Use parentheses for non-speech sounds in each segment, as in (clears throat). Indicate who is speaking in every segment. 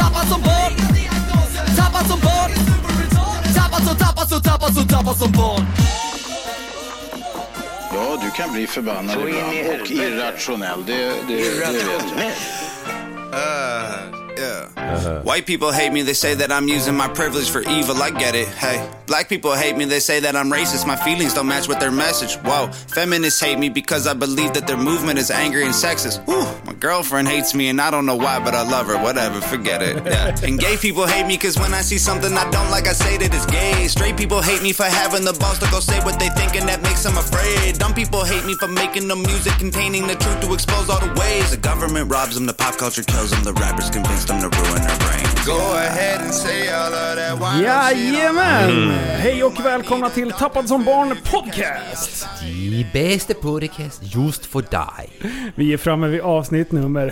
Speaker 1: Tappad som barn Tappad som barn Tappad som, tappad som, tappad som, tappad som barn
Speaker 2: Ja, du kan bli förbannad
Speaker 3: Så in i
Speaker 2: ibland och
Speaker 3: helvete.
Speaker 2: irrationell. Det, det, det vet jag.
Speaker 4: Yeah. White people hate me, they say that I'm using my privilege for evil, I get it, hey. Black people hate me, they say that I'm racist, my feelings don't match with their message, whoa. Feminists hate me because I believe that their movement is angry and sexist, whew. My girlfriend hates me and I don't know why, but I love her, whatever, forget it, yeah. And gay people hate me because when I see something I don't like, I say that it's gay. Straight people hate me for having the balls to go say what they think and that makes them afraid. Dumb people hate me for making the music containing the truth to expose all the ways. The government robs them, the pop culture kills them, the rappers convince them to ruin their brain. Go ahead and say all of that wild
Speaker 5: Jajamän! Mm. Hej och välkomna till Tappad som barn podcast!
Speaker 6: Die bästa podcast just för dig.
Speaker 5: Vi är framme vid avsnitt nummer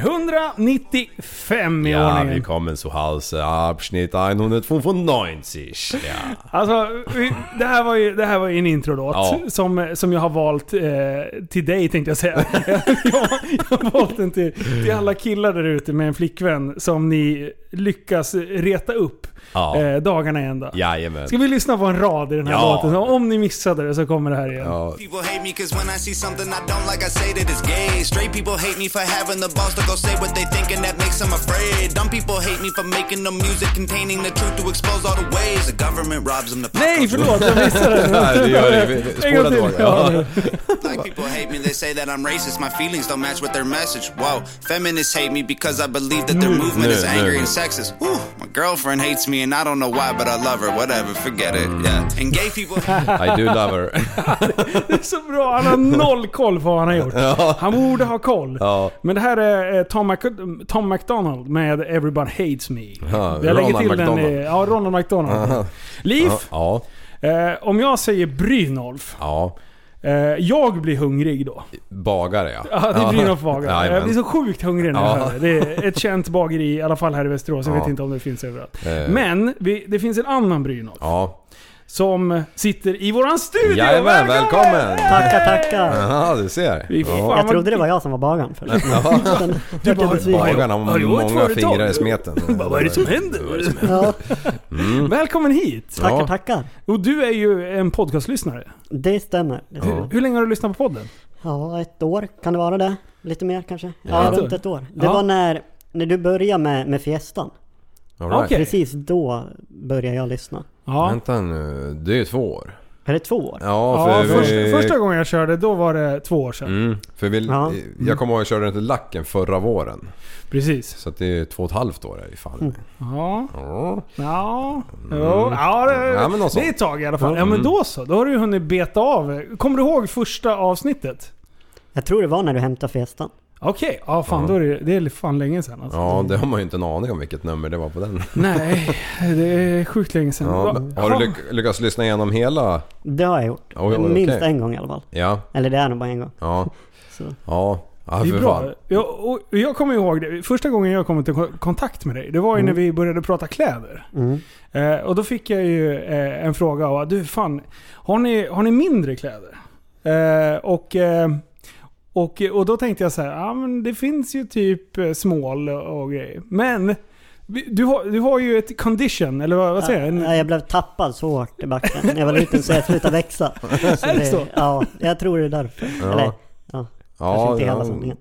Speaker 5: 195 i
Speaker 7: Ja,
Speaker 5: ordningen.
Speaker 7: willkommen zu Hause, Abschnitt 195. Ja.
Speaker 5: Alltså, vi, det här var ju, det här var ju en introlåt
Speaker 7: Ja.
Speaker 5: som, som jag har valt eh, till dig tänkte jag säga. (laughs) jag, jag har valt den till, till alla killar där ute med en flickvän som ni lyckas reta upp
Speaker 7: Ja.
Speaker 5: eh, dagarna i ända.
Speaker 7: Jajamän.
Speaker 5: Ska vi lyssna på en rad i den här
Speaker 7: Ja.
Speaker 5: låten? Om ni missade det så kommer det här igen.
Speaker 7: Ja.
Speaker 4: People hate me because when I see something I don't like, I say that it's gay. Straight people hate me for having the balls to go say what they think, and that makes them afraid. Dumb people hate me for making the music containing the truth to expose all the ways the government robs them. The pop
Speaker 5: Nej,
Speaker 4: culture-
Speaker 5: förlåt! Jag missade
Speaker 7: (laughs)
Speaker 5: den.
Speaker 7: Ja, det gör det. Vi- vi-
Speaker 5: En gång
Speaker 7: spåra
Speaker 5: till.
Speaker 7: tillbaka.
Speaker 5: Ja.
Speaker 4: Black people hate me, they say that I'm racist. My feelings don't match with their message. Whoa, feminists hate me because I believe that their movement is
Speaker 7: no,
Speaker 4: angry
Speaker 7: no.
Speaker 4: and sexist. Whew, my girlfriend hates me and I don't know why, but I love her. Whatever, forget it. Yeah. And gay people.
Speaker 7: I do love her.
Speaker 5: (laughs) Så bra, han har noll koll på vad han har gjort. Han borde ha koll.
Speaker 7: Ja.
Speaker 5: Men det här är eh, Tom, Mac- Tom McDonald med Everybody Hates Me.
Speaker 7: Ja,
Speaker 5: Jag lägger
Speaker 7: Ronald
Speaker 5: till den i,
Speaker 7: McDonald.
Speaker 5: ja, Ronald McDonald. Liv,
Speaker 7: Ja,
Speaker 5: eh, om jag säger Brynolf.
Speaker 7: ja.
Speaker 5: Eh, jag blir hungrig då.
Speaker 7: Bagare ja.
Speaker 5: Ja, det är Brynolf bagare.
Speaker 7: (laughs) Jajamän.
Speaker 5: jag blir så sjukt hungrig när jag
Speaker 7: Ja.
Speaker 5: hör det. Det är ett känt bageri, i alla fall här i Västerås. Jag
Speaker 7: Ja.
Speaker 5: vet inte om det finns överallt.
Speaker 7: Eh.
Speaker 5: Men vi, det finns en annan Brynolf.
Speaker 7: Ja.
Speaker 5: Som sitter i våran studio.
Speaker 7: Jajamän, välkommen!
Speaker 8: Tackar, tackar.
Speaker 7: Jaha, du ser.
Speaker 5: Vi får fan
Speaker 7: Ja.
Speaker 5: vad-
Speaker 8: Jag trodde det var jag som var bagaren först. Men
Speaker 5: Du
Speaker 8: vart jag
Speaker 5: bara,
Speaker 8: besviken.
Speaker 7: Bagarna
Speaker 5: Har
Speaker 7: har
Speaker 5: du varit
Speaker 7: många
Speaker 5: företag?
Speaker 7: fingrar i smeten.
Speaker 5: Bara, (laughs) vad är det som händer? Vad är det som händer?
Speaker 8: Ja,
Speaker 5: Välkommen hit!
Speaker 7: Mm. Ja.
Speaker 8: tackar, tackar.
Speaker 5: Och du är ju en podcastlyssnare.
Speaker 8: Det stämmer. Det stämmer.
Speaker 5: Hur länge har du lyssnat på podden?
Speaker 8: Ja, ett år. Kan det vara det? Lite mer kanske? Ja,
Speaker 5: Ja.
Speaker 8: runt ett år. Det
Speaker 5: Ja.
Speaker 8: var när, när du började med, med fiestan.
Speaker 7: All right.
Speaker 5: Okej.
Speaker 8: Precis då började jag lyssna.
Speaker 5: Ja.
Speaker 7: Vänta nu, det är ju två år.
Speaker 8: Är det två år?
Speaker 7: Ja,
Speaker 5: ja
Speaker 7: för
Speaker 5: första,
Speaker 7: vi...
Speaker 5: första gången jag körde, då var det två år sedan.
Speaker 7: Mm, för vi,
Speaker 8: Ja.
Speaker 7: Jag kommer ihåg att jag körde den till lacken förra våren.
Speaker 5: Precis.
Speaker 7: Så att det är två och ett halvt år är ju fan.
Speaker 5: Ja.
Speaker 7: Ja.
Speaker 5: Ja. Jo. Ja, det,
Speaker 7: Mm. Ja, men Mm. något
Speaker 5: det
Speaker 7: sånt.
Speaker 5: är ett tag i alla fall. Ja, men då så. Då har du ju hunnit beta av. Kommer du ihåg första avsnittet?
Speaker 8: Jag tror det var när du hämtade fiestan.
Speaker 5: Okej. Ja, fan. Då är det, det är fan länge sedan alltså.
Speaker 7: Ja, det har man ju inte en aning om vilket nummer det var på den.
Speaker 5: Nej, det är sjukt länge sedan.
Speaker 7: Ja.
Speaker 5: Va-
Speaker 7: Har du lyck- lyckats lyssna igenom hela?
Speaker 8: Det har jag gjort.
Speaker 7: Oj, oj,
Speaker 8: Minst
Speaker 7: okej.
Speaker 8: en gång i alla fall.
Speaker 7: Ja,
Speaker 8: Eller det är nog bara en gång.
Speaker 7: ja,
Speaker 8: Så.
Speaker 7: ja. ja
Speaker 5: Det är
Speaker 7: för
Speaker 5: bra.
Speaker 7: fan.
Speaker 5: Jag, och jag kommer ihåg det. Första gången jag kom i ko- kontakt med dig, det var ju
Speaker 7: Mm.
Speaker 5: när vi började prata kläder.
Speaker 8: Mm.
Speaker 5: Eh, och då fick jag ju eh, en fråga av du fan, har ni, har ni mindre kläder? Eh, och, eh, och, och då tänkte jag så här, ja men det finns ju typ eh, small och, och grejer. Men vi- du har, du har ju ett condition, eller vad, vad säger jag? En,
Speaker 8: Ja, jag blev tappad så hårt i backen när jag var liten så jag slutade växa. Så
Speaker 5: Är det så?
Speaker 8: Ja, jag tror det är därför.
Speaker 7: Ja.
Speaker 8: Eller, ja. Kanske inte hela sanningen.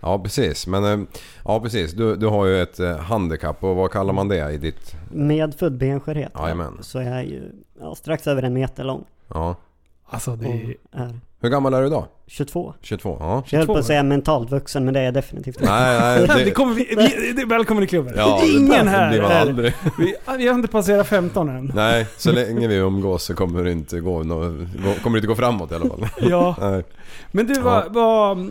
Speaker 7: ja, precis. Men eh, ja, precis. Du, du har ju ett eh, handikapp och vad kallar man det i ditt...
Speaker 8: Med född benskörhet
Speaker 7: Jajamän.
Speaker 8: så är jag ju ja, strax över en meter lång.
Speaker 7: Ja,
Speaker 5: alltså det
Speaker 7: Mm.
Speaker 8: Och
Speaker 5: är,
Speaker 8: är
Speaker 7: Hur gammal är du idag?
Speaker 8: 22.
Speaker 7: 22? Ja.
Speaker 8: Jag höll på
Speaker 5: 22.
Speaker 8: att säga mentalt vuxen, men det är jag definitivt inte.
Speaker 7: Nej,
Speaker 5: (laughs)
Speaker 7: nej.
Speaker 5: Det, kommer vi, vi, det, välkommen i klubben.
Speaker 7: ja, det-
Speaker 5: Ingen här.
Speaker 7: Det blir man
Speaker 5: är-
Speaker 7: aldrig.
Speaker 5: Vi, vi har inte passerat 15 än.
Speaker 7: Nej, så länge vi umgås så kommer det inte gå, nå- gå, kommer det inte gå framåt i alla fall.
Speaker 8: (laughs)
Speaker 5: Ja.
Speaker 7: Nej.
Speaker 5: Men du, vad, vad,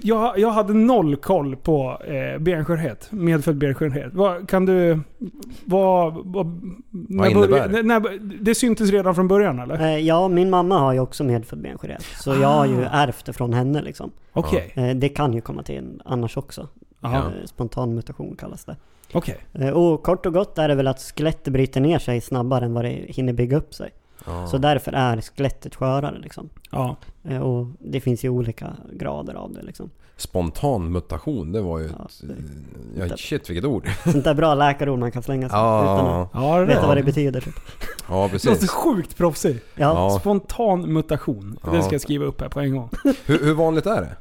Speaker 5: jag, jag hade noll koll på eh, benskörhet, medfödd benskörhet. Vad, kan du... Vad, vad, när
Speaker 7: innebär
Speaker 5: börja-
Speaker 7: det?
Speaker 5: när, när, det syntes redan från början eller?
Speaker 8: Eh, Ja, min mamma har ju också medfödd benskörhet. Så jag har
Speaker 7: Ah.
Speaker 8: ju ärvt det från henne liksom.
Speaker 5: Okej.
Speaker 8: Eh, Det kan ju komma till annars också.
Speaker 5: Jaha.
Speaker 8: Eh, Spontan mutation kallas det.
Speaker 5: Okej.
Speaker 8: Eh, Och kort och gott är det väl att skelettet bryter ner sig snabbare än vad det hinner bygga upp sig. Så därför är skelettet skörare liksom.
Speaker 5: Ja.
Speaker 8: Eh, Och det finns ju olika grader av det liksom.
Speaker 7: Spontan mutation, det var ju
Speaker 8: Ja,
Speaker 7: ett... Ja, shit vilket ord.
Speaker 8: Sånt där bra läkarord man kan slänga sig utan
Speaker 7: Ja,
Speaker 8: att
Speaker 5: Ja, det
Speaker 8: veta
Speaker 5: där.
Speaker 8: vad det betyder. Typ.
Speaker 7: ja
Speaker 5: låter
Speaker 7: precis.
Speaker 5: sjukt proffsigt.
Speaker 8: Ja,
Speaker 7: Ja.
Speaker 5: Spontan mutation. Det
Speaker 7: Ja.
Speaker 5: ska jag skriva upp här på en gång.
Speaker 7: Hur, hur vanligt är det?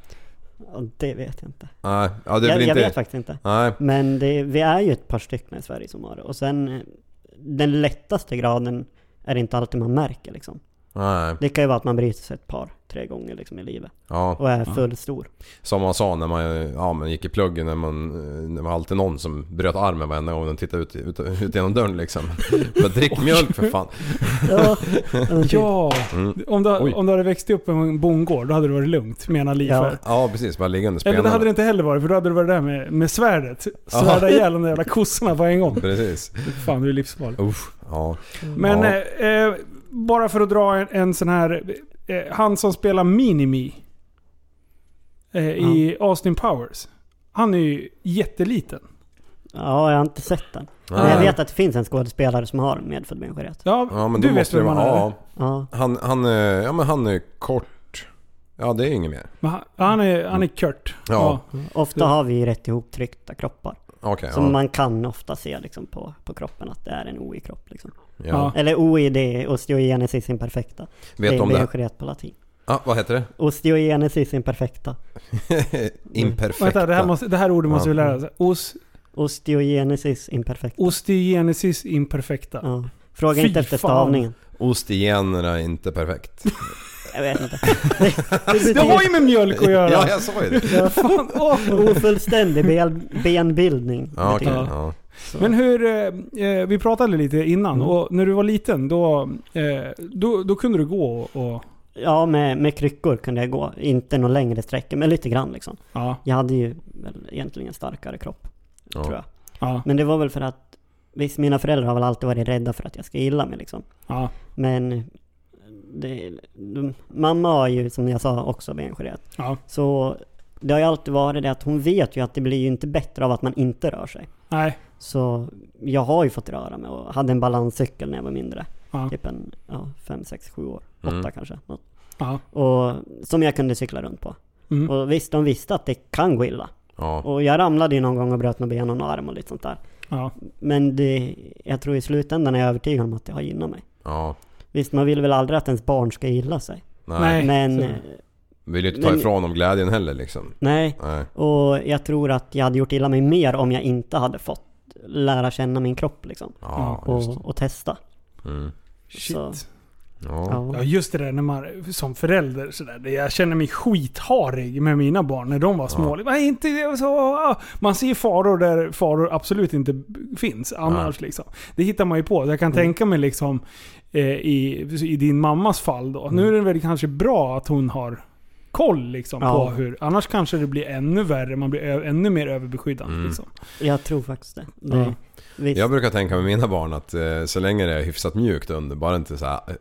Speaker 8: ja, det vet jag inte.
Speaker 7: Nej, ja, det är
Speaker 8: Jag,
Speaker 7: väl
Speaker 8: jag
Speaker 7: inte...
Speaker 8: vet faktiskt inte.
Speaker 7: Nej,
Speaker 8: Men det, vi är ju ett par stycken i Sverige som har det. Och sen eh, den lättaste graden är det inte alltid man märker liksom.
Speaker 7: nej.
Speaker 8: Det kan ju vara att man bryter sig ett par, tre gånger liksom i livet.
Speaker 7: Ja,
Speaker 8: Och är
Speaker 7: (laughs)
Speaker 8: full stor.
Speaker 7: som man sa när man, ja, man gick i pluggen. När man, eh, det var alltid någon som bröt armen varenda gång de tittade ut, ut, ut genom dörren liksom. Men drick mjölk för fan.
Speaker 8: Ja, men typ.
Speaker 5: Ja! Om, du,
Speaker 7: Mm. Oj.
Speaker 5: om du hade växt upp på en bondgård, då hade det varit lugnt, menar Liv.
Speaker 8: Ja.
Speaker 5: här.
Speaker 7: Ja precis, bara ligga under
Speaker 5: Eller det hade det
Speaker 7: spenarna.
Speaker 5: inte heller varit, för då hade det varit det där med, med svärdet. Svärda ihjäl de där jävla kossorna på en gång.
Speaker 7: Precis.
Speaker 5: Fan, du är livsfarlig.
Speaker 7: Usch, ja.
Speaker 5: Men
Speaker 7: Ja.
Speaker 5: eh, eh, bara för att dra en, en sån här... Eh, han som spelar Minimi eh, i Austin Powers. Han är ju jätteliten.
Speaker 8: ja, jag har inte sett den. Men
Speaker 7: Nej.
Speaker 8: jag vet att det finns en skådespelare som har medfödd benskörhet.
Speaker 5: Ja,
Speaker 7: Ja men
Speaker 5: du
Speaker 7: då
Speaker 5: vet
Speaker 7: måste
Speaker 5: vem
Speaker 7: det
Speaker 5: han
Speaker 7: vara...
Speaker 5: är.
Speaker 7: Ja,
Speaker 8: Ja,
Speaker 7: han, han, eh, ja men han är kort. Ja det är inget mer.
Speaker 5: Men han, han är. Han är Kurt.
Speaker 7: Ja.
Speaker 8: ofta har vi rätt ihoptryckta kroppar.
Speaker 7: Okej,
Speaker 8: Som
Speaker 7: ja.
Speaker 8: man kan ofta se liksom på, på kroppen att det är en OI-kropp. Liksom.
Speaker 7: ja.
Speaker 8: Eller OI det är osteogenesis imperfecta.
Speaker 7: Vet
Speaker 8: det
Speaker 7: du
Speaker 8: är
Speaker 7: om det?
Speaker 8: benskörhet på latin.
Speaker 7: Ah,
Speaker 5: (laughs)
Speaker 7: vad heter det?
Speaker 8: Osteogenesis imperfecta.
Speaker 7: Imperfekta.
Speaker 5: Vänta, det här, måste, det här ordet måste vi lära oss. Os,
Speaker 8: Osteogenesis imperfecta.
Speaker 5: osteogenesis imperfecta.
Speaker 8: Ja. Fråga
Speaker 5: Fy
Speaker 8: inte efter
Speaker 5: fan.
Speaker 8: stavningen.
Speaker 7: Ost igen är inte perfekt.
Speaker 8: Jag vet inte.
Speaker 5: (laughs) Det har ju med mjölk att göra.
Speaker 7: ja, jag sa ju det.
Speaker 5: Fan, åh.
Speaker 8: Ofullständig ben, benbildning.
Speaker 7: Ja, okej.
Speaker 8: betyder det.
Speaker 7: ja.
Speaker 8: Så-
Speaker 5: Men hur, eh, eh, vi pratade lite innan
Speaker 7: Mm.
Speaker 5: och när du var liten då, eh, då, då kunde du gå och... och
Speaker 8: Ja, med, med kryckor kunde jag gå. Inte någon längre sträcka, men lite grann liksom.
Speaker 5: ja,
Speaker 8: Jag hade ju väl egentligen en starkare kropp,
Speaker 7: Ja.
Speaker 8: tror jag.
Speaker 5: ja,
Speaker 8: Men det var väl för att, visst mina föräldrar har väl alltid varit rädda för att jag ska gilla mig liksom.
Speaker 5: ja.
Speaker 8: Men det, de, mamma har ju, som jag sa, också benskörhet.
Speaker 5: ja.
Speaker 8: Så det har ju alltid varit det att hon vet ju att det blir ju inte bättre av att man inte rör sig.
Speaker 5: Nej.
Speaker 8: Så jag har ju fått röra mig och hade en balanscykel när jag var mindre.
Speaker 5: Ja.
Speaker 8: Typ en, ja, fem, sex, sju år. Åtta
Speaker 7: Mm.
Speaker 8: kanske. Något.
Speaker 5: Ja.
Speaker 8: Och, som jag kunde cykla runt på.
Speaker 5: Mm.
Speaker 8: Och visst, de visste att det kan gå illa.
Speaker 7: Ja.
Speaker 8: Och jag ramlade ju någon gång och bröt något ben och en arm och lite sånt där.
Speaker 5: Ja.
Speaker 8: Men det, jag tror i slutändan är jag övertygad om att det har gynnat mig.
Speaker 7: ja.
Speaker 8: Visst, man vill väl aldrig att ens barn ska gilla sig.
Speaker 7: Nej.
Speaker 5: Nej.
Speaker 8: Men,
Speaker 5: så-
Speaker 8: eh,
Speaker 7: Vill ju inte ta
Speaker 8: Men-
Speaker 7: ifrån dem glädjen heller liksom.
Speaker 8: nej.
Speaker 7: Nej.
Speaker 8: Och jag tror att jag hade gjort illa mig mer om jag inte hade fått lära känna min kropp liksom.
Speaker 7: Ja, just det.
Speaker 8: Och, och testa.
Speaker 7: Mm.
Speaker 5: Shit.
Speaker 8: Så,
Speaker 7: Ja.
Speaker 8: ja.
Speaker 5: Ja just det där när man som förälder sådär. det- Jag känner mig skitharig med mina barn när de var små. Det var inte det var så, ah. man ser faror där faror absolut inte b- finns annars. Liksom. Det hittar man ju på. Jag
Speaker 7: Mm.
Speaker 5: kan tänka mig liksom eh, i, i din mammas fall då.
Speaker 7: Mm.
Speaker 5: Nu är det väl kanske bra att hon har koll liksom,
Speaker 8: Ja.
Speaker 5: på hur... Annars kanske det blir ännu värre. Man blir ö- ännu mer överbeskyddande.
Speaker 7: Mm.
Speaker 5: Liksom.
Speaker 8: Jag tror faktiskt det. det
Speaker 5: Ja.
Speaker 8: visst.
Speaker 7: Jag brukar tänka med mina barn att eh, så länge det är hyfsat mjukt under, bara inte så här eh,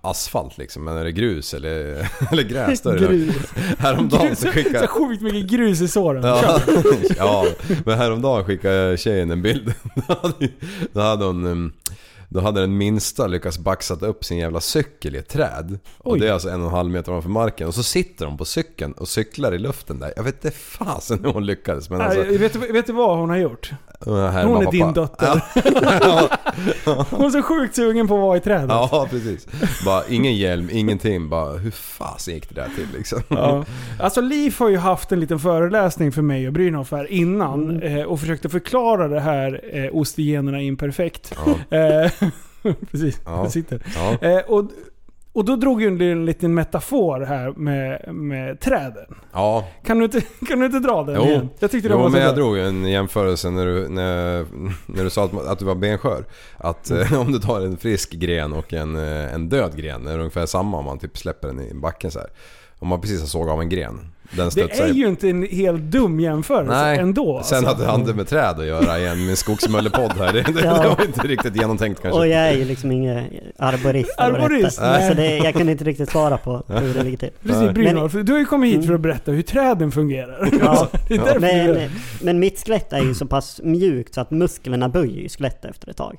Speaker 7: asfalt liksom. Men är det grus eller, (laughs) eller gräs då är det lugnt. Häromdagen så
Speaker 5: Så
Speaker 7: skickade...
Speaker 5: sjukt mycket grus i såren.
Speaker 7: Ja, (laughs) ja, men häromdagen skickade tjejen en bild. (laughs) Då hade- Då hade hon... em, Då hade den minsta lyckats baxat upp sin jävla cykel i ett träd. Och
Speaker 5: Oj.
Speaker 7: det är alltså en och en halv meter ovanför marken. Och så sitter hon på cykeln och cyklar i luften där. Jag vet inte fasen hur hon lyckades men alltså...
Speaker 5: Nej, vet, du- vet du vad hon har gjort?
Speaker 7: Hon
Speaker 5: Hon är din dotter.
Speaker 7: (laughs)
Speaker 5: Hon är så sjukt sugen på att vara i trädet.
Speaker 7: Ja, precis. Bara ingen hjälm, ingenting. Bara hur fasen gick det där till liksom?
Speaker 5: Ja. Alltså Liv har ju haft en liten föreläsning för mig och Brynolf här innan eh, och försökte förklara det här eh, ostegenerna imperfekt.
Speaker 7: Ja.
Speaker 5: Eh, (laughs) precis,
Speaker 7: Ja.
Speaker 5: det sitter.
Speaker 7: Ja.
Speaker 5: Eh, och, Och då drog ju du en liten metafor här med, med träden.
Speaker 7: Ja,
Speaker 5: Kan du inte, (laughs) kan du inte dra den igen? Jag tyckte det
Speaker 7: jo
Speaker 5: var så
Speaker 7: men jag
Speaker 5: bra.
Speaker 7: drog ju en jämförelse när du, när, när du sa att, att du var benskör. Att
Speaker 5: Mm.
Speaker 7: eh, om du tar en frisk gren och en, eh, en död gren, är det ungefär samma om man typ släpper den i backen så här. Om man precis har sågat av en gren. Den
Speaker 5: Det
Speaker 7: studsar
Speaker 5: är ju inte en helt dum jämförelse
Speaker 7: Nej,
Speaker 5: ändå.
Speaker 7: sen
Speaker 5: alltså.
Speaker 7: hade han det med träd att göra igen min skogsmöllepodd här. Det, det, det
Speaker 8: Ja.
Speaker 7: var inte riktigt genomtänkt kanske.
Speaker 8: Och jag är ju liksom ingen arborist. eller vad det
Speaker 5: Arborist,
Speaker 8: heter.
Speaker 5: nej.
Speaker 8: Så det, jag kan inte riktigt svara på hur det ligger till.
Speaker 5: Precis,
Speaker 7: Nej.
Speaker 5: Brynolf. Du har ju kommit hit för att berätta hur träden fungerar.
Speaker 8: Mm.
Speaker 5: (laughs)
Speaker 8: Ja.
Speaker 5: Det är därför du
Speaker 8: Men,
Speaker 5: är-
Speaker 8: men mitt skelett är ju så pass mjukt så att musklerna böjer ju skelettet efter ett tag.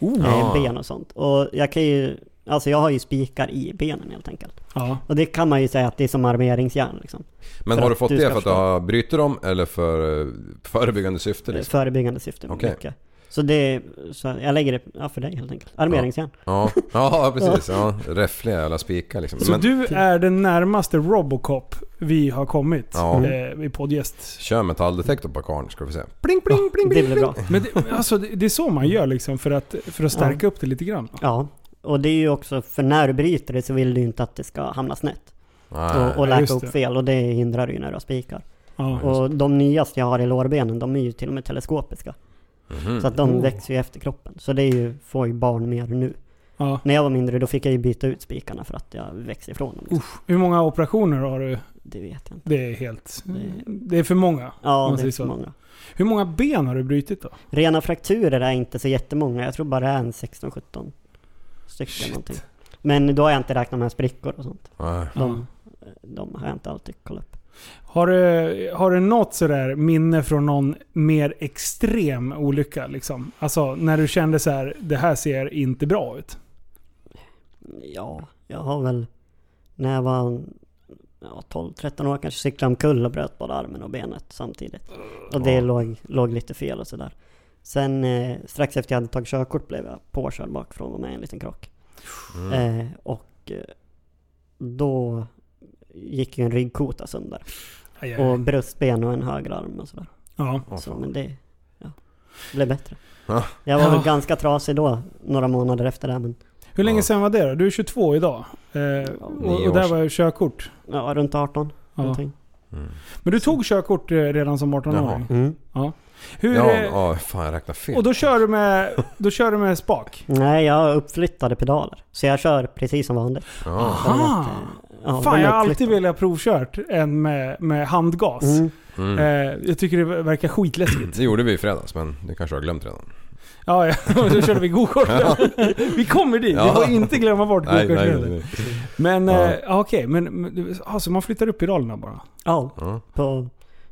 Speaker 5: Oh.
Speaker 8: Eh, Ben och sånt. Och jag kan ju, alltså jag har ju spikar i benen helt enkelt.
Speaker 5: ja.
Speaker 8: Och det kan man ju säga att det är som armeringsjärn liksom.
Speaker 7: men
Speaker 8: för
Speaker 7: har du
Speaker 8: att
Speaker 7: fått
Speaker 8: du
Speaker 7: det
Speaker 8: ska
Speaker 7: för att du
Speaker 8: förstå.
Speaker 7: har bryter dem eller för eh, förebyggande syfte? Liksom?
Speaker 8: Förebyggande syfte.
Speaker 7: Okej.
Speaker 8: mycket. Så det, så jag lägger det ja, för dig helt enkelt. Armeringsjärn.
Speaker 7: Ja. ja, precis. Ja, räffliga jävla spikar liksom.
Speaker 5: Så
Speaker 7: Men
Speaker 5: du är den närmaste Robocop vi har kommit
Speaker 7: Ja.
Speaker 8: Mm.
Speaker 5: eh, i poddgäst.
Speaker 7: kör metalldetektor på karln ska vi se.
Speaker 5: Bling, bling, bling,
Speaker 8: Det
Speaker 5: bling.
Speaker 8: blir bra.
Speaker 5: Men det, alltså, det det är så man gör liksom för att, för att stärka upp det lite grann.
Speaker 8: Ja. Och det är ju också, för när du bryter det så vill du ju inte att det ska hamna snett.
Speaker 7: Nej.
Speaker 8: Och,
Speaker 5: Nej,
Speaker 8: och läka
Speaker 5: just
Speaker 8: upp
Speaker 5: det.
Speaker 8: fel. Och det hindrar du ju när du har spikar.
Speaker 5: Ja.
Speaker 8: Och de nyaste jag har i lårbenen, de är ju till och med teleskopiska.
Speaker 7: Mhm.
Speaker 5: Mm.
Speaker 8: Så att de växer ju efter kroppen. Så det är ju, får ju barn mer nu.
Speaker 5: Ja.
Speaker 8: När jag var mindre då fick jag ju byta ut spikarna för att jag växte ifrån dem. Liksom.
Speaker 5: Usch, hur många operationer har du?
Speaker 8: Det vet jag inte.
Speaker 5: Det är helt...
Speaker 8: Det-
Speaker 5: Det är för många. om
Speaker 8: Ja,
Speaker 5: man
Speaker 8: det
Speaker 5: säger
Speaker 8: är
Speaker 5: så.
Speaker 8: för många.
Speaker 5: Hur många ben har du brutit då?
Speaker 8: Rena frakturer är inte så jättemånga. Jag tror bara det är en 16-17 stycken någonting. Men då har jag inte räknat med sprickor och sånt.
Speaker 7: Nej.
Speaker 8: De, de har jag inte alltid kollat upp.
Speaker 5: Har du, har du något sådär minne från någon mer extrem olycka? Liksom? Alltså när du kände så här, det här ser inte bra ut.
Speaker 8: Ja, jag har väl... När jag var ja, 12-13 år kanske cyklade omkull och bröt både armen och benet samtidigt. Och det låg, låg lite fel och sådär. Sen eh, strax efter jag hade tagit körkort blev jag påkörd bakifrån och med i en liten krock.
Speaker 7: Mm.
Speaker 8: Eh, och eh, då gick ju en ryggkota sönder.
Speaker 5: Aj, aj, aj.
Speaker 8: Och bröstben och en höger arm och sådär.
Speaker 5: Ja.
Speaker 8: så, men det ja, blev bättre.
Speaker 7: Ja.
Speaker 8: Jag var
Speaker 5: Ja.
Speaker 8: väl ganska trasig då, några månader efter det. Men
Speaker 5: Hur länge
Speaker 7: Ja.
Speaker 5: sedan var det då? Du är 22 idag. Eh, och,
Speaker 7: Nio
Speaker 5: och
Speaker 7: år
Speaker 5: där
Speaker 7: sedan.
Speaker 5: var ju körkort.
Speaker 8: ja, runt 18
Speaker 5: Ja.
Speaker 8: någonting.
Speaker 5: Men du tog körkort eh, redan som 18-åring?
Speaker 8: Mm.
Speaker 5: Hur,
Speaker 7: Ja,
Speaker 5: eh,
Speaker 7: ja, fan jag räknade fel.
Speaker 5: och då kör, du med, då kör du med
Speaker 7: (laughs)
Speaker 5: spak?
Speaker 8: Nej, jag har uppflyttade pedaler. Så jag kör precis som vanligt.
Speaker 7: Ja.
Speaker 8: För
Speaker 5: Ah.
Speaker 8: att, eh, ja,
Speaker 5: Fan,
Speaker 8: de är
Speaker 5: jag har alltid
Speaker 8: uppflyttade.
Speaker 5: velat provkört en med, med handgas.
Speaker 8: Mm.
Speaker 5: Eh, jag tycker det verkar skitläskigt.
Speaker 7: Det gjorde vi i fredags men det kanske jag har glömt redan.
Speaker 5: Ja, (laughs) ja. Och då körde vi gokart. (laughs) Vi kommer dit. Vi
Speaker 7: Ja.
Speaker 5: får inte glömma bort
Speaker 7: Nej,
Speaker 5: gokart
Speaker 7: nej,
Speaker 5: heller.
Speaker 7: nej.
Speaker 5: Men
Speaker 7: Ja.
Speaker 5: ja. eh, okej, men, men du- ja, så man flyttar upp pedalerna bara?
Speaker 8: Ja,
Speaker 7: Ja.
Speaker 8: på,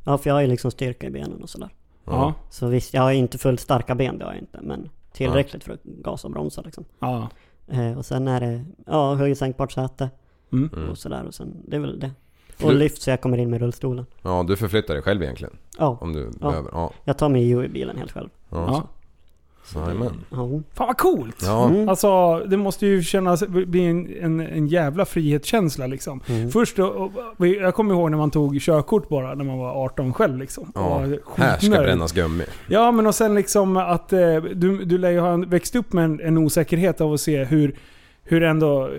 Speaker 8: ja, för jag har ju liksom styrka i benen och sådär.
Speaker 5: Ja.
Speaker 8: Så visst, jag har ju inte fullt starka ben, det har jag inte. Men tillräckligt för att gasa och bromsa liksom.
Speaker 5: ja.
Speaker 8: Eh, och sen är det, ja, höj och sänkbart säte.
Speaker 5: Mm.
Speaker 8: Och sådär och sen, det är väl det. Och
Speaker 7: Du-
Speaker 8: lyft så jag kommer in med rullstolen.
Speaker 7: ja, du förflyttar dig själv egentligen.
Speaker 8: Ja,
Speaker 7: Om du
Speaker 8: Ja.
Speaker 7: behöver. Ja.
Speaker 8: jag tar mig ju i bilen helt själv.
Speaker 5: Ja.
Speaker 7: Ja. Ja. Jajamän.
Speaker 8: Ja,
Speaker 5: Fan vad coolt!
Speaker 7: Ja.
Speaker 8: Mm.
Speaker 5: Alltså det måste ju kännas, bli en, en, en jävla frihetskänsla liksom.
Speaker 7: Mm.
Speaker 5: Först då, och- och jag kommer ihåg när man tog körkort bara när man var 18 själv liksom. Och
Speaker 7: Ja.
Speaker 5: var
Speaker 7: Här ska
Speaker 5: skitnöjd.
Speaker 7: brännas gummi.
Speaker 5: Ja men och sen liksom att eh, du, du lär ju ha en- växt upp med en, en osäkerhet av att se hur, hur ändå,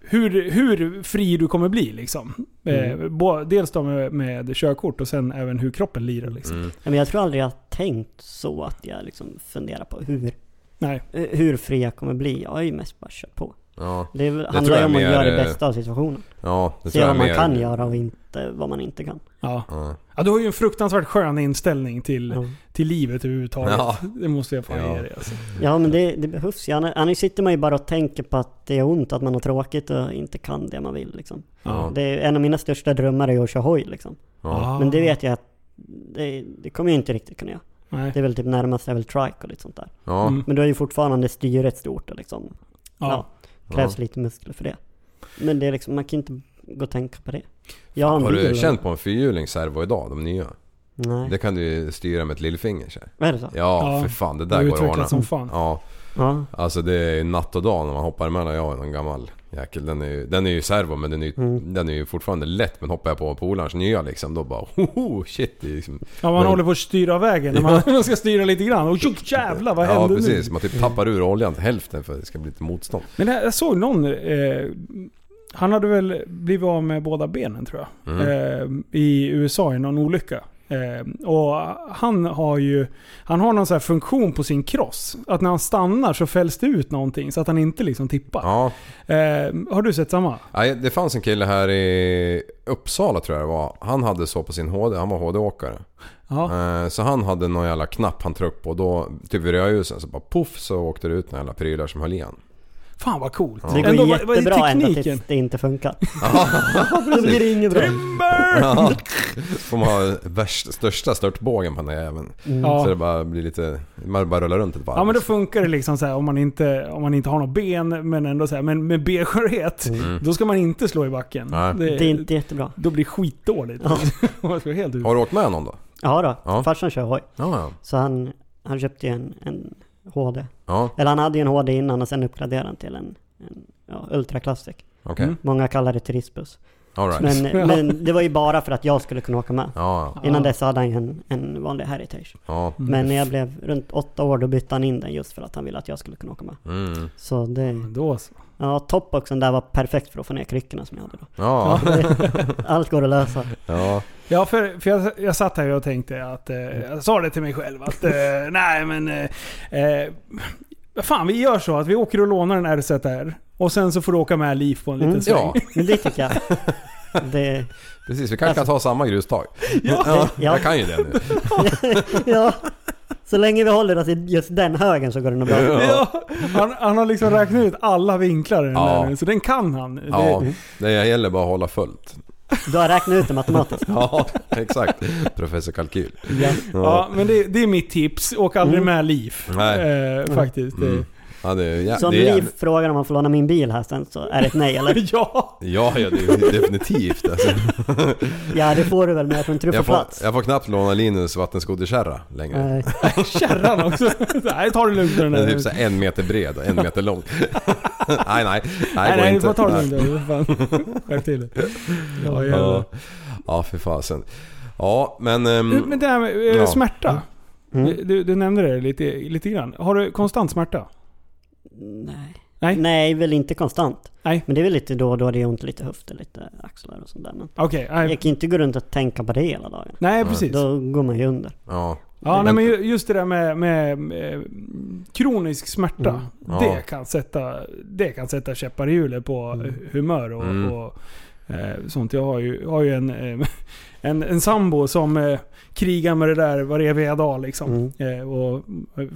Speaker 5: hur, hur fri du kommer bli liksom. Eh,
Speaker 7: Mm.
Speaker 5: bå- dels då med, med körkort och sen även hur kroppen lirar liksom.
Speaker 7: Mm.
Speaker 8: Men jag tror aldrig jag har tänkt så att jag liksom funderar på hur, eh,
Speaker 5: Nej.
Speaker 8: hur fri jag kommer bli. Jag har ju mest bara kört på.
Speaker 7: Ja,
Speaker 8: Det, är väl-
Speaker 7: tror
Speaker 8: handlar ju
Speaker 7: jag
Speaker 8: om att
Speaker 7: mer,
Speaker 8: göra det
Speaker 7: eh,
Speaker 8: bästa av situationen.
Speaker 7: ja det
Speaker 8: Se
Speaker 7: tror jag
Speaker 8: vad man
Speaker 7: mer- eh,
Speaker 8: kan göra och inte vad man inte kan.
Speaker 5: Ja.
Speaker 7: Ja.
Speaker 5: ja, du har ju en fruktansvärt skön inställning till,
Speaker 8: Ja,
Speaker 5: till livet överhuvudtaget.
Speaker 7: Ja.
Speaker 5: Det måste jag fan
Speaker 7: Ja.
Speaker 5: ge dig alltså.
Speaker 8: ja men det, det behövs ju. Annars, annars sitter man ju bara och tänker på att det är ont, att man har tråkigt och inte kan det man vill. Liksom.
Speaker 7: Ja. Ah.
Speaker 8: Det är, en av mina största drömmar är ju att köra hoj. Liksom.
Speaker 7: Ja.
Speaker 8: Men det vet jag att det, det kommer jag inte riktigt kunna göra.
Speaker 5: Nej.
Speaker 8: Det är väl typ närmast är väl trike och lite sånt där.
Speaker 7: Ja.
Speaker 5: Mm.
Speaker 8: Men då är ju fortfarande styret stort och liksom
Speaker 5: Ja.
Speaker 8: Ja. krävs lite muskler för det. Men det är liksom, man kan inte gå och tänka på det. Jag har en
Speaker 7: Har du
Speaker 8: bil.
Speaker 7: känt på en fyrhjuling servo idag, de nya?
Speaker 8: Nej.
Speaker 7: Det kan du ju styra med ett lillfinger så här.
Speaker 8: Vad är det så?
Speaker 7: Ja,
Speaker 5: Ja.
Speaker 7: för fan. Det
Speaker 5: Du har
Speaker 7: där går att
Speaker 5: utvecklats
Speaker 7: ordna.
Speaker 5: som fan.
Speaker 7: Ja,
Speaker 8: Ja.
Speaker 7: alltså det är ju natt och dag när man hoppar emellan jag och någon gammal Jäkel, den är ju, den är ju servo men den är ju,
Speaker 5: Mm.
Speaker 7: den är ju fortfarande lätt. Men hoppar jag på polarens nya liksom, då bara hoho, shit. Det är liksom,
Speaker 5: Ja, man
Speaker 7: Men-
Speaker 5: håller på att styra av vägen. När (laughs) man ska styra lite grann. Och tjo, jävlar vad
Speaker 7: Ja
Speaker 5: hände nu?
Speaker 7: precis, man typ tappar ur oljan till hälften för att det ska bli lite motstånd.
Speaker 5: Men jag, jag såg någon... Eh, han hade väl blivit av med båda benen tror jag. Eh, I USA i någon olycka. Eh, och han har ju... Han har någon sån här funktion på sin kross. Att när han stannar så fälls det ut någonting så att han inte liksom tippar.
Speaker 7: Ja,
Speaker 5: Eh, har du sett samma?
Speaker 7: Nej, det fanns en kille här i Uppsala tror jag det var. Han hade så på sin HD, han var HD-åkare.
Speaker 5: Ja.
Speaker 7: Eh, Så han hade någon jävla knapp han tryckte på då, typ vid rödljusen, så bara poff så åkte det ut några jävla prylar som höll i han.
Speaker 5: Fan vad coolt.
Speaker 8: Det går
Speaker 5: Ändå, vad- vad är
Speaker 8: jättebra typ. ända
Speaker 5: tekniken?
Speaker 8: tills det
Speaker 7: (laughs)
Speaker 8: inte funkar. Då blir det inget bra.
Speaker 7: Ja. Får man ha värst, största störtbågen på den där jäveln.
Speaker 5: Mm. Ja.
Speaker 7: Så det bara blir lite, man bara rullar runt ett varv.
Speaker 5: Ja men då funkar det liksom så här om man inte, om man inte har något ben men ändå så här, men med benskörhet. Då ska man inte slå i backen.
Speaker 7: Nej.
Speaker 5: Det,
Speaker 8: Det är inte jättebra.
Speaker 5: Då blir det skitdåligt. (laughs)
Speaker 8: Ja.
Speaker 5: Man ska helt ut.
Speaker 7: Har du åkt med någon då?
Speaker 8: Ja då,
Speaker 7: Ja.
Speaker 8: farsan kör hoj.
Speaker 7: Ja, ja.
Speaker 8: Så han, han köpte ju en, en HD.
Speaker 7: Ja,
Speaker 8: Eller han hade ju en HD innan och sen uppgraderade han till en, en ja, Ultra Classic.
Speaker 7: okej.
Speaker 5: Mm.
Speaker 8: Många kallar det turistbuss.
Speaker 7: Alright.
Speaker 8: Men,
Speaker 5: (laughs) Ja.
Speaker 8: men det var ju bara för att jag skulle kunna åka med.
Speaker 7: Ja, ja.
Speaker 8: Innan dess hade han ju en, en vanlig Heritage.
Speaker 7: ja.
Speaker 8: Men när jag blev runt åtta år då bytte han in den just för att han ville att jag skulle kunna åka med.
Speaker 7: Mm.
Speaker 8: Så det,
Speaker 5: Men Då så.
Speaker 8: ja toppboxen där var perfekt för att få ner kryckorna som jag hade då.
Speaker 7: Ja,
Speaker 8: (laughs) Allt går att lösa.
Speaker 7: ja.
Speaker 5: Ja, för, för jag, jag satt här och tänkte att, eh, jag sa det till mig själv att, eh,
Speaker 7: (laughs)
Speaker 5: nej men... Eh, eh, fan, vi gör så att vi åker och lånar en RZR och sen så får du åka med Liv på en liten
Speaker 8: Mm.
Speaker 5: sväng.
Speaker 7: ja.
Speaker 8: Men det tycker jag. Det,
Speaker 7: Precis, vi kanske kan ta samma grustag. (laughs)
Speaker 8: ja, ja,
Speaker 7: Jag kan ju det nu.
Speaker 8: ja. Så länge vi håller oss i just den högen så går det nog bra.
Speaker 5: Ja, han, han har liksom räknat ut alla vinklar i den
Speaker 7: Ja.
Speaker 5: där nu, så den kan han. Det-
Speaker 7: Ja, det gäller bara att hålla fullt.
Speaker 8: Du har räknat ut det matematiskt.
Speaker 7: Ja, (laughs) exakt. Professor Kalkyl.
Speaker 5: Ja, men det, det är mitt tips. Åk aldrig med Liv.
Speaker 7: Mm. Nej.
Speaker 5: Eh, faktiskt. Det-
Speaker 7: Mm. Ja, det är, ja,
Speaker 8: Så om
Speaker 7: det är,
Speaker 8: Liv frågar om man får låna min bil här sen så är det ett nej
Speaker 7: Mm.
Speaker 8: eller?
Speaker 5: (laughs) Ja!
Speaker 7: (laughs) Ja, ja, det är definitivt alltså.
Speaker 8: Ja det får du väl men jag tror inte du får
Speaker 7: jag, får,
Speaker 8: plats.
Speaker 7: jag får knappt låna Linus vattenskoterkärra längre.
Speaker 8: Nej.
Speaker 5: Kärran också. (laughs) Nej, ta det lugnt med den
Speaker 7: Den är
Speaker 5: där.
Speaker 7: typ så här en meter bred och en
Speaker 5: (laughs)
Speaker 7: meter lång. nej, nej. Nej,
Speaker 5: Nej,
Speaker 7: går
Speaker 5: nej, du
Speaker 7: inte.
Speaker 5: får ta det lugnt. där. Fan. (laughs) Skärp till dig. Ja, jävlar.
Speaker 7: Ja, ja för fasen. Ja, men... ehm,
Speaker 5: Du, Men det här med eh,
Speaker 7: Ja.
Speaker 5: smärta.
Speaker 8: Mm.
Speaker 5: Du- Du, du nämnde det lite, lite grann. Har du konstant smärta?
Speaker 8: Nej.
Speaker 5: Nej?
Speaker 8: Nej, väl inte konstant.
Speaker 5: Nej.
Speaker 8: Men det är väl lite då och då det är ont lite höfter, lite axlar och sånt där. Men
Speaker 5: Okej. nej.
Speaker 8: jag kan ju inte gå runt och tänka på det hela dagen.
Speaker 5: nej, precis.
Speaker 8: Då går man ju under.
Speaker 7: ja.
Speaker 5: Ja, nej,
Speaker 7: Men-
Speaker 5: men ju- just det där med, med, med kronisk smärta.
Speaker 7: Ja.
Speaker 5: Det, kan sätta, det kan sätta käppar i hjulet på humör och,
Speaker 7: Mm.
Speaker 5: och eh, sånt. Jag har ju, har ju en, eh, (laughs) en, en sambo som eh, krigar med det där var eviga dag. Liksom. Eh, och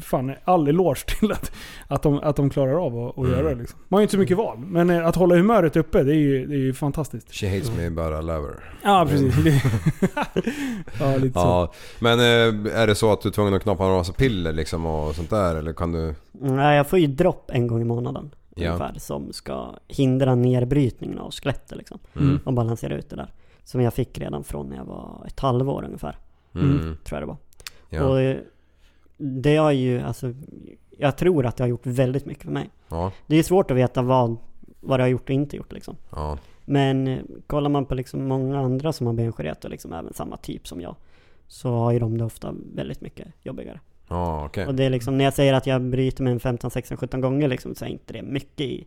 Speaker 5: fan, all eloge till att, att, de, att de klarar av att, att
Speaker 7: Mm.
Speaker 5: göra det. Liksom. Man har ju inte så mycket val, men eh, att hålla humöret uppe det är ju, det är ju fantastiskt.
Speaker 7: She hates me but I love her.
Speaker 5: Ja, precis. Det- (laughs) ja, lite så.
Speaker 7: Ja, men eh, är det så att du är tvungen att knappa några massa piller liksom och sånt där eller kan du...
Speaker 8: Nej, jag får ju dropp en gång i månaden.
Speaker 7: Ja.
Speaker 8: Ungefär, som ska hindra nedbrytningen av skelettet liksom.
Speaker 5: Mm.
Speaker 8: Och balansera ut det där. Som jag fick redan från när jag var ett halvår ungefär.
Speaker 7: Mm,
Speaker 8: Tror jag det var.
Speaker 7: ja.
Speaker 8: Och eh, det har ju, alltså, jag tror att det har gjort väldigt mycket för mig.
Speaker 7: Ja,
Speaker 8: Det är ju svårt att veta vad, vad det har gjort och inte gjort liksom.
Speaker 7: ja,
Speaker 8: Men eh, kollar man på liksom många andra som har benskörhet och liksom även samma typ som jag. Så har ju de det ofta väldigt mycket jobbigare.
Speaker 7: ja okej.
Speaker 8: Och det är liksom, när jag säger att jag bryter mig en 15, 16, 17 gånger liksom, så är inte det mycket i,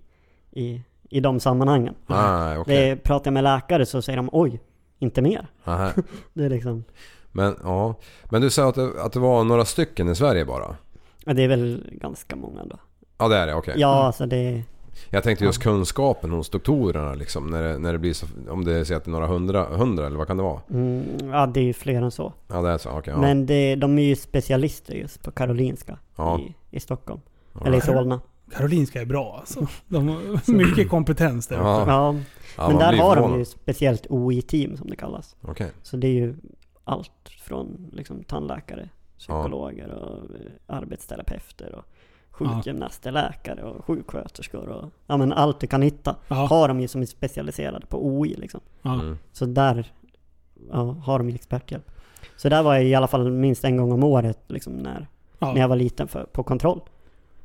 Speaker 8: i, i de sammanhangen.
Speaker 7: Nej, Ah, okej.
Speaker 8: Det, pratar jag med läkare så säger de oj, inte mer.
Speaker 7: Aha.
Speaker 8: Det är liksom,
Speaker 7: Men ja, men du sa att det, att det var några stycken i Sverige bara?
Speaker 8: ja, det är väl ganska många då.
Speaker 7: Ja det är det, okej.
Speaker 8: Ja, alltså det,
Speaker 7: Jag tänkte just kunskapen hos doktorerna liksom när det, när det blir så, om det säger att det är några hundra, hundra eller vad kan det vara?
Speaker 8: mm, ja, det är ju fler än så.
Speaker 7: Ja det är så, okej. ja.
Speaker 8: Men det, de är ju specialister just på Karolinska
Speaker 7: Ja.
Speaker 8: i, i Stockholm. Eller i Solna.
Speaker 5: Karolinska är bra alltså. De har mycket kompetens där
Speaker 7: Ja.
Speaker 8: Ja,
Speaker 7: Ja,
Speaker 8: men
Speaker 7: man
Speaker 8: där
Speaker 7: blir
Speaker 8: har de
Speaker 7: förvånad.
Speaker 8: ju speciellt OI-team som det kallas.
Speaker 7: Okej.
Speaker 8: Så det är ju allt från liksom, tandläkare, psykologer och eh, arbetsterapeuter och sjukgymnaster, läkare och sjuksköterskor och ja, men allt du kan hitta
Speaker 5: Ja.
Speaker 8: har de ju som är specialiserade på OI liksom.
Speaker 5: Ja.
Speaker 7: Mm,
Speaker 8: Så där ja, har de ju experthjälp. Så där var jag i alla fall minst en gång om året liksom, när,
Speaker 5: Ja.
Speaker 8: när jag var liten för, på kontroll.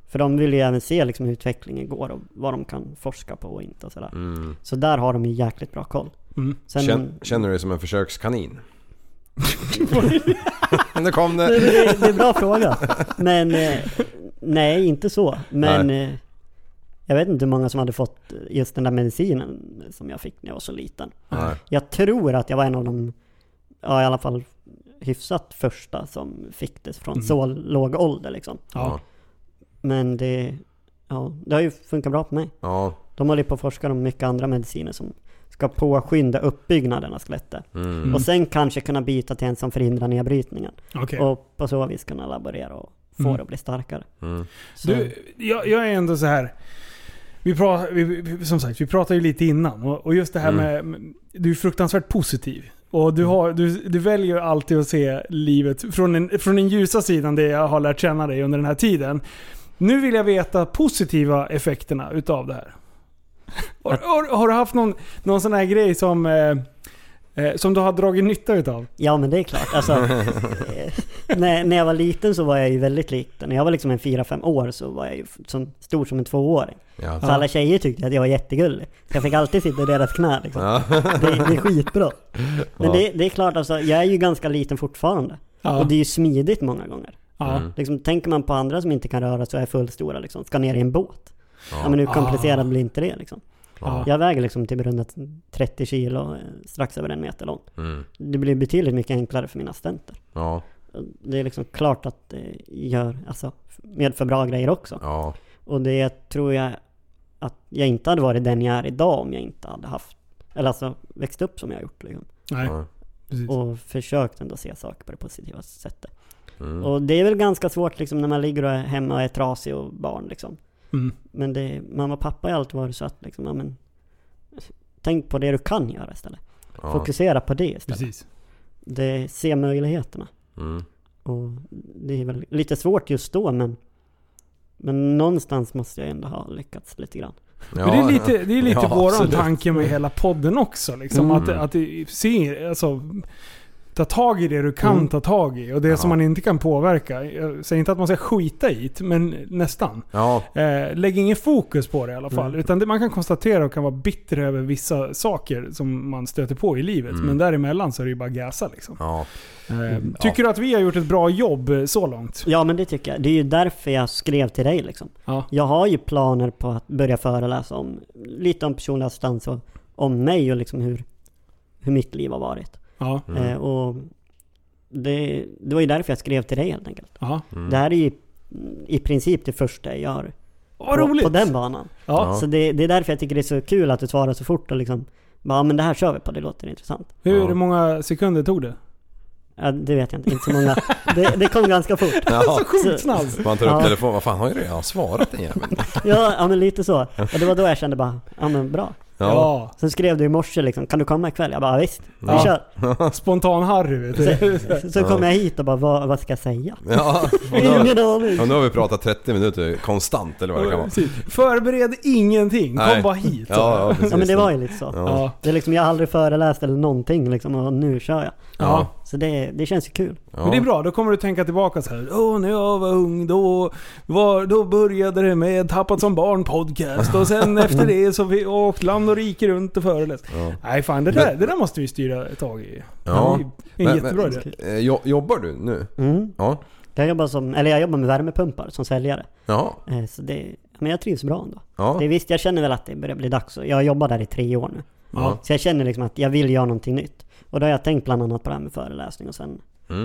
Speaker 8: För de vill ju även se liksom hur utvecklingen går och vad de kan forska på och inte och sådär. Så där har de ju jäkligt bra koll.
Speaker 5: Mm.
Speaker 8: Sen,
Speaker 7: mm. Känn- Känner du dig som en
Speaker 8: (laughs)
Speaker 7: försökskanin? Men det kom det!
Speaker 8: det, är- det är en bra fråga. Men eh, nej, inte så. Men eh, jag vet inte hur många som hade fått eh, just den där medicinen som jag fick när jag var så liten.
Speaker 7: Nej.
Speaker 8: Jag tror att jag var en av de, ja i alla fall hyfsat första som fick det från så låg ålder liksom.
Speaker 7: Ja.
Speaker 8: Men det, ja, det har ju funkat bra på mig.
Speaker 7: Ja.
Speaker 8: De håller ju på att forska om mycket andra mediciner som ska påskynda uppbyggnaden av skelettet.
Speaker 7: Mm,
Speaker 8: Och sen kanske kunna byta till en som förhindrar nedbrytningen.
Speaker 5: Okej.
Speaker 8: Och på så vis kunna laborera och få det att bli starkare.
Speaker 7: mm.
Speaker 8: Så,
Speaker 5: Mm. Du, jag, jag är ändå så här. Vi pratar, vi, vi, som sagt, vi pratade ju lite innan. Och, och just det här med- med... Du är fruktansvärt positiv. Och du, har, du, du väljer alltid att se livet från, en, från den ljusa sidan, det jag har lärt känna dig under den här tiden. Nu vill jag veta positiva effekterna utav det här. Har, har, har du haft någon, någon sån här grej som, eh, eh, som du har dragit nytta utav?
Speaker 8: Ja men det är klart. Alltså, eh, när, när jag var liten så var jag ju väldigt liten. När jag var liksom en 4-5 år så var jag ju f- som, stor som en tvååring.
Speaker 7: Ja.
Speaker 8: Så alla tjejer tyckte att jag var jättegullig. Så jag fick alltid sitta i deras knä liksom. Det, det är skitbra. Men det, det är klart alltså, jag är ju ganska liten fortfarande.
Speaker 5: Ja.
Speaker 8: Och det är ju smidigt många gånger.
Speaker 5: Ja.
Speaker 8: Liksom, tänker man på andra som inte kan röra sig och är fullstora liksom, ska ner i en båt. Ja, men hur komplicerat blir inte det liksom?
Speaker 5: Ja.
Speaker 8: Jag väger liksom typ runt 30 kilo, eh, strax över en meter lång. Det blir betydligt mycket enklare för mina studenter.
Speaker 7: Mm. Ja.
Speaker 8: Det är liksom klart att det gör, alltså, medför bra grejer också.
Speaker 7: Ja.
Speaker 8: Och det tror jag att jag inte hade varit den jag är idag om jag inte hade haft, eller alltså växt upp som jag har gjort liksom.
Speaker 5: Nej.
Speaker 7: Ja.
Speaker 5: Precis.
Speaker 8: Och försökt ändå se saker på det positiva sättet.
Speaker 7: Mm.
Speaker 5: Mm.
Speaker 8: Och det är väl ganska svårt liksom när man ligger och är hemma och är trasig och barn liksom.
Speaker 5: Mm.
Speaker 8: Men det, mamma och pappa har alltid varit så att liksom, ja, men, tänk på det du kan göra istället. Fokusera på det istället.
Speaker 5: Precis.
Speaker 8: Det, se möjligheterna.
Speaker 7: Mm.
Speaker 8: Och det är väl lite svårt just då men, men någonstans måste jag ändå ha lyckats lite grann.
Speaker 7: Ja.
Speaker 5: Men det är lite, det är lite
Speaker 7: Ja,
Speaker 5: våran
Speaker 7: absolut. Mm.
Speaker 5: tanke med hela podden också. Liksom, att, att se, alltså, ta tag i det du kan
Speaker 7: Mm.
Speaker 5: ta tag i och det som man inte kan påverka. Jag säger inte att man ska skita i det, men nästan.
Speaker 7: Ja.
Speaker 5: Eh, lägg ingen fokus på det i alla fall.
Speaker 7: Mm.
Speaker 5: Utan det, man kan konstatera och kan vara bitter över vissa saker som man stöter på i livet. Men däremellan så är det ju bara gasa liksom.
Speaker 7: Mm. Ja.
Speaker 5: Eh, tycker du att vi har gjort ett bra jobb eh, så långt?
Speaker 8: Ja men det tycker jag. Det är ju därför jag skrev till dig liksom.
Speaker 5: Ja.
Speaker 8: Jag har ju planer på att börja föreläsa om lite om personlig assistans och om mig och liksom hur, hur mitt liv har varit.
Speaker 5: Ja.
Speaker 8: Eh, och det, det var ju därför jag skrev till dig helt enkelt.
Speaker 5: ja.
Speaker 8: Det här är ju i princip det första jag gör
Speaker 5: Vad
Speaker 8: på,
Speaker 5: roligt!
Speaker 8: på den banan.
Speaker 5: ja.
Speaker 8: Så det, det är därför jag tycker det är så kul att du svarar så fort och liksom bara, ja men det här kör vi på, det låter intressant.
Speaker 5: Hur
Speaker 7: Ja.
Speaker 5: många sekunder tog det?
Speaker 8: Ja, det vet jag inte, inte så
Speaker 5: (laughs)
Speaker 8: många. Det, det kom ganska fort. (laughs)
Speaker 7: ja.
Speaker 5: Sjukt snabbt!
Speaker 7: Man tar upp
Speaker 8: Ja.
Speaker 7: telefonen, vad fan har ju redan svarat den jäveln? (laughs)
Speaker 8: Ja, ja men lite så. Och det var då jag kände bara, ja men bra.
Speaker 7: Ja.
Speaker 8: Sen skrev du i morse liksom, kan du komma ikväll? Jag bara visst, vi
Speaker 5: Ja. (laughs)
Speaker 8: kör.
Speaker 5: Spontan-Harry vet du.
Speaker 8: Så, så kom jag hit och bara, vad, vad ska jag säga?
Speaker 7: Ja. Och nu, har vi-
Speaker 8: Ingen aning.
Speaker 7: och nu har vi pratat 30 minuter konstant eller vad det kan vara.
Speaker 5: Precis. Förbered ingenting, kom
Speaker 7: Nej.
Speaker 5: bara hit.
Speaker 7: Ja, ja, precis.
Speaker 8: Ja men det var ju lite så.
Speaker 5: Ja.
Speaker 8: Det är liksom, jag har aldrig föreläst eller någonting liksom och nu kör jag.
Speaker 5: Ja.
Speaker 8: Så det, det känns ju kul.
Speaker 5: Men det är bra, då kommer du tänka tillbaka så här. Åh, när jag var ung då, var, då började det med Tappat som barn podcast och
Speaker 7: (laughs)
Speaker 5: sen efter det så vi åkt land och rike runt och föreläst. Nej fan, det där, det där måste vi styra tag i.
Speaker 7: Ja.
Speaker 5: Det är en
Speaker 7: Men-
Speaker 5: jättebra
Speaker 7: men-
Speaker 5: idé.
Speaker 7: Eh, jo- Jobbar du nu? Ja.
Speaker 8: Mm. Jag jobbar, som, eller jag jobbar med värmepumpar som säljare.
Speaker 7: Ja.
Speaker 8: Eh, Så det, men jag trivs bra ändå.
Speaker 7: Ja.
Speaker 8: Det är visst, jag känner väl att det börjar bli dags. Jag jobbar där i tre år nu.
Speaker 5: Ja.
Speaker 8: Så jag känner liksom att jag vill göra någonting nytt. Och då har jag tänkt bland annat på det här med föreläsning och sen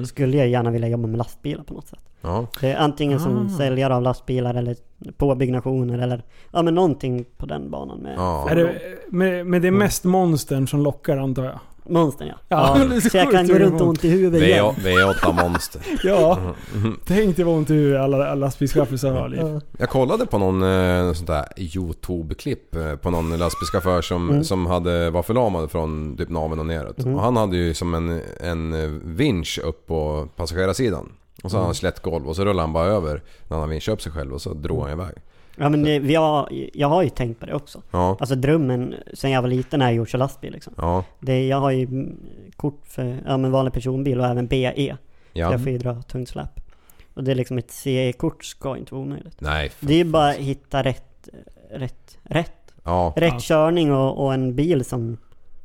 Speaker 8: skulle jag gärna vilja jobba med lastbilar på något sätt.
Speaker 7: Ja.
Speaker 8: Det är antingen som
Speaker 5: Ah.
Speaker 8: säljare av lastbilar eller påbyggnationer eller ja men någonting på den banan med
Speaker 7: Ja. Mm.
Speaker 5: Är det, med, med det är mest monstern som lockar antar jag.
Speaker 8: monstern ja.
Speaker 5: Ja, (laughs) det är så
Speaker 8: Så jag
Speaker 5: sjukt
Speaker 8: kan gå
Speaker 5: hur det
Speaker 8: runt och
Speaker 5: var.
Speaker 8: ont i huvudet igen.
Speaker 7: V8 V8 Monster.
Speaker 5: Ja. (laughs) Tänk dig vad ont i huvudet alla alla lastbilschaffisar har liv.
Speaker 7: Jag kollade på någon eh, sånt där Youtube-klipp eh, på någon lastbilschaufför som,
Speaker 5: Mm.
Speaker 7: som hade, var förlamad från typ naveln och neråt. Och han hade ju som en, en eh, vinsch upp på passagerarsidan. Och så
Speaker 5: Mm.
Speaker 7: hade han slätt golv och så rullade han bara över när han vinschade upp sig själv och så drog han iväg.
Speaker 8: Ja men det, vi har, jag har ju tänkt på det också.
Speaker 7: Ja.
Speaker 8: Alltså drömmen sen jag var liten är ju att köra lastbil liksom.
Speaker 7: Ja.
Speaker 8: Det, jag har ju mm, kort för ja, men vanlig personbil och även BE.
Speaker 7: Ja.
Speaker 8: Jag får ju dra tungt släp. Och Och det är liksom ett CE-kort ska inte vara omöjligt.
Speaker 7: Nej. fan.
Speaker 8: Det är ju bara att hitta rätt, rätt, rätt,
Speaker 7: Ja.
Speaker 8: rätt
Speaker 5: Ja.
Speaker 8: körning och, och en bil som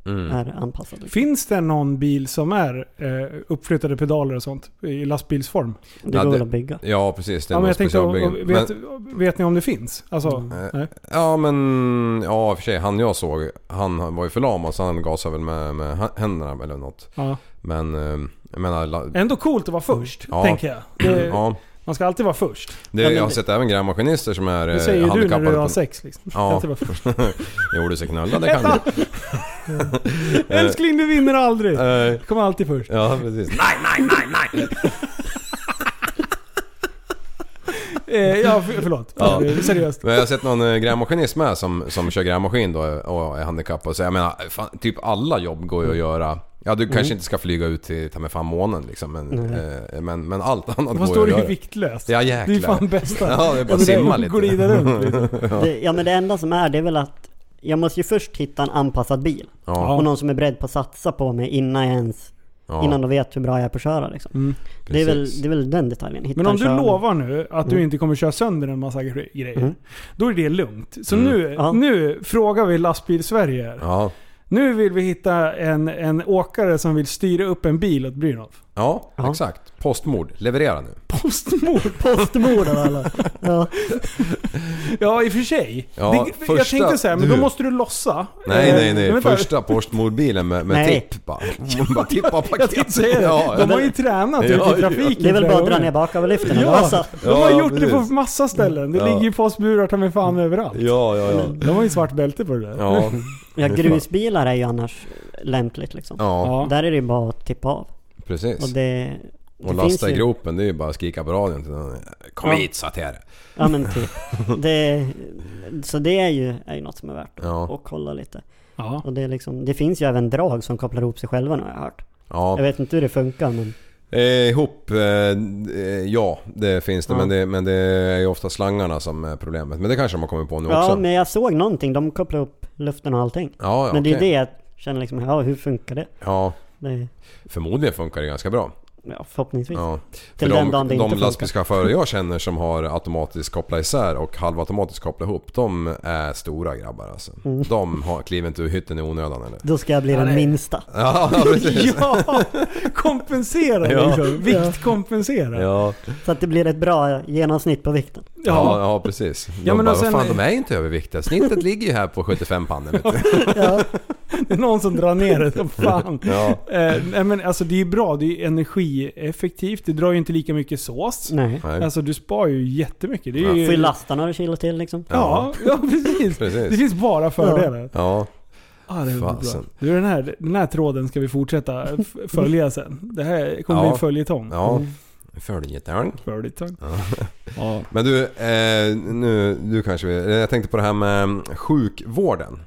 Speaker 7: Mm.
Speaker 8: är anpassad. liksom.
Speaker 5: Finns det någon bil som är eh, uppflyttade pedaler och sånt i lastbilsform?
Speaker 8: Det
Speaker 7: Ja,
Speaker 8: går
Speaker 7: det-
Speaker 8: väl att bygga.
Speaker 7: Ja precis. Det är
Speaker 5: Ja, men
Speaker 7: någon
Speaker 5: jag tänkte, och,
Speaker 7: specialbyggnad.
Speaker 5: och, vet, vet ni om det finns? Alltså,
Speaker 7: Eh,
Speaker 5: nej.
Speaker 7: Ja men, ja i och för sig. Han jag såg, han var ju förlamad så han gasade väl med, med händerna eller något.
Speaker 5: Ja.
Speaker 7: Men, eh, jag menar... la-
Speaker 5: Ändå coolt att vara först,
Speaker 7: Ja. Mm,
Speaker 5: tänker jag. Det,
Speaker 7: Ja,
Speaker 5: Man ska alltid vara först.
Speaker 7: det,
Speaker 8: Ja, men
Speaker 7: jag har
Speaker 8: det-
Speaker 7: sett även grävmaskinister som är
Speaker 5: Det
Speaker 7: eh,
Speaker 5: säger ju du när
Speaker 7: handikappade.
Speaker 5: du har
Speaker 7: på-
Speaker 5: sex liksom.
Speaker 7: Ja.
Speaker 5: Alltid vara
Speaker 7: (laughs)
Speaker 5: först.
Speaker 7: Jo, du ser knulla, det kan
Speaker 5: (laughs)
Speaker 7: du.
Speaker 5: Älskling, du vinner aldrig.
Speaker 7: Eh,
Speaker 5: Du kommer alltid först.
Speaker 7: Ja, precis. Nej, nej, nej, nej!
Speaker 5: Eh, ja, för, förlåt.
Speaker 7: Ja.
Speaker 5: Eh, Seriöst.
Speaker 7: Men jag har sett någon eh, grävmaskinist med som, som kör grävmaskin då eh, och är handikappad. Så jag menar, fan, typ alla jobb går ju
Speaker 5: Mm.
Speaker 7: att göra. Ja, du kanske inte ska flyga ut till ta med fan månen liksom. Men, eh, men, men allt annat
Speaker 5: Mm. Vad
Speaker 7: går
Speaker 5: står
Speaker 7: att
Speaker 5: det ju
Speaker 7: göra.
Speaker 5: viktlöst?
Speaker 7: Ja,
Speaker 5: det är ju
Speaker 7: jäklar.
Speaker 5: fan bästa.
Speaker 7: Ja, det är bara
Speaker 5: men
Speaker 7: simma
Speaker 5: att
Speaker 7: lite.
Speaker 5: Glida runt liksom.
Speaker 8: Det, ja men det enda som är det är väl att jag måste ju först hitta en anpassad bil.
Speaker 7: Ja,
Speaker 8: Och någon som är beredd på att satsa på mig innan jag ens,
Speaker 7: ja,
Speaker 8: innan de vet hur bra jag är på att köra liksom. det, är väl,
Speaker 7: precis.
Speaker 8: det är väl den detaljen. Hitta
Speaker 5: Mm. Men om
Speaker 8: en
Speaker 5: du
Speaker 8: körning. (laughs)
Speaker 5: lovar nu att
Speaker 8: Mm.
Speaker 5: du inte kommer köra sönder en massa gre- grejer. Då är det lugnt. Så nu,
Speaker 8: Mm. Ja.
Speaker 5: nu frågar vi Lastbil-Sverige här.
Speaker 7: Ja,
Speaker 5: Nu vill vi hitta en, en åkare som vill styra upp en bil åt Brynolf.
Speaker 7: ja,
Speaker 8: Ja.
Speaker 7: exakt. Postmord. Leverera nu.
Speaker 5: Eh, Postmord?
Speaker 8: Postmord
Speaker 5: (laughs)
Speaker 8: av alla. Ja.
Speaker 5: Ja, i och för sig.
Speaker 7: Ja,
Speaker 5: det, jag
Speaker 7: första-
Speaker 5: tänkte så här, men då
Speaker 7: du.
Speaker 5: måste du lossa.
Speaker 7: Nej,
Speaker 5: Eh,
Speaker 7: nej, nej.
Speaker 5: vänta.
Speaker 7: Första postmordbilen med, med
Speaker 8: Nej.
Speaker 7: tipp bara. bara tippa
Speaker 5: (laughs)
Speaker 7: paket.
Speaker 5: Jag tänkte säga det.
Speaker 7: Ja,
Speaker 5: De
Speaker 7: ja.
Speaker 5: har ju tränat
Speaker 7: Ja,
Speaker 5: ute i
Speaker 7: ja.
Speaker 5: trafiken.
Speaker 8: Det är väl
Speaker 5: flera
Speaker 8: bara att dra
Speaker 5: gånger.
Speaker 8: ner baköverlyften eller
Speaker 5: Ja.
Speaker 8: alltså.
Speaker 5: De har
Speaker 7: Ja,
Speaker 5: gjort det på
Speaker 7: precis.
Speaker 5: massa ställen. Det
Speaker 7: Ja. Mm.
Speaker 5: ligger ju fastburar ta mig fan överallt. (laughs)
Speaker 7: Ja, ja, ja.
Speaker 5: De har ju svart bälte på det där.
Speaker 7: Ja,
Speaker 8: Ja grusbilar är ju annars lämpligt liksom.
Speaker 7: ja,
Speaker 5: Ja.
Speaker 8: Där är det ju bara att tippa av. Och
Speaker 7: precis.
Speaker 8: det... det
Speaker 7: Och
Speaker 8: finns
Speaker 7: lasta i
Speaker 8: ju-
Speaker 7: gropen, det är ju bara att skrika på radion till någon. Kom hit satere.
Speaker 8: Ja men
Speaker 7: (laughs)
Speaker 8: typ. Det, så det är ju, är ju något som är värt att,
Speaker 7: Ja.
Speaker 8: att kolla lite.
Speaker 5: Ja.
Speaker 8: Och det, är liksom, det finns ju även drag som kopplar ihop sig själva nu har jag hört.
Speaker 7: Ja.
Speaker 8: Jag vet inte hur det funkar men...
Speaker 7: Eh, ihop, eh, eh, ja det finns det.
Speaker 8: Ja.
Speaker 7: Men, det. men det är ju ofta slangarna som är problemet. Men det kanske de har kommit på nu
Speaker 8: Ja
Speaker 7: också.
Speaker 8: men jag såg någonting, de kopplade upp luften och allting.
Speaker 7: Ja, ja,
Speaker 8: men det är
Speaker 7: okej.
Speaker 8: det jag känner liksom, ja hur funkar det?
Speaker 7: Ja,
Speaker 8: det är,
Speaker 7: förmodligen funkar det ganska bra.
Speaker 8: ja, förhoppningsvis.
Speaker 7: Ja.
Speaker 8: Till
Speaker 7: För
Speaker 8: den dagen det
Speaker 7: de
Speaker 8: inte
Speaker 7: de
Speaker 8: funkar.
Speaker 7: lastbilschaufförer jag känner som har automatiskt koppla isär och halvautomatiskt koppla ihop. De är stora grabbar alltså.
Speaker 8: Mm.
Speaker 7: De har, kliver inte ur hytten i onödan
Speaker 8: (laughs)
Speaker 7: eller?
Speaker 8: Då ska jag bli den minsta.
Speaker 7: Ja, precis.
Speaker 5: (laughs) Ja, (laughs) kompensera
Speaker 7: Ja.
Speaker 5: liksom. Viktkompensera. Ja,
Speaker 7: Ja,
Speaker 8: Så att det blir ett bra genomsnitt på vikten.
Speaker 7: ja, ja precis. De
Speaker 5: men och
Speaker 7: bara,
Speaker 5: sen-
Speaker 7: vad fan de är ju inte överviktiga. Snittet (laughs) ligger ju här på 75 pannor vet du.
Speaker 5: det är någon som drar ner det
Speaker 7: (laughs)
Speaker 5: som fan.
Speaker 7: Ja.
Speaker 5: Eh, nej, men alltså det är ju bra, det är ju energieffektivt. Det drar ju inte lika mycket sås.
Speaker 8: Nej.
Speaker 7: Nej.
Speaker 5: Alltså du spar ju jättemycket. Det är
Speaker 7: Ja.
Speaker 5: ju...
Speaker 8: Får ju lasta några kilo till liksom.
Speaker 5: Ja, (laughs) ja precis.
Speaker 7: Precis.
Speaker 5: Det finns bara fördelar.
Speaker 7: Ja,
Speaker 5: Ja, det är bra.
Speaker 7: Fasen.
Speaker 5: Du, den här, den här tråden ska vi fortsätta
Speaker 7: (laughs)
Speaker 5: f- följa sen. Det här kommer bli
Speaker 7: Ja.
Speaker 5: en följetong.
Speaker 7: ja. Följetong.
Speaker 5: Följetong.
Speaker 7: (laughs)
Speaker 5: Ja.
Speaker 7: Men du, eh, nu, du kanske vill, eh, Jag tänkte på det här med mm, sjukvården.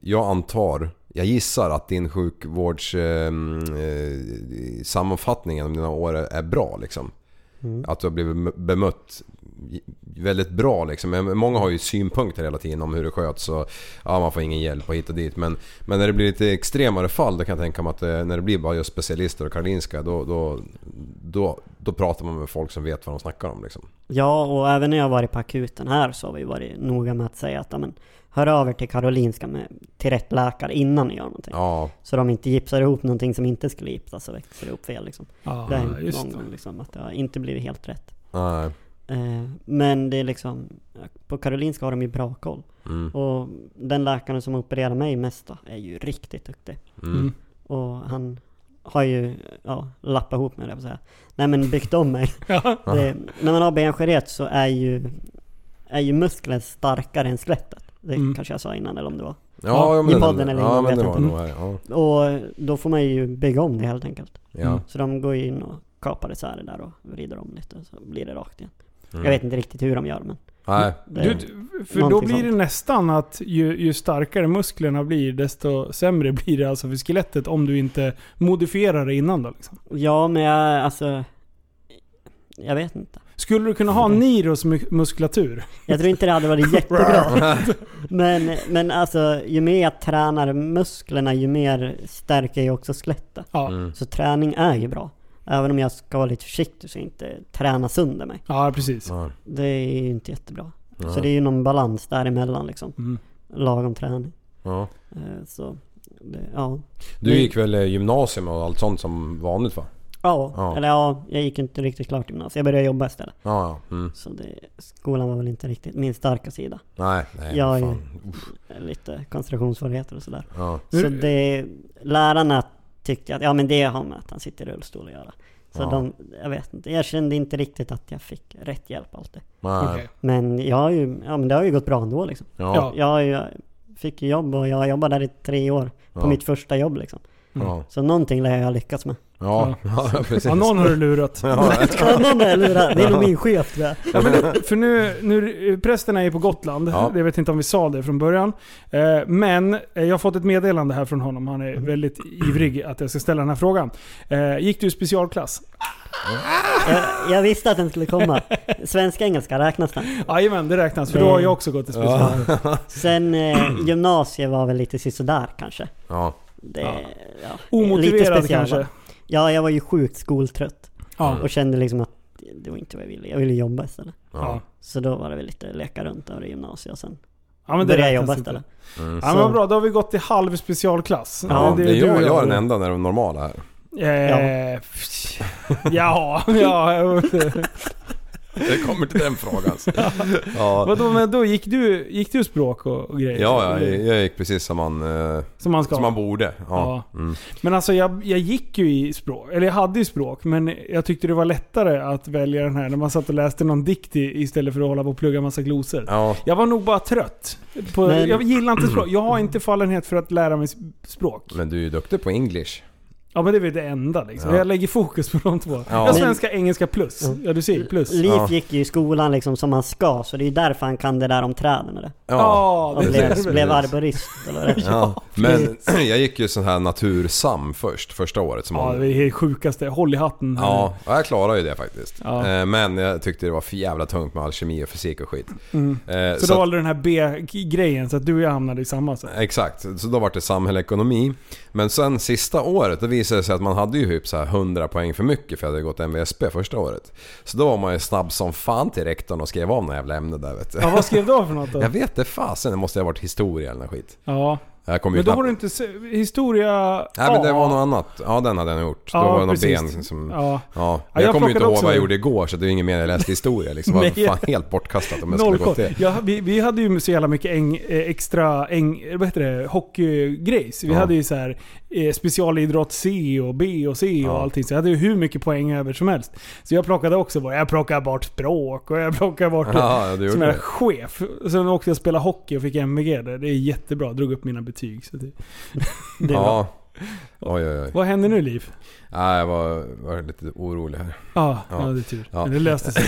Speaker 7: Jag antar, jag gissar att din sjukvårds eh, mm, eh, sammanfattning om dina år är, är bra liksom. Att du har blivit m- bemött j- väldigt bra liksom. Men Många har ju synpunkter hela tiden om hur det sköts och ja, man får ingen hjälp och hit och dit. Men, men när det blir lite extremare fall då kan jag tänka mig att eh, när det blir bara just specialister och Karolinska då, då, då, då pratar man med folk som vet vad de snackar om liksom.
Speaker 8: Ja, och även när jag har varit på akuten här så har vi varit noga med att säga att ja, men, hör över till Karolinska med, till rätt läkare innan ni gör någonting.
Speaker 7: Ja,
Speaker 8: Så de inte gipsar ihop någonting som inte skulle gipsas och växer ihop fel liksom. Det har
Speaker 5: Ja,
Speaker 8: hänt
Speaker 5: just
Speaker 8: någon
Speaker 5: det.
Speaker 8: gång liksom att det har inte blivit helt rätt.
Speaker 7: nej.
Speaker 8: Eh, men det är liksom, på Karolinska har de ju bra koll.
Speaker 7: Mm.
Speaker 8: Och den läkaren som opererar mig mest då, är ju riktigt duktig.
Speaker 7: Mm.
Speaker 8: Och han har ju, ja, lappat ihop mig det säga. Nej men byggt om mig. det, när man har benskörhet så är ju, är ju muskler starkare än skelettet. Det
Speaker 5: Mm.
Speaker 8: kanske jag sa innan eller om det var.
Speaker 7: Ja, ja,
Speaker 8: i
Speaker 7: men,
Speaker 8: podden eller
Speaker 7: ja,
Speaker 8: innan,
Speaker 7: men det
Speaker 8: vet
Speaker 7: var
Speaker 8: inte.
Speaker 7: nog här, ja.
Speaker 8: Och då får man ju bygga om det helt enkelt.
Speaker 7: Ja.
Speaker 8: Så de går ju in och kapar isär det där och vrider om lite så blir det rakt igen.
Speaker 7: Mm.
Speaker 8: Jag vet inte riktigt hur de gör men
Speaker 7: Nej.
Speaker 8: det,
Speaker 5: Du, för då
Speaker 8: Någonting
Speaker 5: blir det
Speaker 8: sånt.
Speaker 5: nästan att ju, ju starkare musklerna blir, desto sämre (laughs) blir det alltså för skelettet om du inte modifierar det innan då liksom.
Speaker 8: Ja men jag, alltså... Jag vet inte.
Speaker 5: Skulle du kunna ha Niros mu- muskulatur?
Speaker 8: Jag tror inte det hade varit jättebra. men, men alltså ju mer jag tränar musklerna ju mer stärker jag också skelettet.
Speaker 7: Mm.
Speaker 5: Ja.
Speaker 8: Så träning är ju bra. Även om jag ska vara lite försiktig så jag inte träna sönder mig.
Speaker 5: Ja, precis.
Speaker 7: Ja.
Speaker 8: Det är ju inte jättebra. Så det är ju någon balans däremellan liksom.
Speaker 5: Mm.
Speaker 8: Lagom träning.
Speaker 7: Ja.
Speaker 8: Eh, Så, det, ja.
Speaker 7: Du gick väl eh, gymnasium och allt sånt som vanligt va?
Speaker 8: Ja,
Speaker 7: Ja.
Speaker 8: eller ja, jag gick inte riktigt klart gymnasiet. Jag började jobba istället.
Speaker 7: Ja, ja. Mm.
Speaker 8: Så det, skolan var väl inte riktigt min starka sida.
Speaker 7: Nej, nej.
Speaker 8: Jag-
Speaker 7: fan. Uff,
Speaker 8: Lite koncentrationssvårigheter och sådär.
Speaker 7: ja.
Speaker 8: Så det, lärarna tyckte att, ja men det har med att han sitter i rullstol att göra. Så
Speaker 7: Ja.
Speaker 8: de, jag vet inte, jag kände inte riktigt att jag fick rätt hjälp alltid.
Speaker 7: Nej.
Speaker 5: Okej.
Speaker 8: Men jag har ju, ja men det har ju gått bra ändå liksom.
Speaker 7: Ja.
Speaker 5: Ja.
Speaker 7: Ja.
Speaker 8: Jag har ju, fick ju jobb och jag jobbade där i tre år. På
Speaker 7: Ja.
Speaker 8: mitt första jobb liksom.
Speaker 7: Ja.
Speaker 8: Så någonting lär jag ha lyckats med.
Speaker 7: Mm. (laughs) Ja. precis.
Speaker 5: Ja, någon har du lurat.
Speaker 8: Någon har jag lurat. Det är nog min chef det.
Speaker 5: Ja, men det, för nu, nu, prästen är ju på Gotland.
Speaker 7: Ja.
Speaker 5: Jag vet inte om vi sa det från början. Eh, Men eh, jag har fått ett meddelande här från honom. Han är väldigt ivrig att jag ska ställa den här frågan. Eh, Gick du specialklass?
Speaker 8: Jag, jag visste att den skulle komma. Svenska engelska räknas den.
Speaker 5: Jajamän, det räknas. För då har jag också gått i specialklass.
Speaker 8: Sen eh, gymnasiet var väl lite sisådär kanske.
Speaker 7: Ja.
Speaker 8: Det,
Speaker 5: Ja.
Speaker 8: ja. lite
Speaker 5: Omotiverad
Speaker 8: speciella.
Speaker 5: kanske.
Speaker 8: Ja, jag var ju sjukt skoltrött.
Speaker 5: Ja.
Speaker 8: Och kände liksom att det var inte vad jag ville. Jag ville jobba istället.
Speaker 5: Ja.
Speaker 7: Ja.
Speaker 8: Så då var det väl lite leka runt över i gymnasiet och sen
Speaker 5: Ja, men det
Speaker 8: började jag
Speaker 5: räknas
Speaker 8: jobba
Speaker 5: inte.
Speaker 8: istället.
Speaker 5: Ja, men vad bra, då har vi gått till halv specialklass.
Speaker 7: Mm. Ja, det är
Speaker 5: du och
Speaker 7: jag, jag är den enda när de normala här.
Speaker 5: Eh, pff, (laughs) ja, ja.
Speaker 7: (laughs) Det kommer till den frågan. (laughs) Ja,
Speaker 5: Vadå, men då gick du, gick du språk och, och grejer?
Speaker 7: ja jag, jag gick precis som man, eh,
Speaker 5: Som man ska.
Speaker 7: som man borde. Ja. Mm.
Speaker 5: Ja. Men alltså jag, jag gick ju i språk, eller jag hade ju språk, men jag tyckte det var lättare att välja den här när man satt och läste någon dikt i, istället för att hålla på och plugga massa glosor.
Speaker 7: Ja.
Speaker 5: Jag var nog bara trött. På,
Speaker 8: Men-
Speaker 5: jag gillar
Speaker 7: (clears throat)
Speaker 5: inte språk. Jag har inte fallenhet för att lära mig s- språk.
Speaker 7: Men du är ju duktig på English.
Speaker 5: Ja men det är väl det enda liksom.
Speaker 7: Ja.
Speaker 5: Jag lägger fokus på de två. Jag har
Speaker 7: Men-
Speaker 5: svenska, engelska plus. Ja du ser, plus.
Speaker 8: Liv
Speaker 7: Ja.
Speaker 8: gick ju i skolan liksom som han ska, så det är ju därför han kan det där om träden och det.
Speaker 5: Ja,
Speaker 8: Han
Speaker 5: det är det
Speaker 8: blev,
Speaker 5: väl.
Speaker 8: blev arborist eller vad det är.
Speaker 7: Ja. Men (clears throat) jag gick ju sån här natursam först, första året som
Speaker 5: Ja,
Speaker 7: man...
Speaker 5: det är det sjukaste. Håll i hatten.
Speaker 7: Ja, ja, jag klarade ju det faktiskt.
Speaker 5: Ja.
Speaker 7: Eh, Men jag tyckte det var för jävla tungt med all kemi och fysik och skit. Eh,
Speaker 5: Så, Mm. då valde du den här B-grejen så att du och jag hamnade i samma. Så.
Speaker 7: Exakt, så då var det samhällsekonomi. Men sen sista året, då visade det sig att man hade ju typ så här 100 poäng för mycket för jag hade gått MVSP första året. Så då var man ju snabb som fan till rektorn och skrev om det jävla ämnet där vet du.
Speaker 5: Ja, vad skrev du för något då?
Speaker 7: (laughs) Jag vet det fasen, det måste ha varit historia eller något skit.
Speaker 5: Ja.
Speaker 7: Jag kommer ju
Speaker 5: Men då
Speaker 7: knappt...
Speaker 5: var det inte se- historia
Speaker 7: Nej men det
Speaker 5: A.
Speaker 7: var något annat. Ja den hade jag nog gjort. då var det något
Speaker 5: precis.
Speaker 7: ben som... Ja.
Speaker 5: Ja. Ja,
Speaker 7: jag,
Speaker 5: jag
Speaker 7: kommer ju inte
Speaker 5: plockade
Speaker 7: ihåg
Speaker 5: också
Speaker 7: vad jag
Speaker 5: det.
Speaker 7: gjorde igår så det är ingen mening att jag läste
Speaker 5: (laughs)
Speaker 7: historia liksom. Det
Speaker 5: Nej.
Speaker 7: var fan helt bortkastat om
Speaker 5: Noll
Speaker 7: jag skulle gått
Speaker 5: koll.
Speaker 7: det.
Speaker 5: Ja, vi, vi hade ju så jävla mycket äng, eh, extra äng, eh, vad heter det, hockeygrejs. Vi
Speaker 7: Ja.
Speaker 5: hade ju så här, eh, specialidrott C och B och C och
Speaker 7: Ja.
Speaker 5: allting. Så jag hade ju hur mycket poäng över som helst. Så jag plockade också bara, jag plockade bort språk och jag plockade bort
Speaker 7: (laughs) (laughs) Ja, du
Speaker 5: som
Speaker 7: gjorde
Speaker 5: jag
Speaker 7: det.
Speaker 5: chef. Sen åkte jag och spelade hockey och fick MVG. där. Det är jättebra. Drog upp mina betyg. Så det, (laughs) det är bra.
Speaker 7: Ja. Oj oj oj.
Speaker 5: Vad händer nu Liv?
Speaker 7: Nej jag var, var lite orolig här.
Speaker 5: Ja, ja.
Speaker 7: Ja.
Speaker 5: det är tur.
Speaker 7: Ja.
Speaker 5: Men det löste
Speaker 7: (laughs)
Speaker 5: sig.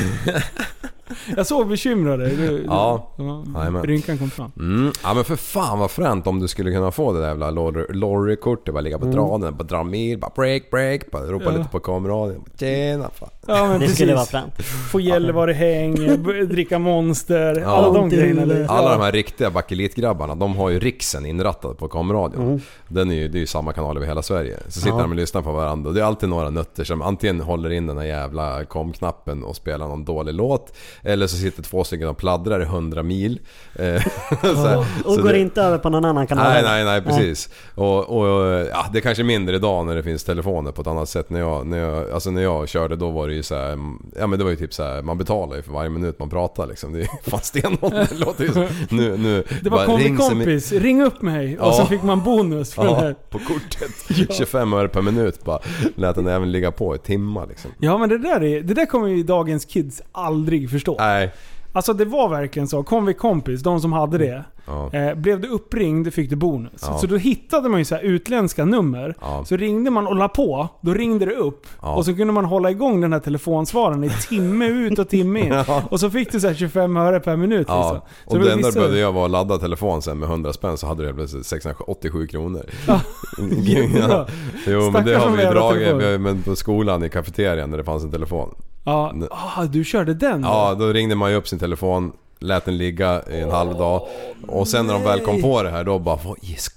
Speaker 5: jag såg bekymrade. Du,
Speaker 7: Ja.
Speaker 5: ja
Speaker 7: Jajamän.
Speaker 5: rynkan kom fram.
Speaker 7: Mm. Ja men för fan vad fränt om du skulle kunna få det där jävla lorry- lorrykortet. Bara ligga på traden, bara dra mil, bara break break. Bara ropa
Speaker 5: Mm. Ja.
Speaker 7: lite på kameraradion. Tjena fan.
Speaker 5: Ja, men
Speaker 8: Det
Speaker 5: precis.
Speaker 8: skulle vara fränt.
Speaker 5: Få Gällivare-häng, b- dricka Monster.
Speaker 7: Ja.
Speaker 5: Alla de grejerna. eller?
Speaker 7: Alla de här riktiga bakelitgrabbarna, de har ju riksen inrattad på komradion.
Speaker 8: Mm.
Speaker 7: Den är ju, det är ju samma kanal över hela Sverige. Så sitter de och lyssnar på varandra och det är alltid några nötter som antingen håller in den här jävla komknappen och spelar någon dålig låt. Eller så sitter två stycken och pladdrar i 100 mil. Eh, (laughs) så här.
Speaker 8: Och
Speaker 7: Så
Speaker 8: går
Speaker 7: det-
Speaker 8: inte över på någon annan kanal.
Speaker 7: Nej, nej, nej precis. Och, och ja, det är kanske är mindre idag när det finns telefoner på ett annat sätt. När jag, när jag, alltså när jag körde då var det ju så här, ja men det var ju typ så här, man betalar ju för varje minut man pratar liksom. Det är ju (laughs) fan stenhårt. Det låter ju så. Nu, nu.
Speaker 5: Det var
Speaker 7: bara
Speaker 5: kom
Speaker 7: ring
Speaker 5: till
Speaker 7: som i-
Speaker 5: kompis, ring upp mig.
Speaker 7: Ja.
Speaker 5: Och så fick man bonus för den
Speaker 7: Ja,
Speaker 5: här.
Speaker 7: på kortet. (laughs) 25 öre per minut bara. Lät den även ligga på i timmar liksom.
Speaker 5: Ja men det där, är, det där kommer ju dagens kids aldrig förstå.
Speaker 7: Nej.
Speaker 5: Alltså det var verkligen så. Kom vi kompis, de som hade det.
Speaker 7: Ja.
Speaker 5: Eh, blev du uppringd fick du bonus.
Speaker 7: Ja.
Speaker 5: Så då hittade man ju så här utländska nummer.
Speaker 7: Ja.
Speaker 5: Så ringde man och la på, då ringde det upp.
Speaker 7: Ja.
Speaker 5: Och så kunde man hålla igång den här telefonsvararen i timme ut och timme
Speaker 7: (laughs)
Speaker 5: in. Och så fick du så här 25 öre per minut.
Speaker 7: Ja,
Speaker 5: liksom. Så
Speaker 7: och
Speaker 5: det
Speaker 7: det enda du
Speaker 5: vissa-
Speaker 7: behövde göra var att ladda telefonen sen med 100 spänn så hade du helt plötsligt 687 kronor.
Speaker 5: Ja,
Speaker 7: (laughs) ja. Jo men det
Speaker 5: Stackars
Speaker 7: har
Speaker 5: de
Speaker 7: vi ju
Speaker 5: jävla
Speaker 7: dragit
Speaker 5: telefoner.
Speaker 7: vi har- men på skolan i kafeterian när det fanns en telefon.
Speaker 5: Ja, ah, du körde den?
Speaker 7: Ja, då ringde man ju upp sin telefon, lät den ligga i en halv dag. Och sen när de väl kom på det här då bara vad i sk-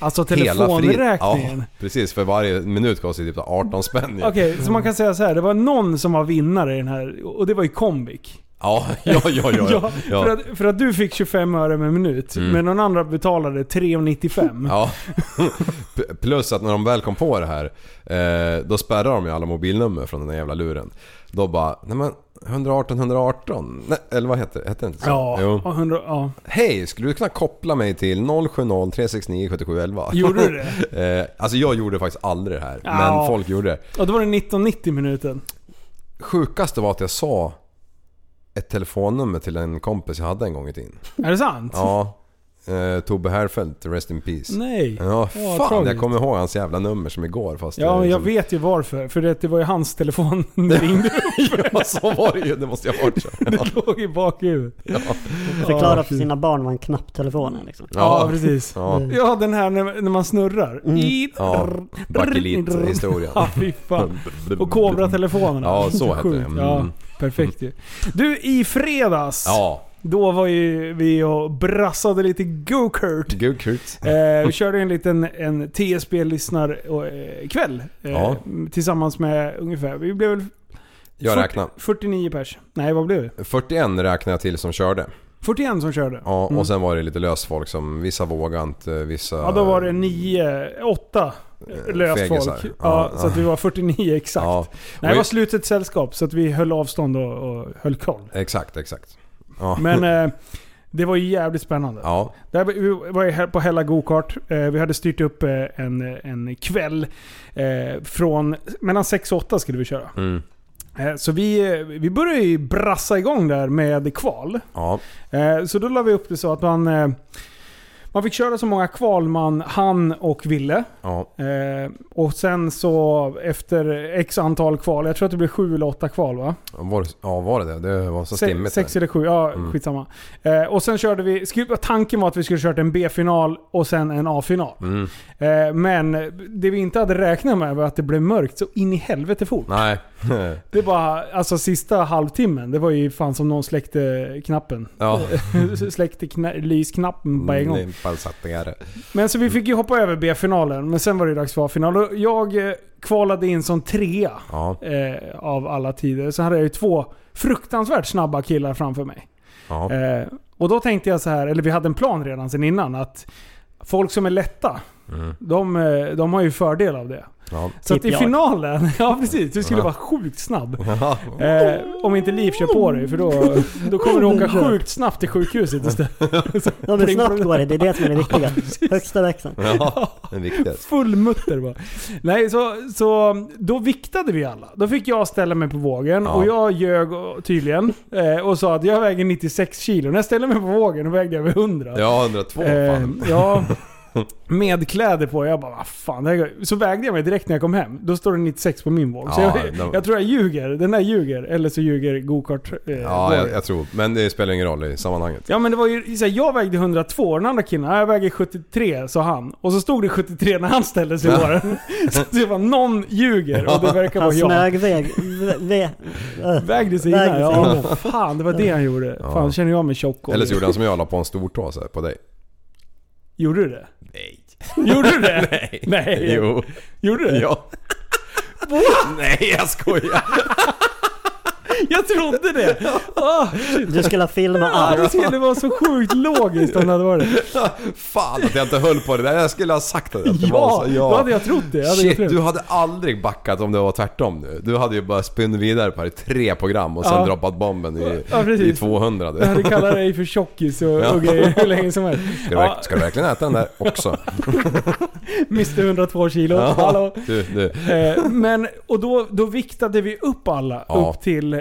Speaker 5: Alltså
Speaker 7: hela frid-
Speaker 5: telefonräkningen.
Speaker 7: Ja, precis. För varje minut kostar det typ 18 spänn. ju.
Speaker 5: Okej, så man kan säga så här. Det var någon som var vinnare i den här och det var ju Comviq.
Speaker 7: Ja, (laughs) ja, ja, ja.
Speaker 5: Ja,
Speaker 7: ja,
Speaker 5: För,
Speaker 7: ja.
Speaker 5: att, för att du fick 25 öre per minut, men någon annan betalade 3,95.
Speaker 7: ja. P- Plus att när de väl kom på det här, eh, då spärrar de ju alla mobilnummer från den där jävla luren. Då bara, nej men 118 118, nej, eller vad heter det? Hette det inte så?
Speaker 5: Ja,
Speaker 7: Jo.
Speaker 5: ja, 100, ja.
Speaker 7: Hej, skulle du kunna koppla mig till 070 369 7711?
Speaker 5: (laughs) Gjorde du det?
Speaker 7: (laughs) eh, alltså jag gjorde faktiskt aldrig det här,
Speaker 5: Ja.
Speaker 7: men folk gjorde det.
Speaker 5: Och då var det 19,90 minuten.
Speaker 7: Sjukaste var att jag sa ett telefonnummer till en kompis jag hade en gång i tiden.
Speaker 5: Är det sant? (laughs)
Speaker 7: Ja, eh, Tobbe Härfeldt, Rest in Peace.
Speaker 5: Nej.
Speaker 7: Ja,
Speaker 5: Ja,
Speaker 7: fan
Speaker 5: tragiskt.
Speaker 7: jag kommer ihåg hans jävla nummer som igår fast
Speaker 5: Ja,
Speaker 7: det, liksom-
Speaker 5: jag
Speaker 7: som,
Speaker 5: vet ju varför. För det, det var ju hans telefon
Speaker 7: (laughs)
Speaker 5: det ringde.
Speaker 7: Ja, så var det ju. Det måste jag ha varit. Ja.
Speaker 5: Det låg i bakhuvudet.
Speaker 8: Förklara för sina barn vad en knapptelefon är liksom.
Speaker 5: (laughs) Ja, precis.
Speaker 7: Ja. Mm.
Speaker 5: Ja, den här när, när man snurrar. I,
Speaker 7: Ja, bakelithistorien.
Speaker 5: (laughs) Ja, fy fan. Och Kobra-telefonerna.
Speaker 7: Ja, så hette det.
Speaker 5: Sjukt.
Speaker 7: Mm.
Speaker 5: Ja, perfekt ju. Du, i fredags.
Speaker 7: Ja,
Speaker 5: Då var ju vi och brassade lite go-kart.
Speaker 7: gud krut.
Speaker 5: Eh, vi körde en liten en TSB-lyssnarkväll. Eh,
Speaker 7: Ja.
Speaker 5: Tillsammans med ungefär, vi blev väl
Speaker 7: Jag
Speaker 5: 40
Speaker 7: räknar.
Speaker 5: 49 pers. Nej, vad blev det?
Speaker 7: 41 räknar jag till som körde.
Speaker 5: 41 som körde.
Speaker 7: Ja, och sen var det lite löst folk som, vissa vågade inte, vissa...
Speaker 5: Mm.
Speaker 7: eh,
Speaker 5: Ja, då var det 9, 8 löst folk.
Speaker 7: fegisar.
Speaker 5: Ja,
Speaker 7: eh, Ja,
Speaker 5: så att vi var 49 exakt.
Speaker 7: Ja,
Speaker 5: Nej, det
Speaker 7: Och-
Speaker 5: var slutet sällskap så att vi höll avstånd och, och höll koll.
Speaker 7: Exakt, exakt. Ja.
Speaker 5: Men eh, det var ju jävligt spännande.
Speaker 7: ja.
Speaker 5: Där var- vi var ju här på Hella Gokart. Eh, Vi hade styrt upp eh, en, en kväll. eh, Från, mellan 6 och 8 skulle vi köra.
Speaker 7: Mm.
Speaker 5: Eh, Så vi, eh, vi började ju brassa igång där med kval.
Speaker 7: Ja.
Speaker 5: Eh, Så då la vi upp det så att man, eh, man fick köra så många kval man hann och ville.
Speaker 7: Ja.
Speaker 5: Eh, Och sen så efter x antal kval, jag tror att det blev sju eller åtta kval va?
Speaker 7: Var, ja, var det det? Det var så
Speaker 5: Se,
Speaker 7: stimmigt.
Speaker 5: sex
Speaker 7: där.
Speaker 5: eller sju, ja
Speaker 7: Mm.
Speaker 5: skitsamma. Eh, och sen körde vi, sku- tanken var att vi skulle kört en B-final och sen en A-final.
Speaker 7: Mm.
Speaker 5: Eh, men det vi inte hade räknat med var att det blev mörkt så in i helvete fort.
Speaker 7: Nej. (laughs)
Speaker 5: Det var alltså sista halvtimmen, det var ju fan som någon släckte knappen.
Speaker 7: ja.
Speaker 5: (laughs)
Speaker 7: Mm,
Speaker 5: släckte kna- lysknappen på en gång.
Speaker 7: Palsattningar.
Speaker 5: Men
Speaker 7: Mm.
Speaker 5: så vi fick ju hoppa över B-finalen, men sen var det ju dags för A-final. Och Jag eh, kvalade in som trea
Speaker 7: Ja.
Speaker 5: eh, av alla tider. Så hade jag ju två fruktansvärt snabba killar framför mig.
Speaker 7: Ja.
Speaker 5: Eh, och då tänkte jag så här, eller vi hade en plan redan sen innan, att folk som är lätta,
Speaker 7: Mm.
Speaker 5: de, eh, de har ju fördel av det.
Speaker 7: Ja.
Speaker 5: Så
Speaker 8: Typ
Speaker 5: att i
Speaker 8: jag.
Speaker 5: finalen, (laughs) ja precis, du skulle vara sjukt snabb. Eh, om inte Liv kör på dig, för då, då kommer du åka sjukt snabbt till sjukhuset istället. (laughs)
Speaker 8: Ja men snabbt går det, det är det som är det viktiga. Högsta växeln.
Speaker 7: Ja, det är viktigt.
Speaker 5: Full mutter bara. Nej, så, så då viktade vi alla. Då fick jag ställa mig på vågen
Speaker 7: Ja.
Speaker 5: och jag ljög och- tydligen eh, och sa att jag väger 96 kilo. När jag ställde mig på vågen då vägde jag över 100.
Speaker 7: Ja, 102
Speaker 5: Eh,
Speaker 7: fan. (laughs)
Speaker 5: ja. Med kläder på. Jag bara, vad fan. Det här går-" så vägde jag mig direkt när jag kom hem. Då står det 96 på min våg. så
Speaker 7: Ja,
Speaker 5: jag,
Speaker 7: de-
Speaker 5: jag tror jag ljuger. Den där ljuger. Eller så ljuger gokart. Eh,
Speaker 7: Ja, jag,
Speaker 5: vågen.
Speaker 7: jag tror. Men det spelar ingen roll i sammanhanget.
Speaker 5: Ja men det var ju så här, jag vägde 102 och den andra killen, "Ja, jag väger 73 sa han. Och så stod det 73 när han ställde sig i våren. (laughs) Så det var någon ljuger och det verkar vara
Speaker 8: Han
Speaker 5: jag.
Speaker 8: smögväg... vä- vä- ö.
Speaker 5: (laughs) Vägde sig
Speaker 8: Vägde
Speaker 5: innan?
Speaker 8: sig
Speaker 5: Ja, fan det var det han gjorde.
Speaker 7: Ja.
Speaker 5: Fan känner jag mig tjock och...
Speaker 7: Eller så gjorde han som jag, la på en stortå så
Speaker 5: (laughs)
Speaker 7: här på dig.
Speaker 5: Gjorde du det?
Speaker 7: Nej.
Speaker 5: Gjorde du
Speaker 7: (laughs)
Speaker 5: det? Nej. (laughs) Nej.
Speaker 7: Jo.
Speaker 5: Gjorde du det?
Speaker 7: Ja. Nej,
Speaker 5: (laughs)
Speaker 7: jag skojar.
Speaker 5: Jag trodde
Speaker 7: (laughs)
Speaker 5: det! Ah,
Speaker 8: Du skulle ha filmat
Speaker 5: det
Speaker 8: allt.
Speaker 5: skulle vara så sjukt logiskt om det hade varit
Speaker 7: (laughs)
Speaker 5: det.
Speaker 7: Fan att jag inte höll på det där. Jag skulle ha sagt det. att det
Speaker 5: Ja,
Speaker 7: var så.
Speaker 5: då hade jag trott det. Jag hade
Speaker 7: Shit,
Speaker 5: gjort det.
Speaker 7: du hade aldrig backat om det var tvärtom nu. Du hade ju bara spunnit vidare på det i tre program och sen
Speaker 5: Ja.
Speaker 7: droppat bomben i,
Speaker 5: Ja, precis.
Speaker 7: i 200.
Speaker 5: Jag hade kallat dig för tjockis och,
Speaker 7: Ja.
Speaker 5: och grejer hur länge som
Speaker 7: (laughs)
Speaker 5: helst.
Speaker 7: Ska, du
Speaker 5: Ja,
Speaker 7: verk- ska du verkligen äta den där också?
Speaker 5: Mr 102 kilo. (laughs) Hallå.
Speaker 7: Du, du.
Speaker 5: Eh, men, och då, då viktade vi upp alla
Speaker 7: Ja.
Speaker 5: upp till, eh,